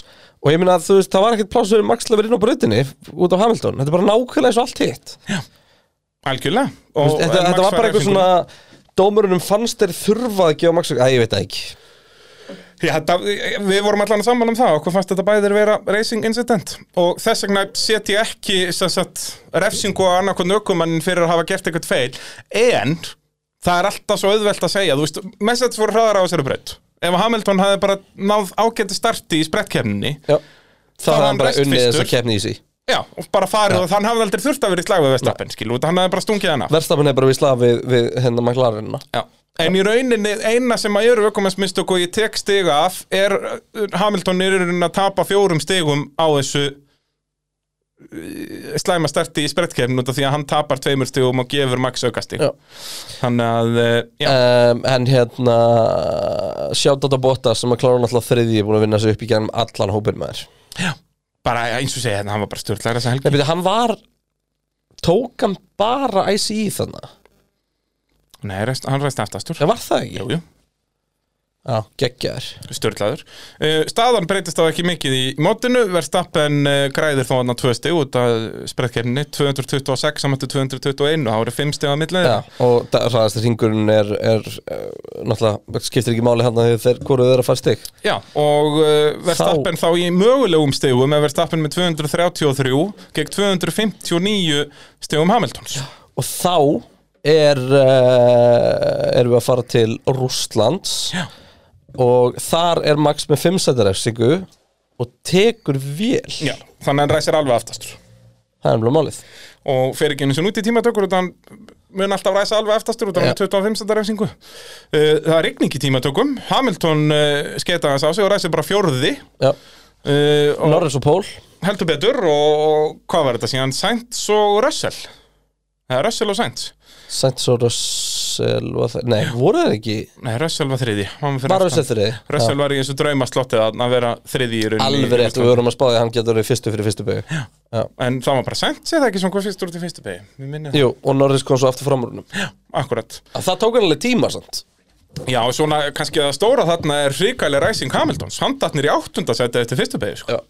S1: og ég meina að þú veist, það var ekkert pláss fyrir Max Lefir inn á brautinni út á Hamilton þetta er bara nákvæmlega eins og allt hitt
S2: Algjörlega
S1: Þú
S2: og,
S1: veist, þetta,
S2: en Max
S1: þetta var
S2: fær
S1: bara eitthvað
S2: refsingu.
S1: svona dómurunum fannst þeir þurfa að gefa Max Æ, ég veit það ekki
S2: Já, þetta, við vorum allan saman um það okkur fannst þetta bæðir vera racing incident og þess vegna set ég ekki sem sagt, refsingu á annarkon ökumann fyrir að hafa gert eitthvað feil en það er alltaf svo auðvelt að segja þú veist, Mercedes voru hraðar á þessari braut ef Hamilton hafði bara náð ágæti starti í sprettkefninni
S1: Já. það hafði
S2: var hann
S1: hann bara
S2: best
S1: unnið
S2: fyrstur.
S1: þess að kefni í sí
S2: já, og bara farið og hann hafði aldrei þurft að vera í slag við Vestapen, skilu, út, hann hafði bara stungið hana
S1: Verstafan er bara við slag við, við hérna hennar McLarenna
S2: Já. En í rauninni, eina sem að eru ökumensmistök og ég tek stiga af er uh, Hamilton er í rauninni að tapa fjórum stigum á þessu uh, slæma starti í sprettkefn út af því að hann tapar tveimur stigum og gefur Max aukastig.
S1: Já.
S2: Þannig að, uh, já,
S1: um, en hérna Shoutout á Bottas sem að klára náttúrulega þriðji búin að vinna sig upp í gennum allan hópin maður
S2: bara eins og segja þetta, hann var bara stjórnlega þessa
S1: Nei,
S2: helgi.
S1: byrja, hann var tók hann bara E ICE þannig
S2: Nei, rest, hann rest aftastur.
S1: Já, var það ekki?
S2: Jú, jú,
S1: Já, geggjaður
S2: stjórnlegaður. Uh, staðan breytist þá ekki mikið í mótinu, Verstappen uh, græðir þó hann að tvö stig út af sprettkefni, 226 saman til 221 og það voru fimm stig að millið.
S1: Já, og ræðast hringurinn er, er uh, náttúrulega, skiptir ekki máli hann að þeir hvoru þeir að fara stig
S2: Já, og uh, Verstappen þá... í mögulegum stegum er Verstappen með 233 gegn 259 stegum Hamiltons
S1: og þá er uh, erum við að fara til Rússlands
S2: Já.
S1: og þar er Max með 5 sætarefsingu og tekur vél
S2: Já, þannig að hann ræsir alveg aftastur
S1: það er mjög málið
S2: og fer ekki einu sinni út í tímatökur út af hann mun alltaf ræsa alveg eftastur út af hann er 25. refsingu uh, Það er rigning í tímatökum Hamilton uh, skeita hans á sig og ræsir bara fjórði
S1: Já.
S2: uh, og
S1: Norris og Pól
S2: heldur betur og, og hvað var þetta síðan? Sainz og Russell Það er Russell og Sainz
S1: Sainz og Russell var það- Nei, voru þeir ekki
S2: Nei, Russell var þriði Hann fyrir
S1: bara
S2: aftan.
S1: Russell þeirri
S2: Russell var í þessu draumaslottið að að vera þriði í rauninni
S1: Alveg rétt og við vorum að spáði að hann getur verið fyrstur fyrir fyrstu byggu
S2: En það var bara sent, sé það ekki svona hvað fyrst úr til fyrstu begi Mér minni það,
S1: Jú, og Norris kom svo aftur framrúnum
S2: akkurat
S1: Það tók hann alveg tíma samt
S2: Já, og svona kannski að stóra þarna er hrikalega ræsing Hamiltons Handatnir í áttunda seti eftir fyrstu begi sko.
S1: Já.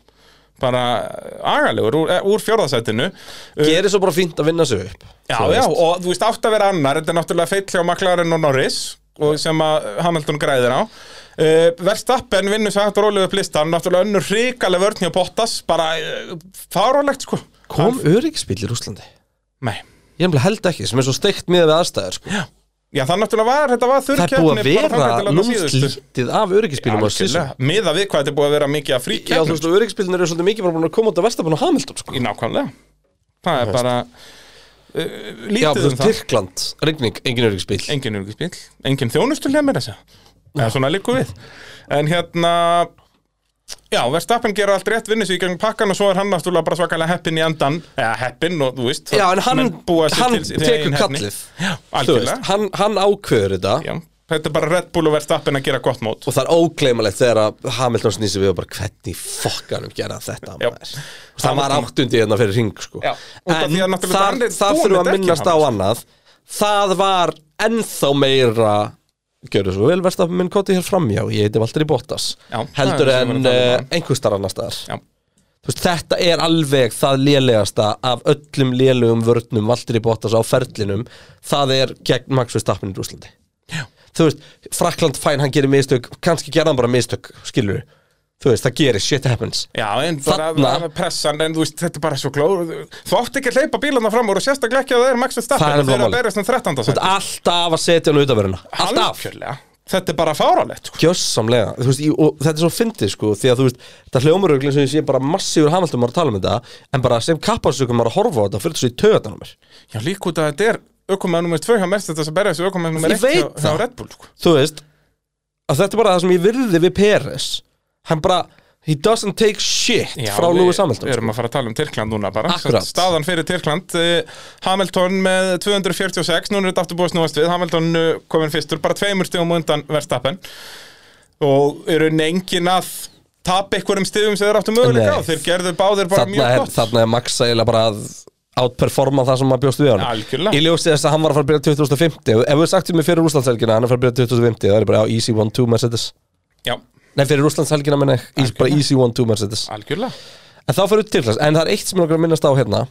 S2: Bara agalegur úr, eh, úr fjórðasettinu
S1: Gerir svo bara fínt að vinna sig upp
S2: Já,
S1: Þú
S2: já,
S1: veist.
S2: og þú veist átt að vera annar, þetta er náttúrulega feill hjá McLaren og Norris og sem að Hamilton græðir á uh, Verstappen vinnur svo hægt og rólega upp listan náttúrulega önnur hrikalega vörn hjá Bottas bara uh, fáránlegt sko
S1: Kom öryggisbíl í Rúslandi?
S2: Nei
S1: Ég nefnilega held ekki, sem er svo steikt miðað við aðstæður sko.
S2: Já, það náttúrulega var, þetta var
S1: Það er búið
S2: þurrkjæfni
S1: að vera lúmst lítið af öryggisbílum á síðan
S2: Algjörlega, miða við hvað þetta er búið að vera mikið að
S1: Já, þú
S2: fríkjæfni
S1: veist, og öryggisbílun eru svolítið mikið bara búin að koma út af Vestabann og Hamilton sko.
S2: Í nákvæmlega Það er bara uh,
S1: Já, þú
S2: Lítið um
S1: veist,
S2: það
S1: Tyrkland, rigning, engin öryggisbíl
S2: Engin örgisbíl, engin þjónustulega með þessa Eða svona líku við En hérna Já, Verstappen gera allt rétt vinnu sig í gegn pakkan og svo er hann náttúrulega bara svakalega heppin í endan eða heppin og þú veist
S1: Já, en hann,
S2: menn búa sig
S1: hann
S2: til sín
S1: tekur
S2: eigin heppni.
S1: kallið
S2: Já,
S1: Þú veist,
S2: algjörlega
S1: hann, hann ákveður þetta
S2: Já, Þetta er bara Red Bull og Verstappen að gera gott mót
S1: og það er ógleymalegt þegar að Hamilton snýsi við og bara hvernig fokkanum gera þetta
S2: Já.
S1: maður?" og það var áttundi hérna fyrir ring sko.
S2: Já. Út af
S1: en
S2: því að náttúrulega
S1: þar,
S2: hann er
S1: það
S2: búinn
S1: þurfum
S2: með
S1: að minnast á
S2: dekkin,
S1: annað það var ennþá meira gjörðu svo vel verðst að minn koti hér framjá ég heiti Valdur í Bottas
S2: Já, það
S1: heldur
S2: er það sem við
S1: en
S2: erum að tala um.
S1: einhverstar annar staðar
S2: Já
S1: Þú veist, þetta er alveg það lélegasta af öllum lélugum vörnum Valdur í Bottas á ferlinum það er gegn Max Verstappen í Rúslandi þú veist, Frakland fæn hann gerir mistök kannski gerði hann bara mistök, skilur þú veist, það gerir, shit happens
S2: Já, en bara
S1: Þarna-
S2: Þarna. pressan, en þú veist, þetta er bara svo glóð Þú átt ekki að hleypa bílana fram úr og sérstaklega ekki að það er Max
S1: Það
S2: Verstappen
S1: er
S2: og þeir eru
S1: málið.
S2: að berjast um 13.
S1: Þú ert alltaf að setja hann utanverðina Alltaf
S2: Algjörlega, þetta er bara fáralegt sko.
S1: Gjössamlega, þú veist, í- og þetta er svo fyndið sko, því að þú veist, þetta hljómaröglinn sem ég sé bara massífur hamaldum að tala um þetta, en bara sem kapparsökum að horfa á þetta, fyrir þessu í töðan á mér.
S2: Já, líka út að þetta er aukumæður nummer 2 hjá Mercedes að berja þessu aukumæður nummer
S1: Ég
S2: 1 hjá,
S1: veit
S2: hjá
S1: það.
S2: Red Bull sko.
S1: Þú veist, að þetta er bara það sem ég virði við Peres, hann bara, he doesn't take shit frá
S2: við-
S1: Lewis Hamilton.
S2: Við
S1: Sko.
S2: erum að fara að tala um Tyrkland núna bara
S1: Akkurat.
S2: Sem sagt, Staðan fyrir Tyrkland eh, Hamilton með 246 Núna er þetta aftur búið að snúast við Hamilton eh, kominn fyrstur, bara tveimur stigum á undan Verstappen Og eru engin að tapa einhverjum stigum sem þeir áttu möguleika
S1: Nei.
S2: á Þeir gerðu báðir bara
S1: Þarna
S2: mjög
S1: er,
S2: gott
S1: þarna er Max eiginlega bara að outperforma það sem maður bjóst við hann.
S2: Algjörlega.
S1: Ég ljósi þess að hann var að fara að byrja 2050, ef ef þú sagt við fyrir Rúslandshelgina, hann er að fara að byrja 2050, það er bara á easy 1-2 Mercedes.
S2: Já,
S1: Nei, fyrir Rúslandshelgina minna, bara easy 1-2 Mercedes.
S2: algjörlega
S1: En þá fyrir til þess, en það er eitt sem ég langar að minnast á hérna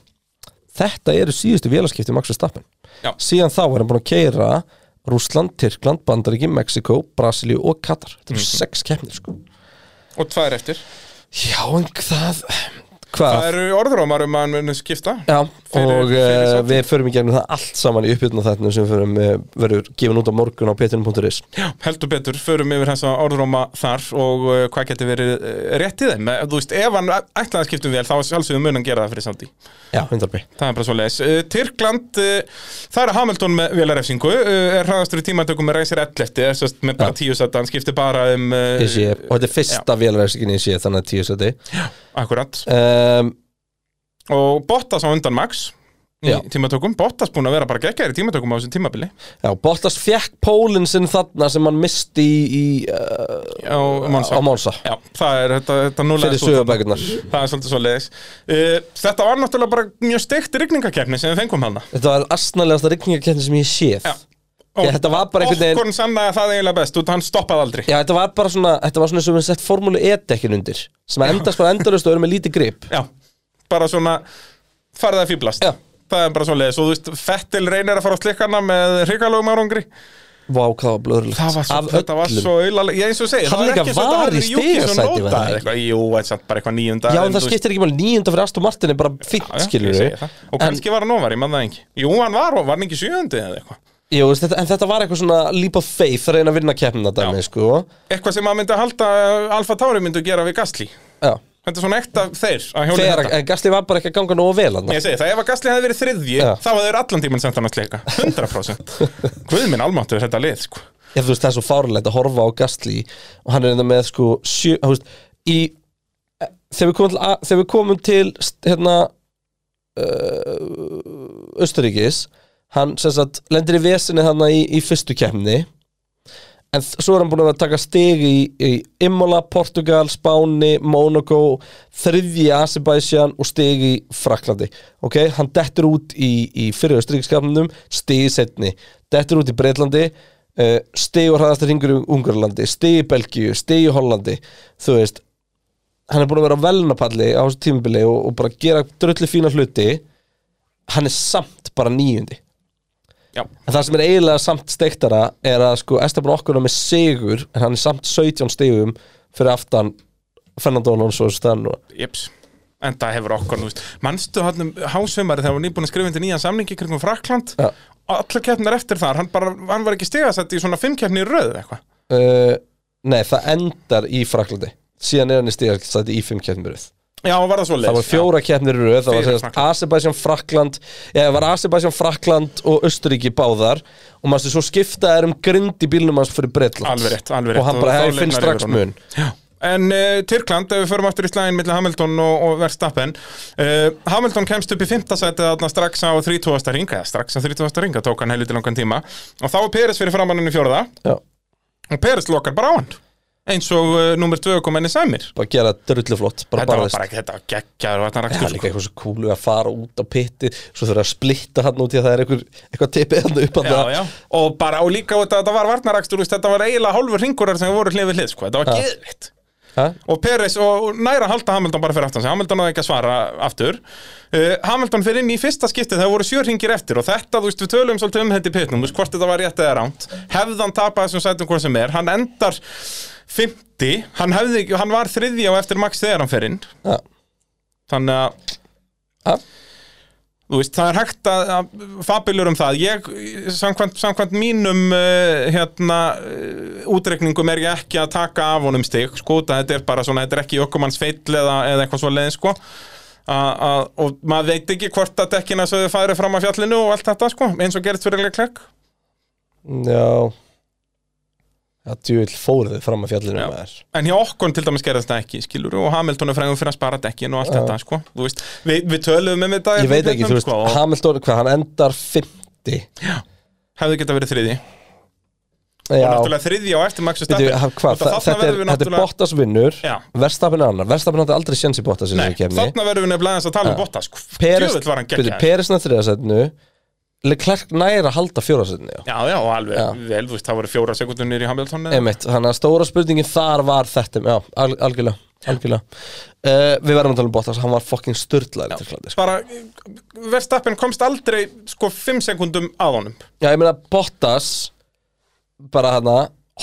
S1: Þetta eru síðustu vélaskipti Max Verstappen
S2: Já.
S1: Síðan þá er hann búin að keira Rússland, Tyrkland, Bandaríki, Mexiko, Brasilíu og Katar Þetta eru sex keppnir sko
S2: Og tvær eftir
S1: Já, en það Hvað?
S2: Það eru orðrómar um að hann muni skipta
S1: Já,
S2: fyrir-
S1: og
S2: fyrir
S1: uh,
S2: Sádi.
S1: við förum í gegnum það allt saman í uppbyrna þættinu sem förum, uh, verður gefin út á morgun á petunum.is
S2: Já, heldur betur, förum yfir þessa orðróma þar og uh, hvað getur verið uh, rétt í þeim Eh, Þú veist, ef hann ætlaði að skiptum vel þá sjálfsögum munan gera það fyrir samtíð
S1: Já, hundarbi
S2: Það er bara svo leiðis. Uh, Tyrkland, uh, það er Hamilton með vélarefsingu, uh, er hraðastur í tímatökum með reysir 11, er sérst með bara
S1: Já.
S2: tíu sætt, hann skiptir bara um... Uh,
S1: Í sé, og þetta er fyrsta vélaræskinni í sé þannig að tíu seti
S2: Akkurat.
S1: um,
S2: Og Bottas á undan Max í
S1: Já.
S2: tímatökum, Bottas búin að vera bara geggjær í tímatökum á þessum tímabili.
S1: Já, Bottas fekk pólinn sinn þarna sem hann misti í, í uh,
S2: Á Monsa.
S1: á Monsa
S2: Já, það er þetta, þetta núlega
S1: fyrir sögabækurnar
S2: Það er svolítið svo leiðis. Uh, þetta var náttúrulega bara mjög steikt rigningakefni sem við fengum hana.
S1: Þetta var astnalegasta rigningakenni sem ég séð
S2: Já.
S1: Ég, þetta var bara einhvern veginn
S2: Okkur sannaði það eiginlega best, út að hann stoppaði aldrei.
S1: Já, þetta var bara svona, þetta var svona sem við sett formúlu e-dekkin undir sem að endast bara endalust og eru með lítið grip
S2: Já, bara svona farið að fýblast
S1: Já.
S2: Það er bara svona leiðis og þú veist, Fettil reynir að fara á slikkana með hrigalögum árangri
S1: Vá, hvað var blöðurlegt
S2: Það var svo, þetta var svo auðalega, ég eins og segi
S1: Hann
S2: það er
S1: líka
S2: ekki eins og þetta
S1: var
S2: hafi
S1: í
S2: verið Yuki sem
S1: stigasæti, var
S2: notaði
S1: það
S2: eitthvað. Jú, þetta er bara eitthvað nýjunda
S1: Já, en það skiptir ekki máli nýjunda fyrir Aston Martin er bara fínt, skilur við
S2: Og kannski var hann ofar, ég mann það ekki Jú, hann var, var hann ekki sjöndi eða eitthvað
S1: Jú, veist, þetta, en þetta var eitthvað svona leap of faith að reyna að vinna keppnina dæmi,
S2: Já.
S1: sko
S2: Eitthvað sem maður myndi að halda uh, Alfa Tauri myndi að gera við Gasly
S1: Já,
S2: Þetta er svona ekta þeir að hjóli
S1: þegar,
S2: þetta
S1: en Gasly var bara ekki að ganga nógu vel hann
S2: Ég segi það, ef að Gasly hefði verið þriðji
S1: Já.
S2: þá hefði þeir allan tímann sent hann að sleika 100% Guð minn almáttur þetta lið, sko
S1: ég þú veist það er svo fárlegt að horfa á Gastli og hann er enda með sko sjö, þú veist, í, e, þegar við komum til, A- þegar við komum til st- hérna uh, Östuríkis hann sem sagt lendir í vesinni hann í, í fyrstu kemni en þ- svo er hann búin að vera að taka stig í, í Imola, Portugal, Spáni Monaco, þriðji Asibæsjan og stig í Fraklandi ok, hann dettur út í, í fyrir Östuríkiskapnum, stig í setni dettur út í Breitlandi uh, stig og hraðastir ringur í Ungarlandi stig í Belgíu, stig í Hollandi þú veist, hann er búin að vera á velnapalli á þessu tímabili og, og bara gera dröllu fína hluti hann er samt bara níundi
S2: Já,
S1: en það sem er eiginlega samt steiktara er að sko Esteban okkur er með sigur en hann er samt 17 stigum fyrir aftan Fernando Alonso og stann og
S2: Jeps En það hefur okkur, þú veist Manstu hann um hásumari þegar hann var nýbúin að skrifa undir nýjan samningi kringum Frakland
S1: Ja.
S2: og allar keppnar eftir þar, hann, bara, hann var ekki stigasett í svona fimm keppni í röð eða eitthvað
S1: uh, nei, það endar í Fraklandi síðan er hann í stigastæti í 5 keppnir í röð.
S2: Já, var það svo leið
S1: það var fjóra keppnir í röð það var
S2: Fyrir
S1: sérst Asibæsjan, Frakland eða það var Asibæsjan, Frakland og Östuríki báðar og mannstu svo skiptaðar um grind í bílnum hans fyrir Bretland
S2: Alveg rétt, alveg rétt
S1: og hann
S2: þá
S1: bara hefði
S2: lifnar
S1: finn
S2: yfir
S1: strax
S2: honum.
S1: mun
S2: Já. En uh, Tyrkland, ef við förum aftur í slægin milli Hamilton og, og Verstappen uh, Hamilton kemst upp í fimmtasæti þarna strax á 30. ringa, eða strax á 30. ringa tók hann helviti langan tíma og þá er Peres fyrir framanninu fjórða
S1: Já,
S2: og Peres lokar bara á hann eins og uh, nummer 2 kom henni sæmir
S1: bara gera drullu flott bara
S2: Þetta var
S1: barðist.
S2: bara ekki þetta, geggjaður og þetta
S1: Það er
S2: raktur
S1: líka eitthvað svo kúlu að fara út á pitti Svo þurfa að splitta hann út í að það er eitthvað, eitthvað tippið hann upp hann
S2: já, já. og bara og líka út að þetta var varnarakstur þú veist, þetta var eiginlega hálfur ringurar sem voru hlið við hlið sko. þetta var
S1: Já.
S2: geðvitt
S1: Ha?
S2: og Peres og og nær að halda Hamilton bara fyrir aftan sig Hamilton náði ekki að svara aftur uh, Hamilton fyrir inn í fyrsta skiptið það voru sjö ringir eftir og þetta, þú veist, við tölum svolítið um þetta í pitnum, þú veist, hvort þetta var rétt eða ránt hefðan tapað þessum sætum hvort sem er hann endar 50, hann, hefði, ekki- hann var þriðja og eftir Max þegar hann fer inn
S1: Já,
S2: þannig að
S1: Ja.
S2: þú veist, það er hægt að, að fabilur um það ég, samkvæmt, samkvæmt mínum uh, hérna uh, útreikningum er ég ekki að taka af honum stig sko, út að þetta er bara svona, þetta er ekki ökumanns feill eða, eða eitthvað svo leiðin sko A, a, og maður veit ekki hvort að dekkina sögðu færi fram að fjallinu og allt þetta sko, eins og gerist fyrir Leclerc
S1: já Já, djúvill fóru þau fram að fjallinu
S2: Já.
S1: maður
S2: en hjá okkur til dæmis gerðist það ekki, skilur og Hamilton er frægum fyrir að spara dekkin og allt
S1: Já.
S2: þetta sko, þú veist, við, við töluðum um þetta
S1: Ég veit ekki, þú veist,
S2: sko, og
S1: Hamilton, hvað, hann endar 50
S2: hefðu geta verið þriði og
S1: Já,
S2: náttúrulega þriðja á eftir Max
S1: Veitu,
S2: Verstappen
S1: ha- hvað,
S2: Út af
S1: þa-
S2: þarna
S1: þetta er,
S2: verðum við
S1: þetta er
S2: náttúrulega-
S1: Bottas vinnur
S2: Já.
S1: Verstafinn annar, Verstafinn átti aldrei sjens í Bottas í
S2: Nei,
S1: þessari kefni
S2: þarna verðum við nefnilega aðeins að tala um Bottas sko.
S1: Peres,
S2: Djöfull var hann
S1: byrju,
S2: geggjaður
S1: Peres nættur eða setnu Leclerc næra að halda fjórasetni
S2: Já, já, og alveg,
S1: Já.
S2: vel, þú veist, það voru fjóra sekundur nýri í Hamilton eða-
S1: Einmitt, þannig að stóra spurningin þar var þetta Já, al algjörlega, algjörlega. Uh, Við verðum að tala um Bottas, hann var fucking sturdlaður til klandi sko.
S2: Bara, Verstappen komst aldrei sko fimm sekundum að honum
S1: Já, ég meina Bottas bara hana,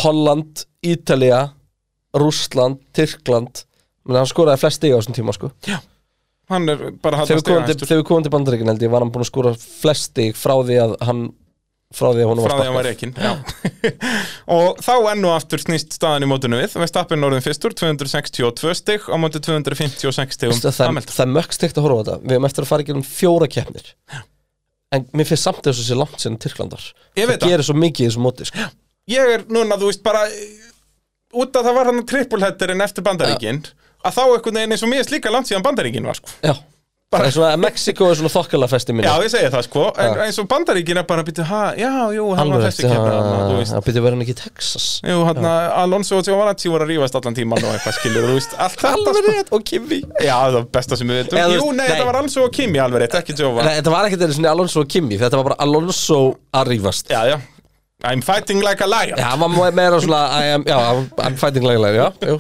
S1: Holland, Ítalía Rússland, Tyrkland ég meina, hann skoraði flest stig á þessum tíma sko.
S2: Hann er bara
S1: þegar, við komum til,
S2: hættastig
S1: þegar við komum til bandaríkin held ég var hann búin að skora flest stig frá því að hann frá því að hún var
S2: frá því að hann
S1: sparkað
S2: var reikin og þá enn og aftur snýst staðan í mótinu við Verstappen orðin fyrstur, 262 stig á móti 256 stigum
S1: Veistu, það, er-
S2: Hamilton
S1: það er mögst eitt að horfa á þetta við hefum eftir að fara í gerum fjóra keppnir en mér finnst samt þessu sér langt sinni Tyrklandar
S2: Ég veit
S1: það
S2: það.
S1: gerir svo mikið í þessu móti sko.
S2: ég er núna, þú veist, bara eh, út að það var hann trippulhetterinn eftir bandaríkin að þá einhvern veginn eins og mér er slíka langt síðan bandaríkin var, sko.
S1: já Það er svona að Mexiko er svona þokkala festi minni
S2: Já, ég segi það, sko, en
S1: Já.
S2: eins og bandaríkin er bara að býta, ha, já, jú, hann
S1: alveg
S2: var
S1: rétt
S2: þessi kemur þarna, þú veist.
S1: það byrja verið hann ekki í Texas
S2: Jú, hann að Alonso og Giovanazzi voru að rífast allan tíman og eitthvað skilur, þú veist, allt þetta,
S1: alveg
S2: sko.
S1: rétt og Kimi
S2: Já, það var besta sem við veitum.
S1: Eða, þú
S2: Jú,
S1: veist,
S2: nei,
S1: nei.
S2: þetta var Alonso og Kimi alveg rétt, ekki Giovanazzi.
S1: Nei, þetta var ekkert einu svona Alonso og Kimi þetta var bara Alonso að rífast
S2: Já, já. I'm fighting like a lion.
S1: Já, hann var meira svona I am, já, I'm fighting like a lion, já, jú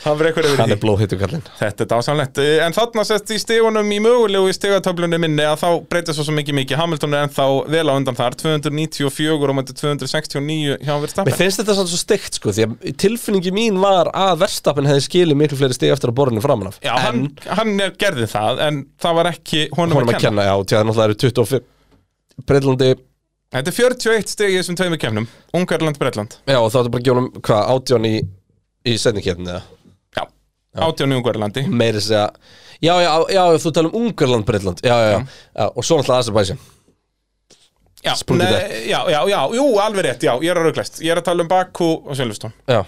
S2: Það var eitthvað yfir
S1: Hann
S2: því.
S1: er blóðhittu kallinn
S2: Þetta er dásamlegt, Eh, en þarna sett í stegunum í mögulegu í stegatöflunum minni að þá breytist svo sem ekki mikið, Hamilton er ennþá vel á undan þar, 294 og mætti 269 hjá
S1: Mér
S2: Verstappen
S1: finnst þetta samt svo steikt sko Því að tilfinningi mín var að verstapin hefði skilið miklu fleiri stig eftir að borðinu framan af
S2: Já, hann, hann er gerði það, en það var ekki honum,
S1: Honum að
S2: kenna.
S1: kenna, já, því að náttúrulega eru 25 Breitlandi,
S2: Þetta er 41 stig í þessum tveimur kemnum, Ungarland, Bretland
S1: já, og þá ertu bara að gefa honum Hvað, átján í, í setningkjöfni eða
S2: Já, 18 í Ungarlandi
S1: Meiri segja Já, já, já, já, þú tala um Ungarland, Breitland Já, já, já,
S2: Mm.
S1: já og svo náttúrulega Azerbaijan
S2: Já,
S1: Sprungið
S2: nei, já, já, já, jú, alveg rétt, já, ég er að rauglast Ég er að tala um Baku og Sjölfustón
S1: Já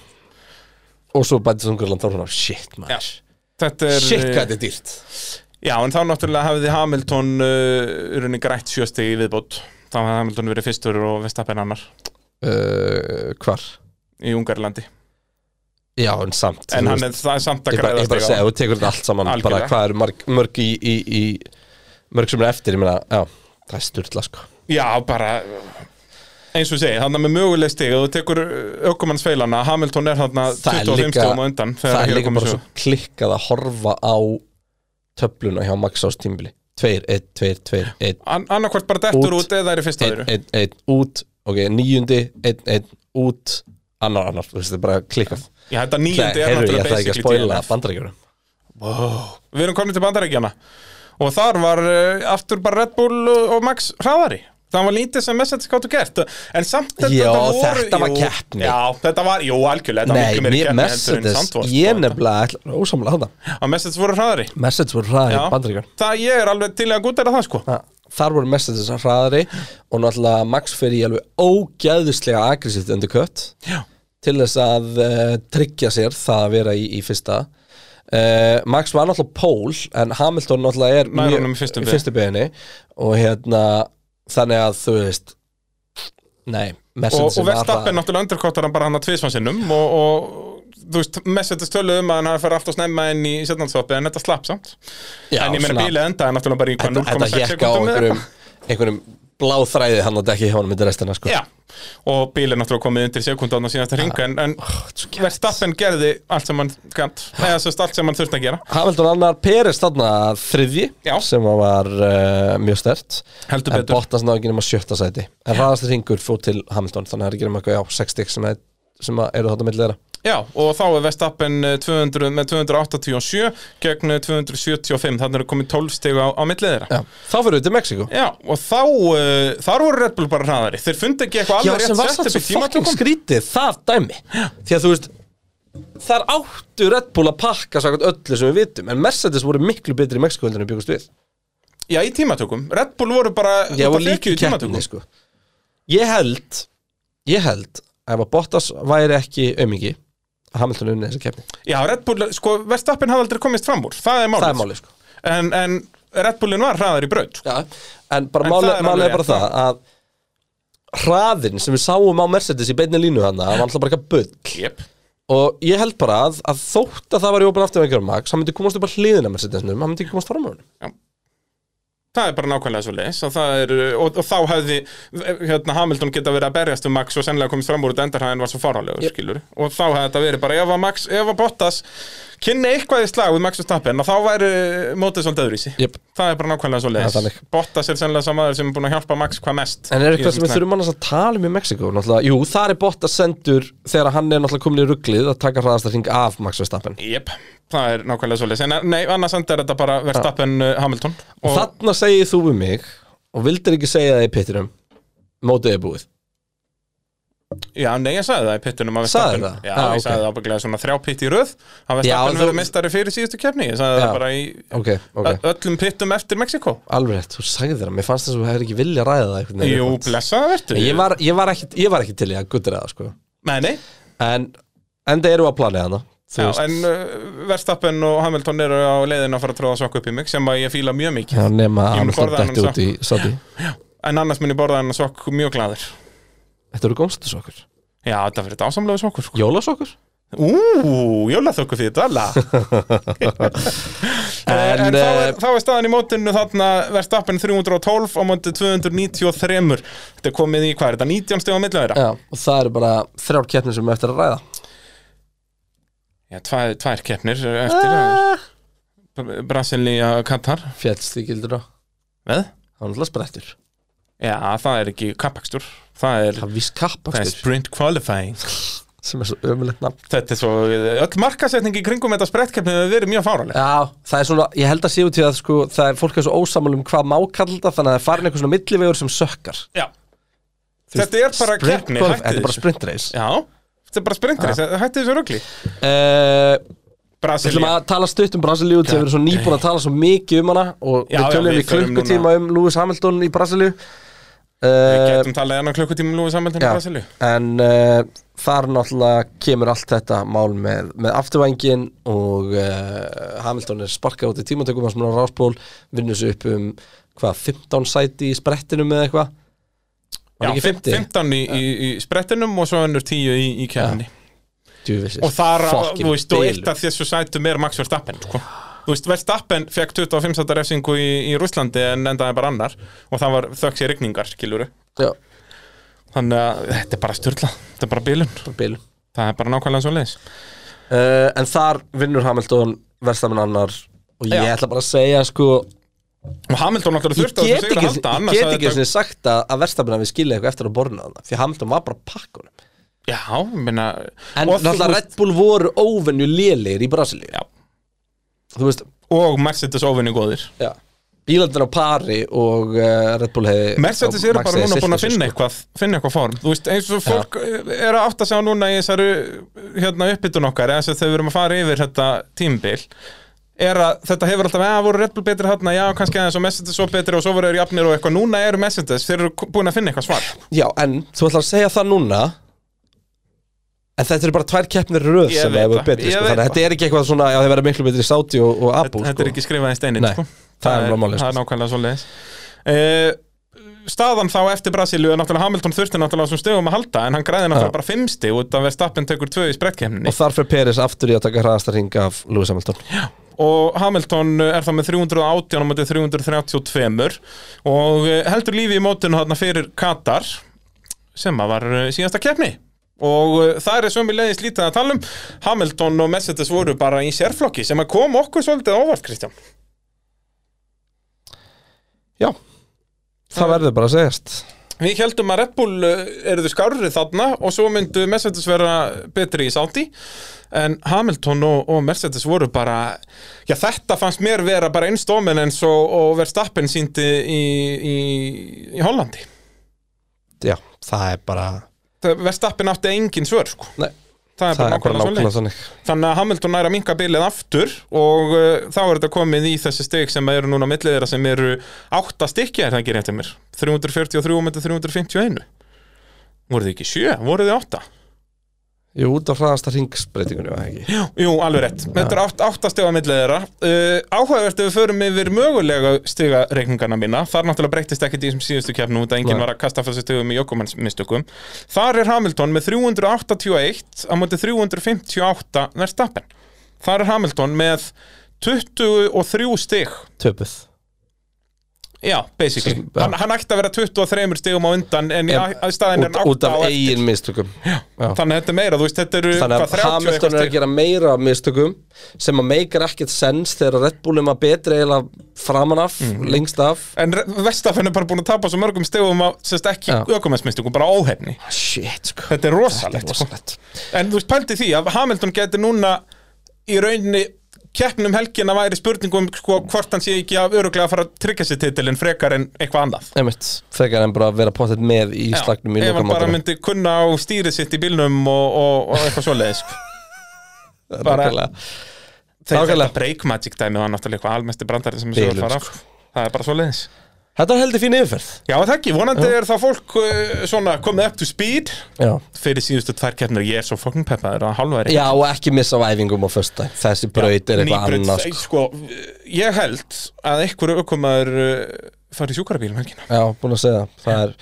S1: Og svo bætist Ungarland þá svona Shit,
S2: Já,
S1: maður
S2: þetta er
S1: Shit, hvað þetta er dýrt
S2: Já, en þá náttúrulega hefði Hamilton uh, runni grætt sjöstig í viðbót þá hefði Hamilton verið fyrstur og Vestapen annar Eh,
S1: uh, Hvar?
S2: í Ungarlandi
S1: Já, en samt
S2: en
S1: þú
S2: hann
S1: veist.
S2: er, það er samt að
S1: Ég bara,
S2: græða
S1: ég bara
S2: stig á
S1: segja, þú tekur þetta allt saman bara,
S2: Algjörlega.
S1: Hvað eru mörg, mörg í, í, í Mörg sem er eftir, ég meina Já, það er styrla sko
S2: Já, bara uh, eins og ég segi, þannig að með möguleg stig ef þú tekur ökumanns feilana Hamilton er þarna
S1: Það er
S2: 25
S1: líka-
S2: stigum á undan
S1: Það er líka bara
S2: svo
S1: svo klikkað að horfa á Töfluna hjá Max ás tímbili Tveir, einn, tveir, tveir, einn
S2: An annarkvort bara dettur
S1: Út.
S2: út, eða er í fyrsta
S1: Einn,
S2: öðru
S1: einn, einn, út Ok, níundi, einn, einn, út Annar, annar, þú veist, þetta er bara klikkað
S2: Já, þetta nýjöndi er
S1: Herru, ég ætla
S2: náttúrulega
S1: ekki að
S2: basically
S1: spoila
S2: DNF
S1: bandarækjurum
S2: Við erum komin til bandarækjana og þar var uh, aftur bara Red Bull og, og Max hraðari Það var lítið sem message gáttu gert En samt þetta
S1: Já,
S2: voru
S1: þetta var
S2: jú,
S1: keppni.
S2: Já, þetta var, jú, algjörlega þetta var
S1: Nei,
S2: miklu meiri
S1: mér
S2: keppni heldur en
S1: Mercedes
S2: samt var,
S1: Ég
S2: sko.
S1: nefnilega ætla Ósamlega þetta
S2: Að message voru hraðari
S1: Mercedes voru hraðið
S2: Já.
S1: bandarækjurum
S2: Það ég er alveg til í að gútera það sko
S1: Ha, hérna, þar voru messages hraðari og náttúrulega Max fer í alveg ógæðislega aggressivt undercut
S2: Já,
S1: til þess að uh, tryggja sér það að vera í, í fyrsta uh, Max var náttúrulega pól en Hamilton náttúrulega er
S2: Nær
S1: mjög-
S2: honum í fyrstu beygju.
S1: fyrstu beginni og hérna þannig að þú veist nei,
S2: og,
S1: messages
S2: og Verstappen náttúrulega underkottar hann bara hann að tvisvansinnum og, og þú veist, Mercedes töluðu um að hann hafi farið allt og snemma inn í setnansvapið en þetta slapp samt
S1: Já,
S2: En ég meina
S1: svona-
S2: bílið endaði náttúrulega bara í hvað,
S1: þetta, þetta
S2: 0,6
S1: gekk á
S2: sekundum eða
S1: einhverjum, einhverjum bláþræði hann að dekki hjá hann myndi restina sko
S2: Já, og bíl er náttúrulega komið undir sekundan á síðasta ringa en, en Verstappen gerði allt sem hann gænt eða sérst allt sem hann þurfti að gera
S1: Hamilton annar Peres þarna þriðji
S2: Já.
S1: sem að var uh, mjög stert
S2: Heldur
S1: en
S2: betur.
S1: Bottas náðu ekki nema sjötta sæti en hraðast hringur fór til Hamilton þannig að það er ekki nema eitthvað já, 6 stykk sem, að- sem að eru þarna millir þeirra
S2: Já, og þá er Vestappen 200, með 287 gegn eh, 275, þannig er komið 12 stegu á, á millið þeirra.
S1: Já. Þá fyrir við til Mexiko
S2: Já, og þá, uh, þar voru Red Bull bara hraðari. Þeir fundi ekki eitthvað
S1: Já,
S2: alveg
S1: sem var
S2: rétt
S1: satt
S2: sett
S1: svo
S2: upp í
S1: fokkin
S2: tímatökum.
S1: skrítið það dæmi Því að þú veist Þar áttu Red Bull að pakka Sákvæmt öllu sem við vitum En Mercedes voru miklu betri í Mexiko Heldur en við byggust við
S2: Já, í tímatökum. Red Bull voru bara upp
S1: Ég
S2: á
S1: var
S2: 40
S1: líka í keppinni sko. Ég held Ég held að ef að Bottas væri ekki aumingi Hamilton unni þessa keppni
S2: Já, Red Bull, sko, Vestappen hafði aldrei komist fram úr. Það er málið.
S1: Það er málið sko
S2: En, en Red Bullin var hraðari í braut. sko.
S1: Já, en bara
S2: En
S1: máli,
S2: það er
S1: máli
S2: alveg
S1: er bara
S2: rétt,
S1: það að hraðin sem við sáum á Mercedes í beinni línu hann það var alltaf bara eitthvað bull
S2: Jep.
S1: og ég held bara að, að þótt að það var í opin afturvækjur Max, hann myndi komast upp að hliðina Mercedesnum, hann myndi ekki komast fram á hann
S2: Það er bara nákvæmlega svo leis og, það er, og, og þá hefði hérna, Hamilton geta verið að berjast um Max og sennilega komist fram úr þetta endarhæðin var svo farálegur
S1: Yep.
S2: skilur og þá hefði þetta verið bara ef að, Max, ef að Bottas kynni eitthvað í slag við Max og Stappen og þá væri mótið svolítið öðruvísi
S1: Jep.
S2: Það er bara nákvæmlega svo
S1: Það er þannig.
S2: leis Bottas er sennilega samaður sem er búin að hjálpa Max hvað mest
S1: En er
S2: í
S1: eitthvað sem
S2: þessum
S1: við
S2: slag.
S1: þurfum annars að tala um í Mexiko náttúrulega, jú, þar er Bottas sendur þegar hann er náttúrulega komin í rugglið að taka hraðasta hring af Max Verstappen
S2: Jep, það er nákvæmlega svo leis en nei, annars endur þetta bara Verstappen ah. Hamilton
S1: og
S2: og
S1: þarna segir þú við mig og vildir ekki segja það í pittinum mótið er búið
S2: Já, nei, ég sagði það í pittunum að
S1: Sagðir
S2: Verstappen
S1: það?
S2: Já,
S1: Já,
S2: ég
S1: ok.
S2: sagði það ábygglega svona þrjá pitt í röð að
S1: Já,
S2: Verstappen
S1: þú-
S2: verður mestari fyrir síðustu kefni Ég sagði
S1: Já.
S2: það bara í
S1: Ok, ok,
S2: ö- öllum pittum eftir Mexiko
S1: alveg rétt, þú sagðir það, mér fannst þess að þú hefur ekki vilja ræða það einhvern veginn.
S2: Jú, blessaða verður
S1: Nei, Ég var, ég var, ekki, ég var ekki til í að guttra það sko.
S2: Nei, nei,
S1: En enda eru að planið hana þú
S2: já,
S1: veist.
S2: en uh, Verstappen og Hamilton eru á leiðin að fara að tróða sokk upp í mig sem að ég fíla mjög mikið
S1: Já, nema að
S2: Ég mun
S1: hann
S2: borða
S1: dætti
S2: þennan
S1: út í sátti
S2: En annars mun ég borða hennar sokk mjög gladur
S1: Þetta eru gómstasokkur
S2: Já, þetta verður þetta ásamlega sokkur sko.
S1: Jólasokkur
S2: Ú, jólaþökkur fyrir þetta alla En, en
S1: En,
S2: þá,
S1: eh,
S2: er, þá er staðan í mótinu þarna Verstappen 312 á móti 293 Þetta er komið í, hvað er þetta, 19 stegum millu þeirra?
S1: já, og það eru bara þrjár keppnir sem við eftir að ræða
S2: Já, tvær, tvær keppnir eftir
S1: Ah,
S2: ah. Brasilia Katar
S1: Fjallst því gildur á
S2: Veð?
S1: Hann er alltaf sprettur
S2: Já, það er ekki kappakstur Það er,
S1: Það er viss
S2: það er
S1: kappakstur
S2: sprint qualifying
S1: sem er svo ömulegt nafn
S2: Þetta er svo, eh, öll markasetning í kringum þetta sprettkeppni hefur verið mjög fáraleg
S1: Já, það er svona, ég held að séu til að sko, það er fólk er svo ósammála um hvað má kalla þetta þannig að það er farin eitthvað svona millivegur sem sökkar
S2: Já, Þetta er bara
S1: Sprint
S2: keppni,
S1: golf-
S2: hættu
S1: Þetta er bara
S2: þessu.
S1: sprintreis
S2: já, þetta er bara sprintreis, ah. hætti þessu rugli
S1: uh, Við ætlum
S2: Brasilia,
S1: að tala stutt um Brasilíu þegar við erum svo nýbúin að tala svo mikið um hana og
S2: Já,
S1: við
S2: já,
S1: tölum
S2: við
S1: í
S2: förum
S1: klukkutíma um Lewis Hamilton í Brasilíu
S2: við
S1: uh,
S2: getum talað enn á um klukkutímum lúið samveldinu
S1: já,
S2: Brasilíu
S1: En uh, þar náttúrulega kemur allt þetta mál með, með afturvængin og uh, Hamilton er sparkað út í tímatökum að smuna ráspól vinnur sér upp um hvað, 15 sæti í sprettinum eða eitthvað
S2: Já,
S1: Var ekki
S2: 50?
S1: 50?
S2: 15 í, í, í sprettinum og svo önnur 10 í, í kefni
S1: Djúvisist.
S2: og þar, að,
S1: Fucking
S2: þú veist, og
S1: bilun.
S2: eitt af þessu sætum er Max Verstappen, sko Þú veist, Verstappen fekk 25 sæta refsingu í, í Rússlandi en endaði bara annar og það var þöggs í rigningar, skiluru
S1: Já,
S2: Þannig að þetta er bara styrla, þetta er bara bilun
S1: bara bilun
S2: Það er bara nákvæmlega svo leiðis
S1: uh, En þar vinnur Hamilton verðstamenn annar og ég
S2: Já.
S1: ætla bara að segja sko
S2: Og Hamilton náttúrulega
S1: Ég
S2: þurfti á
S1: get
S2: þessu
S1: ekki,
S2: sigur að halda
S1: ég
S2: annars
S1: get
S2: að
S1: ekki
S2: þetta-
S1: þetta... sagt að, að verðstamenn að við skilja eitthvað eftir að borna þarna Því Hamilton var bara pakkunum
S2: Já, ég meina
S1: En
S2: og,
S1: náttúrulega
S2: þú-
S1: Red Bull voru óvenju lélir í Brasilíu
S2: Já.
S1: Þú veist,
S2: og Mercedes óvinni góðir
S1: já Bílandin á pari og uh, Red Bull hefði
S2: Mercedes
S1: og
S2: eru
S1: Max
S2: bara
S1: hefði
S2: núna
S1: siglt
S2: búin að
S1: þessu, sko.
S2: finna eitthvað finna eitthvað form, þú veist, eins og fólk eh, er að átta sig á núna í þessari hérna uppbytun okkar, eða þess að þau verum að fara yfir þetta tímbil er að þetta hefur alltaf, að voru Red Bull betri hérna já, kannski aðeins og Mercedes svo betri og svo voru þeir jafnir og eitthvað, núna eru Mercedes, þeir eru búin að finna eitthvað svar
S1: Já, en þú ætlar að segja það núna En þetta eru bara tvær keppnir í röð
S2: Ég
S1: sem
S2: veit
S1: hefur
S2: það,
S1: betri
S2: ég
S1: sko.
S2: veit
S1: Þannig að
S2: það.
S1: þetta er ekki eitthvað svona, já þeir verða miklu betri í Sáti og, og Abu
S2: þetta er
S1: sko.
S2: ekki skrifað í steinin
S1: Nei,
S2: sko.
S1: það er bara málið,
S2: það
S1: sko.
S2: er nákvæmlega svo leiðis staðan þá eftir Brasilíu er náttúrulega Hamilton þurfti náttúrulega á þessum stegum að halda en hann græði náttúrulega bara fimmsti út að Verstappen tekur tvö í sprettkemni
S1: Og þar fyrir Peres aftur í að taka hraðasta ring af Lewis Hamilton
S2: og Hamilton er það með 318 á móti 332 og eh, heldur lífi í mótinu þarna fyrir Katar sem að var eh, síðasta keppni og eh, það er sömulegis lítið að tala um Hamilton og Mercedes voru bara í sérflokki sem að kom okkur svolítið ávart Kristján
S1: Já, það verður bara að segjast
S2: Við heldum að Red Bull uh, eru þau skárri þarna og svo myndu Mercedes vera betri í sáti en Hamilton og, og Mercedes voru bara já þetta fannst mér vera bara eins dominance og, og Verstappen síndi í, í, í Hollandi
S1: Já, það er bara
S2: Það- Verstappen átti engin svör sko
S1: Nei,
S2: það er
S1: það
S2: bara nákvæmlega svolítið
S1: þannig
S2: Þannig að Hamilton næra minka bilið aftur og uh, þá er þetta komið í þessi steg sem eru núna millið þeirra sem eru átta stykki er það ekki rétt hjá mér 343 myndi 351 voru þið ekki sjö, voru þið átta
S1: Jú, út af hraðasta ringsbreytingunni var það ekki
S2: Jú, alveg rétt, þetta er átt, átta steg á millið þeirra uh, áhugavert ef við förum yfir mögulega stiga reikningana mína þar náttúrulega breyttist ekki því sem síðustu keppnum út að enginn
S1: Nei.
S2: var að kasta fyrir stegum í Jokumannsmistökum þar er Hamilton með 381 á móti 358 verðstappen þar er Hamilton með 23 stig
S1: Töpuð
S2: já, basically,
S1: Já.
S2: hann, hann ætti að vera 23 stigum á undan en
S1: Já.
S2: í staðin er
S1: Út,
S2: hann
S1: út
S2: 8 á
S1: af
S2: eftir.
S1: eigin mistökum Já,
S2: þannig að þetta er meira, þú veist, þetta eru
S1: Þannig
S2: hvað,
S1: að
S2: 30
S1: Hamilton
S2: eitthvað
S1: er að
S2: stig.
S1: gera meira af mistökum sem að meikar ekkert sens þegar Red Bull er maður betri eiginlega framan af,
S2: Mhm.
S1: lengst af
S2: En Vestafenn er bara búin að tapa svo mörgum stegum á, sérst ekki
S1: Já.
S2: ökumessmyndstugum, bara óhefni.
S1: Shit, sko
S2: Ah, Þetta er
S1: Þetta er
S2: rosalegt. sko.
S1: rosalegt
S2: En þú veist, pældi því að Hamilton getur núna í rauninni keppnum helgina væri spurningum sko, hvort hann sé ekki að öruglega að fara að tryggja sér titilin frekar en eitthvað annað.
S1: Einmitt, frekar en bara að vera pottet með í
S2: Já,
S1: slagnum í
S2: ef hann bara
S1: lokamótinu
S2: myndi kunna á stýrið sitt í bílnum og, og, og eitthvað svoleiðis sko. bara-
S1: Nákvæmlega.
S2: Þegar
S1: Nákvæmlega.
S2: þetta break magic dæmi var náttúrulega eitthvað almesti brandarinn sem þessu
S1: Bilun,
S2: var fara af.
S1: sko.
S2: Það er bara svoleiðis.
S1: Þetta er heldur fín yfirferð
S2: Já, það ekki. Vonandi er þá fólk uh, svona komið up to speed
S1: Já,
S2: fyrir síðustu tvær keppnir ég er svo fucking peppaður að halværi
S1: Já og ekki missa á æfingum á föstu Þessi braut er eitthvað annars sko.
S2: sko, ég held að einhver aukomaður uh, fari í sjúkarabílum helgina
S1: Já, búin að segja það. það er,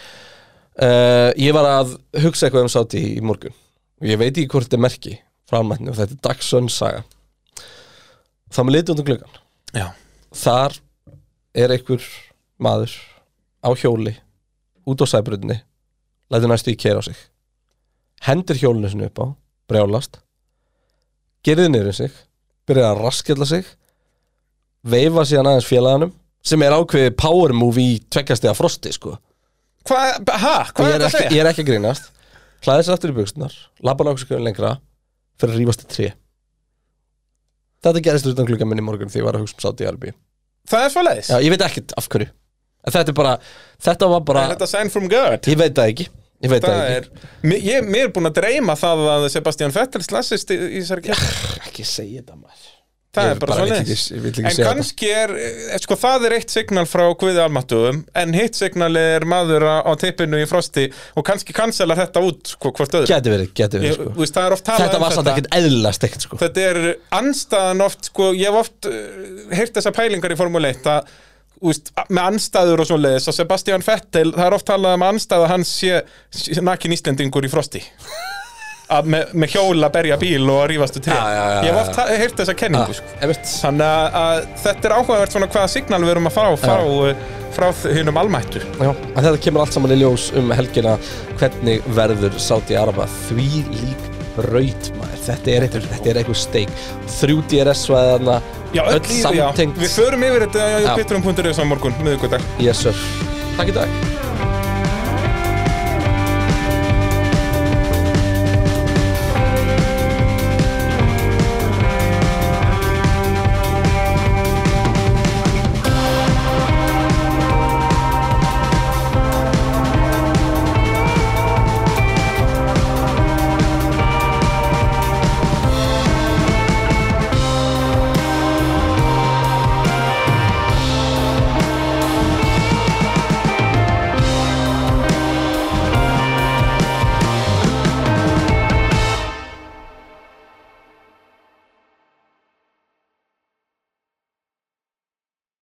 S1: uh, Ég var að hugsa eitthvað um sáti í morgun og ég veit ekki hvort þetta er merki framætni og þetta er Dagsson saga þá með litið út um gluggan
S2: já,
S1: þar er einhver maður á hjóli út á sæbrutinni lætur næstu í keira á sig hendur hjólinu sinni upp á brjálast gerði niður um sig byrjaði að raskella sig veifa síðan aðeins félaganum sem er ákveðið power move í tveggjastega frosti sko
S2: hvað, ha,
S1: ég er,
S2: hvað er þetta að
S1: ekki,
S2: segja?
S1: ég er ekki að grínast hlaði sér aftur í buksunar labba nákvæmlega lengra fyrir að rífast í tré þetta gerist utan klukka minni morgun því ég var að hugsa um sátt í Arbi já,
S2: það er svo leiðis,
S1: ég veit ekkert af hverju en þetta er bara, þetta var bara
S2: er þetta sign from God
S1: ég veit það ekki ég veit það,
S2: það er, mér, ég, mér er búin að dreyma það að Sebastian Vettel slassist í, í þessari keppni
S1: ekki ekki segja þetta maður
S2: það
S1: Ég
S2: er bara
S1: bara
S2: svo
S1: veit
S2: leiðis
S1: ekki- ég vil ekki
S2: en
S1: segja
S2: kannski er, eh, sko það er eitt signal frá Guði Almatugum, en hitt signal er maður á á tippinu í frosti og kannski kanselar þetta út sko, hvort öðru
S1: geti verið, geti verið
S2: Ég,
S1: sko.
S2: þú veist, það er oft talað
S1: þetta
S2: um
S1: var samt ekkert eðlilega steikt sko.
S2: þetta er anstaðan oft sko, ég hef oft uh, heyrt þessar pælingar í Formule 1 að þú veist, a- með anstæður og svoleiðis að Sebastian Vettel, það er oft talað um að anstæða hans sé, sé nakin Íslendingur í frosti að með, með hjóla berja bíl og að rífastu til
S1: Já, já, já,
S2: ég hef
S1: já.
S2: oft ta- heyrt þessa
S1: Ah,
S2: kenningu sko.
S1: einmitt.
S2: þannig að, að þetta er áhugavert svona hvaða signal við erum að fá frá, uh, frá hinnum almættu
S1: Já, að þetta kemur allt saman í ljós um helgina hvernig verður Saudi Araba því lík braut maður, þetta er eitthvað, þetta er eitthvað steik þrjú DRS-svæðarna
S2: já, öll,
S1: öll
S2: í- já,
S1: samtengt
S2: við förum yfir þetta á
S1: Já.
S2: bitrum.is á morgun, miðugudag
S1: yes, sir. takk í dag